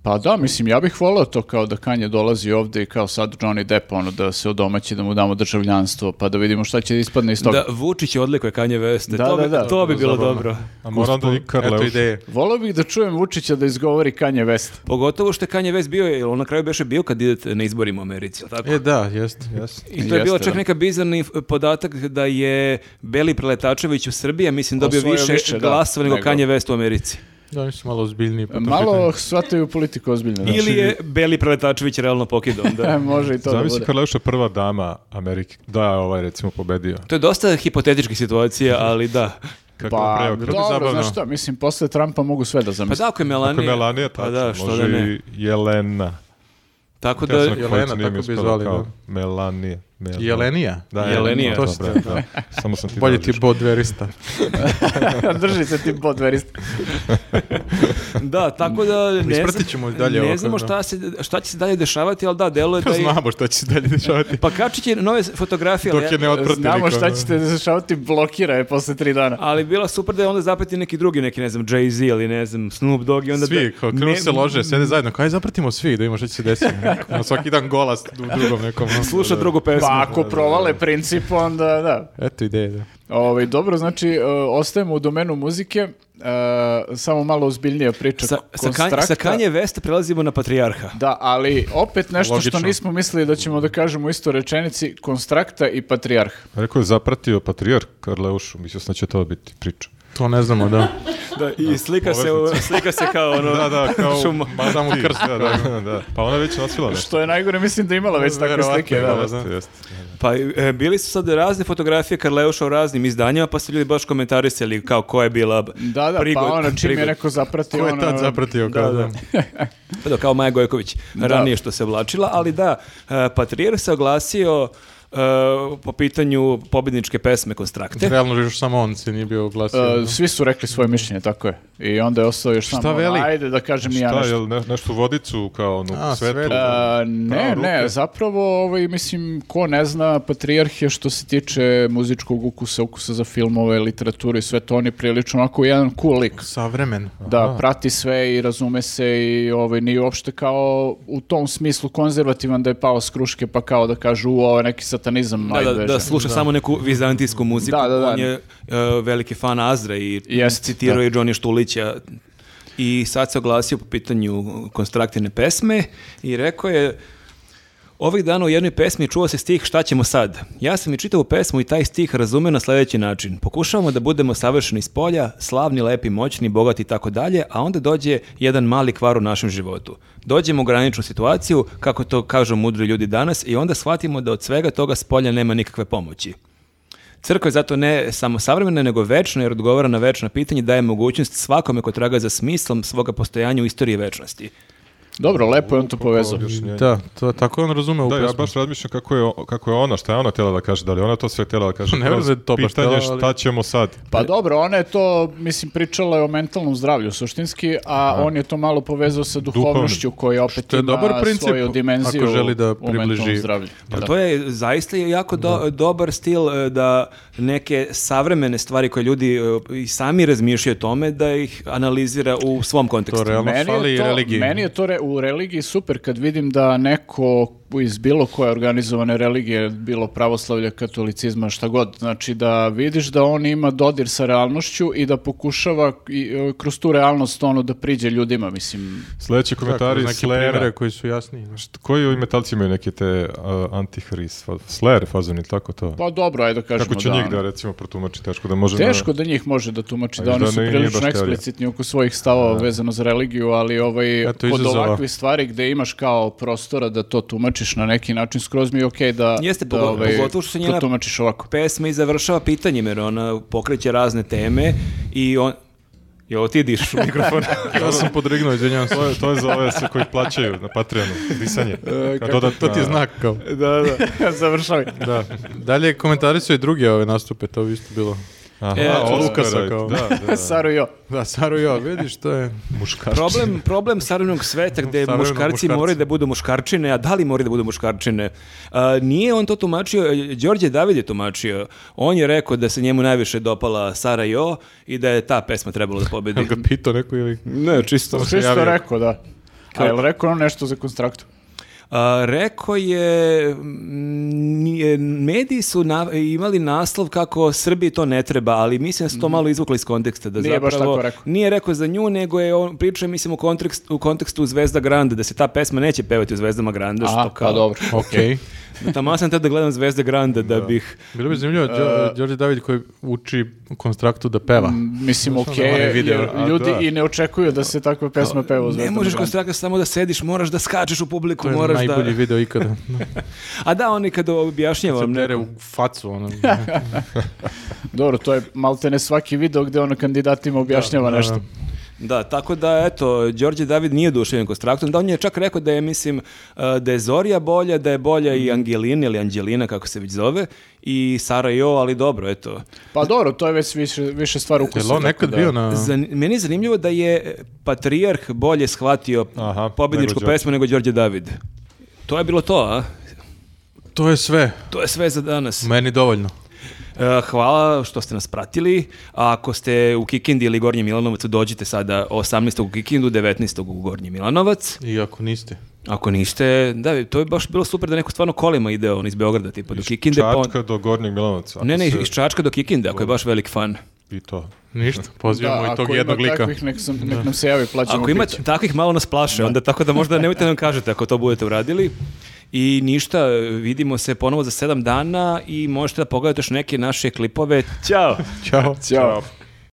pa da, mislim, ja bih volao to kao da Kanje dolazi ovde i kao sad Johnny Depp, ono, da se odomaći, da mu damo državljanstvo, pa da vidimo šta će da ispadne iz toga.
Da Vučić odlikuje Kanje Veste.
Da,
to, bi,
da, da.
to bi bilo dobro.
A moram da i
Eto
Karleuša.
ideje.
Volao bih da čujem Vučića da izgovori Kanje West.
Pogotovo što je Kanje Vest bio, jer on na kraju beše bio kad idete na izborima u Americi, jel tako?
E, da, jeste.
Jeste.
I to je bilo
Jeste,
čak
da.
neka bizarni f- podatak da je Beli Preletačević u Srbiji, ja mislim, dobio
Osvojio
više,
više, da,
glasova nego
nego-
Kanje Vest u Americi.
Da, oni su malo ozbiljniji. po tom
E, Malo
pitanju.
shvataju politiku ozbiljno. da.
Ili je Beli Preletačević realno pokidao.
E,
Da.
može i to da
Zamisli
bude.
kad Levša prva dama Amerike. Da, je ovaj recimo pobedio.
To je dosta hipotetička situacija, ali da.
Kako
Pa,
pa,
bi
dobro,
zabavno.
znaš šta, mislim, posle Trumpa mogu sve da
Pa
zamislim.
da, ako je Melanija.
Ako je Melanija, tačno,
pa da, što
može
da ne.
i Jelena.
Tako
Ja
da,
sam na
Jelena,
koncu nije mi
tako bi
uspelo
zvali,
kao
da.
Melanija. Melanija.
Jelenija.
Da,
Jelenija.
To
To
dobro,
ste-
da. Samo sam ti
Bolje ti
dođeš.
bod verista.
Drži se ti bod verista.
da, tako da ne, znam-
Ispratit ćemo dalje
ne
ovako,
znamo
da.
šta, se, šta će se dalje dešavati, ali da, delo je da... Pa i-
Pa Znamo šta će se dalje dešavati.
Pa Kačić je nove fotografije, ali,
Dok je ne otprati
Znamo
niko,
šta
da.
ćete dešavati, blokira je posle tri dana.
ali bila super da je onda zapeti neki drugi, neki, ne znam, Jay-Z ili ne znam, Snoop Dogg i onda...
Svi,
da-
kao krenu
ne-
se lože, sede zajedno. Kao, aj zapratimo svi da imamo šta će se desiti. Ono, svaki dan golas u drugom nekom. ono.
Sluša drugu pesmu.
Pa ako provale princip, onda da.
Eto ideje, da.
Ovaj, dobro, znači, e, ostajemo u domenu muzike. E, samo malo ozbiljnija
Pa,
priča.
Sa, sa, kan, sa
Konstrakta.
Kanje Vesta prelazimo na Patrijarha.
Da, ali opet nešto
Logično.
što nismo mislili da ćemo da kažemo u istoj rečenici, konstrakta i patrijarh.
Rekao je zapratio patrijarh Karleušu, mislio sam da će to biti priča.
To ne znamo, da.
Da, i slika se, u- slika se kao ono...
Da, da, kao
Šuma.
Ma,
Samo
ti,
krst,
Da, da, da. Pa ona je već nosila nešto.
Što je najgore, mislim da imala već takve
Verovatno,
slike. Da, da.
da.
Jeste, jeste.
Pa e, bili su sad razne fotografije Karleuša u raznim izdanjima, pa su ljudi baš komentarisali kao ko je bila
Da, da,
prigod-
pa ono, čim je
prigod-
neko zapratio,
Ko je
ono,
tad zapratio?
Da,
kao,
da. Pa da, kao Maja Gojković, ranije što se oblačila, ali da, e, Patrijer se oglasio e, po pitanju pobjedničke pesme Konstrakte.
Realno još samo on se nije bio oglasio.
e,
da.
svi su rekli svoje mišljenje, tako je. I onda je ostao još samo, ono,
veli?
ajde da kažem i ja
Šta,
nešto.
jel ne, nešto u vodicu, kao onu
A,
svetu?
svetu.
E,
Pravo
ne,
ruke.
ne, zapravo, ovaj, mislim, ko ne zna, Patrijarh je što se tiče muzičkog ukusa, ukusa za filmove, literaturu i sve to, on je prilično onako jedan cool lik.
Savremen.
Da, prati sve i razume se i ovaj, nije uopšte kao u tom smislu konzervativan da je pao s kruške pa kao da kažu u, ovo je neki satanizam.
Da, da,
najbeže."
da sluša samo neku vizantijsku muziku.
Da, da, da.
On je e, veliki fan Azra i
Jest,
citirao
da.
je Johnny Štulića i sad se oglasio po pitanju konstraktivne pesme i rekao je Ovih dana u jednoj pesmi čuo se stih Šta ćemo sad? Ja sam i čitao pesmu i taj stih razumeo na sljedeći način. Pokušavamo da budemo savršeni s polja, slavni, lepi, moćni, bogati i tako dalje, a onda dođe jedan mali kvar u našem životu. Dođemo u graničnu situaciju, kako to kažu mudri ljudi danas, i onda shvatimo da od svega toga s polja nema nikakve pomoći. Crkva je zato ne samo savremena, nego večna, jer odgovara na večno pitanje i daje mogućnost svakome ko traga za smislom svoga postojanja u istoriji večnosti.
Dobro, lepo je on to povezao.
Objašnjenje.
Da, to, tako on razume u
Da, ja
pesmu.
baš razmišljam kako je, o- kako je ona, šta je ona htjela da kaže, da li je ona to sve htjela da kaže.
Ne vjerujem da je to baš
Pitanje je
htjela, ali-
šta ćemo sad.
Pa dobro, ona je to, mislim, pričala je o mentalnom zdravlju suštinski, a on je to malo povezao sa duhovnošću koja opet
To je
ima
dobar princip,
svoju dimenziju
ako želi da
u mentalnom
približi.
zdravlju.
Pa
Da.
to je zaista jako do- dobar stil e, da neke savremene stvari koje ljudi e, i sami razmišljaju o tome da ih analizira u svom kontekstu.
To realno fali
je to,
religiji.
meni je to re- u religiji super kad vidim da neko iz bilo koje organizovane religije, bilo pravoslavlja, katolicizma, šta god, znači da vidiš da on ima dodir sa realnošću i da pokušava i, e, kroz tu realnost ono da priđe ljudima, mislim.
Sljedeći komentari
Tako,
Slera.
Neki primjere koji su jasni.
Št- Koji ovi metalci imaju neke te uh, antihrist, fa- Slayer fazon ili tako to?
Pa dobro, ajde da kažemo
Kako će
da,
njih
ono,
da recimo protumači teško da može
Teško da njih može da tumači,
A
da
još
oni
da
su
ne- nije
prilično
baš teorija.
eksplicitni oko svojih stavova vezano za religiju, ali ovaj,
Eto,
kod
izazova.
ovakvih stvari gde imaš kao prostora da to tumačiš na neki način, skroz mi je okej da,
Jeste,
da
pogo-
ovaj,
pogotovo što se
to
njena-
tumačiš ovako.
Pesma i završava pitanjem jer ona pokreće razne teme i on... Jo, ti diš u mikrofon.
Ja sam podrignuo, izvinjavam se.
To je, to je za ove sve koji plaćaju na Patreonu, disanje.
E, kako-
To ti je znak kao.
Da, da, završavi.
Da. Dalje komentari su i druge ove nastupe, to bi isto bilo.
Aha,
E,
Oscara,
Lukasa kao.
Da, da.
Saru jo.
Da, Saru ja, vidiš, to je...
problem, problem savremenog sveta gde
Savremenog
muškarci
muškarca.
moraju da budu muškarčine, a da li moraju da budu muškarčine? A, nije on to tumačio, e, Đorđe David je tumačio. On je rekao da se njemu najviše dopala Sara Jo i da je ta pesma trebala da pobedi.
Jel ga pitao neko ili...
Ne, čisto.
Sve što rekao, da. A jel rekao on nešto za ono konstraktu?
A, rekao je, mm, nije- mediji su na- imali naslov kako Srbiji to ne treba, ali mislim da su to malo izvukli iz konteksta. Da
Mhm. Nije baš
zapravo,
tako rekao.
Nije rekao za nju, nego je on pričao, mislim, u, kontekst, u kontekstu Zvezda Grande, da se ta pesma neće pevati u Zvezdama Grande,
Aha,
što kao...
pa dobro.
Okej.
Tamo sam tada da gledam Zvezde Grande da, bih...
Bilo bi zanimljivo, Đor- Đorđe David koji uči konstraktu da peva.
Mm. Mislim, okej,
da onaj video,
jer
a,
ljudi
da.
i ne očekuju da se takva pesma peva u
Ne
Zvezdama
možeš
Grande.
konstrakta samo da sediš, moraš da skačeš u publiku,
To je
moraš da...
najbolji video ikada.
A da, oni kada objašnjava
Se
vam
pere
neko...
u facu, ono.
Dobro, to je maltene svaki video gde ono kandidatima objašnjava nešto.
Da, tako da, eto, Đorđe David nije duševljen konstraktom, da on je čak rekao da je, mislim, eh, da je Zorija bolja, da je bolja i Angelina ili Anđelina, kako se već zove, i Sara Jo, ali dobro, eto.
Pa dobro, to je već više, više stvar ukusa.
Jel on
tako
nekad
da-
bio na...
Zan, meni je zanimljivo da je Patrijarh bolje shvatio
Aha,
pobjedničku
nego Đorđe.
pesmu nego Đorđe David. To je bilo to, a?
To je sve.
To je sve za danas.
Meni dovoljno.
E, Hvala što ste nas pratili. A ako ste u Kikindi ili Gornji Milanovac, dođite sada 18. u Kikindu, 19. u Gornji Milanovac.
I ako niste.
Ako niste, da, to je baš bilo super da neko stvarno kolima ide on iz Beograda, tipa do Kikinde. pa on-
Čačka do Gornjeg Milanovca.
Ne, ne,
Ako se-
iz Čačka do Kikinde, ako je baš velik fan.
I to.
Ništa.
Da,
Pozivamo i
ako
tog
ima
jednog lika.
takvih, nek, sam, nek nam se javi, plaćamo
Ako ima
piće.
takvih, malo nas plaše, onda tako da možda nemojte da nam kažete ako to budete uradili. I ništa, vidimo se ponovo za sedam dana i možete da pogledate još neke naše klipove. Ćao!
Ćao.
Ćao.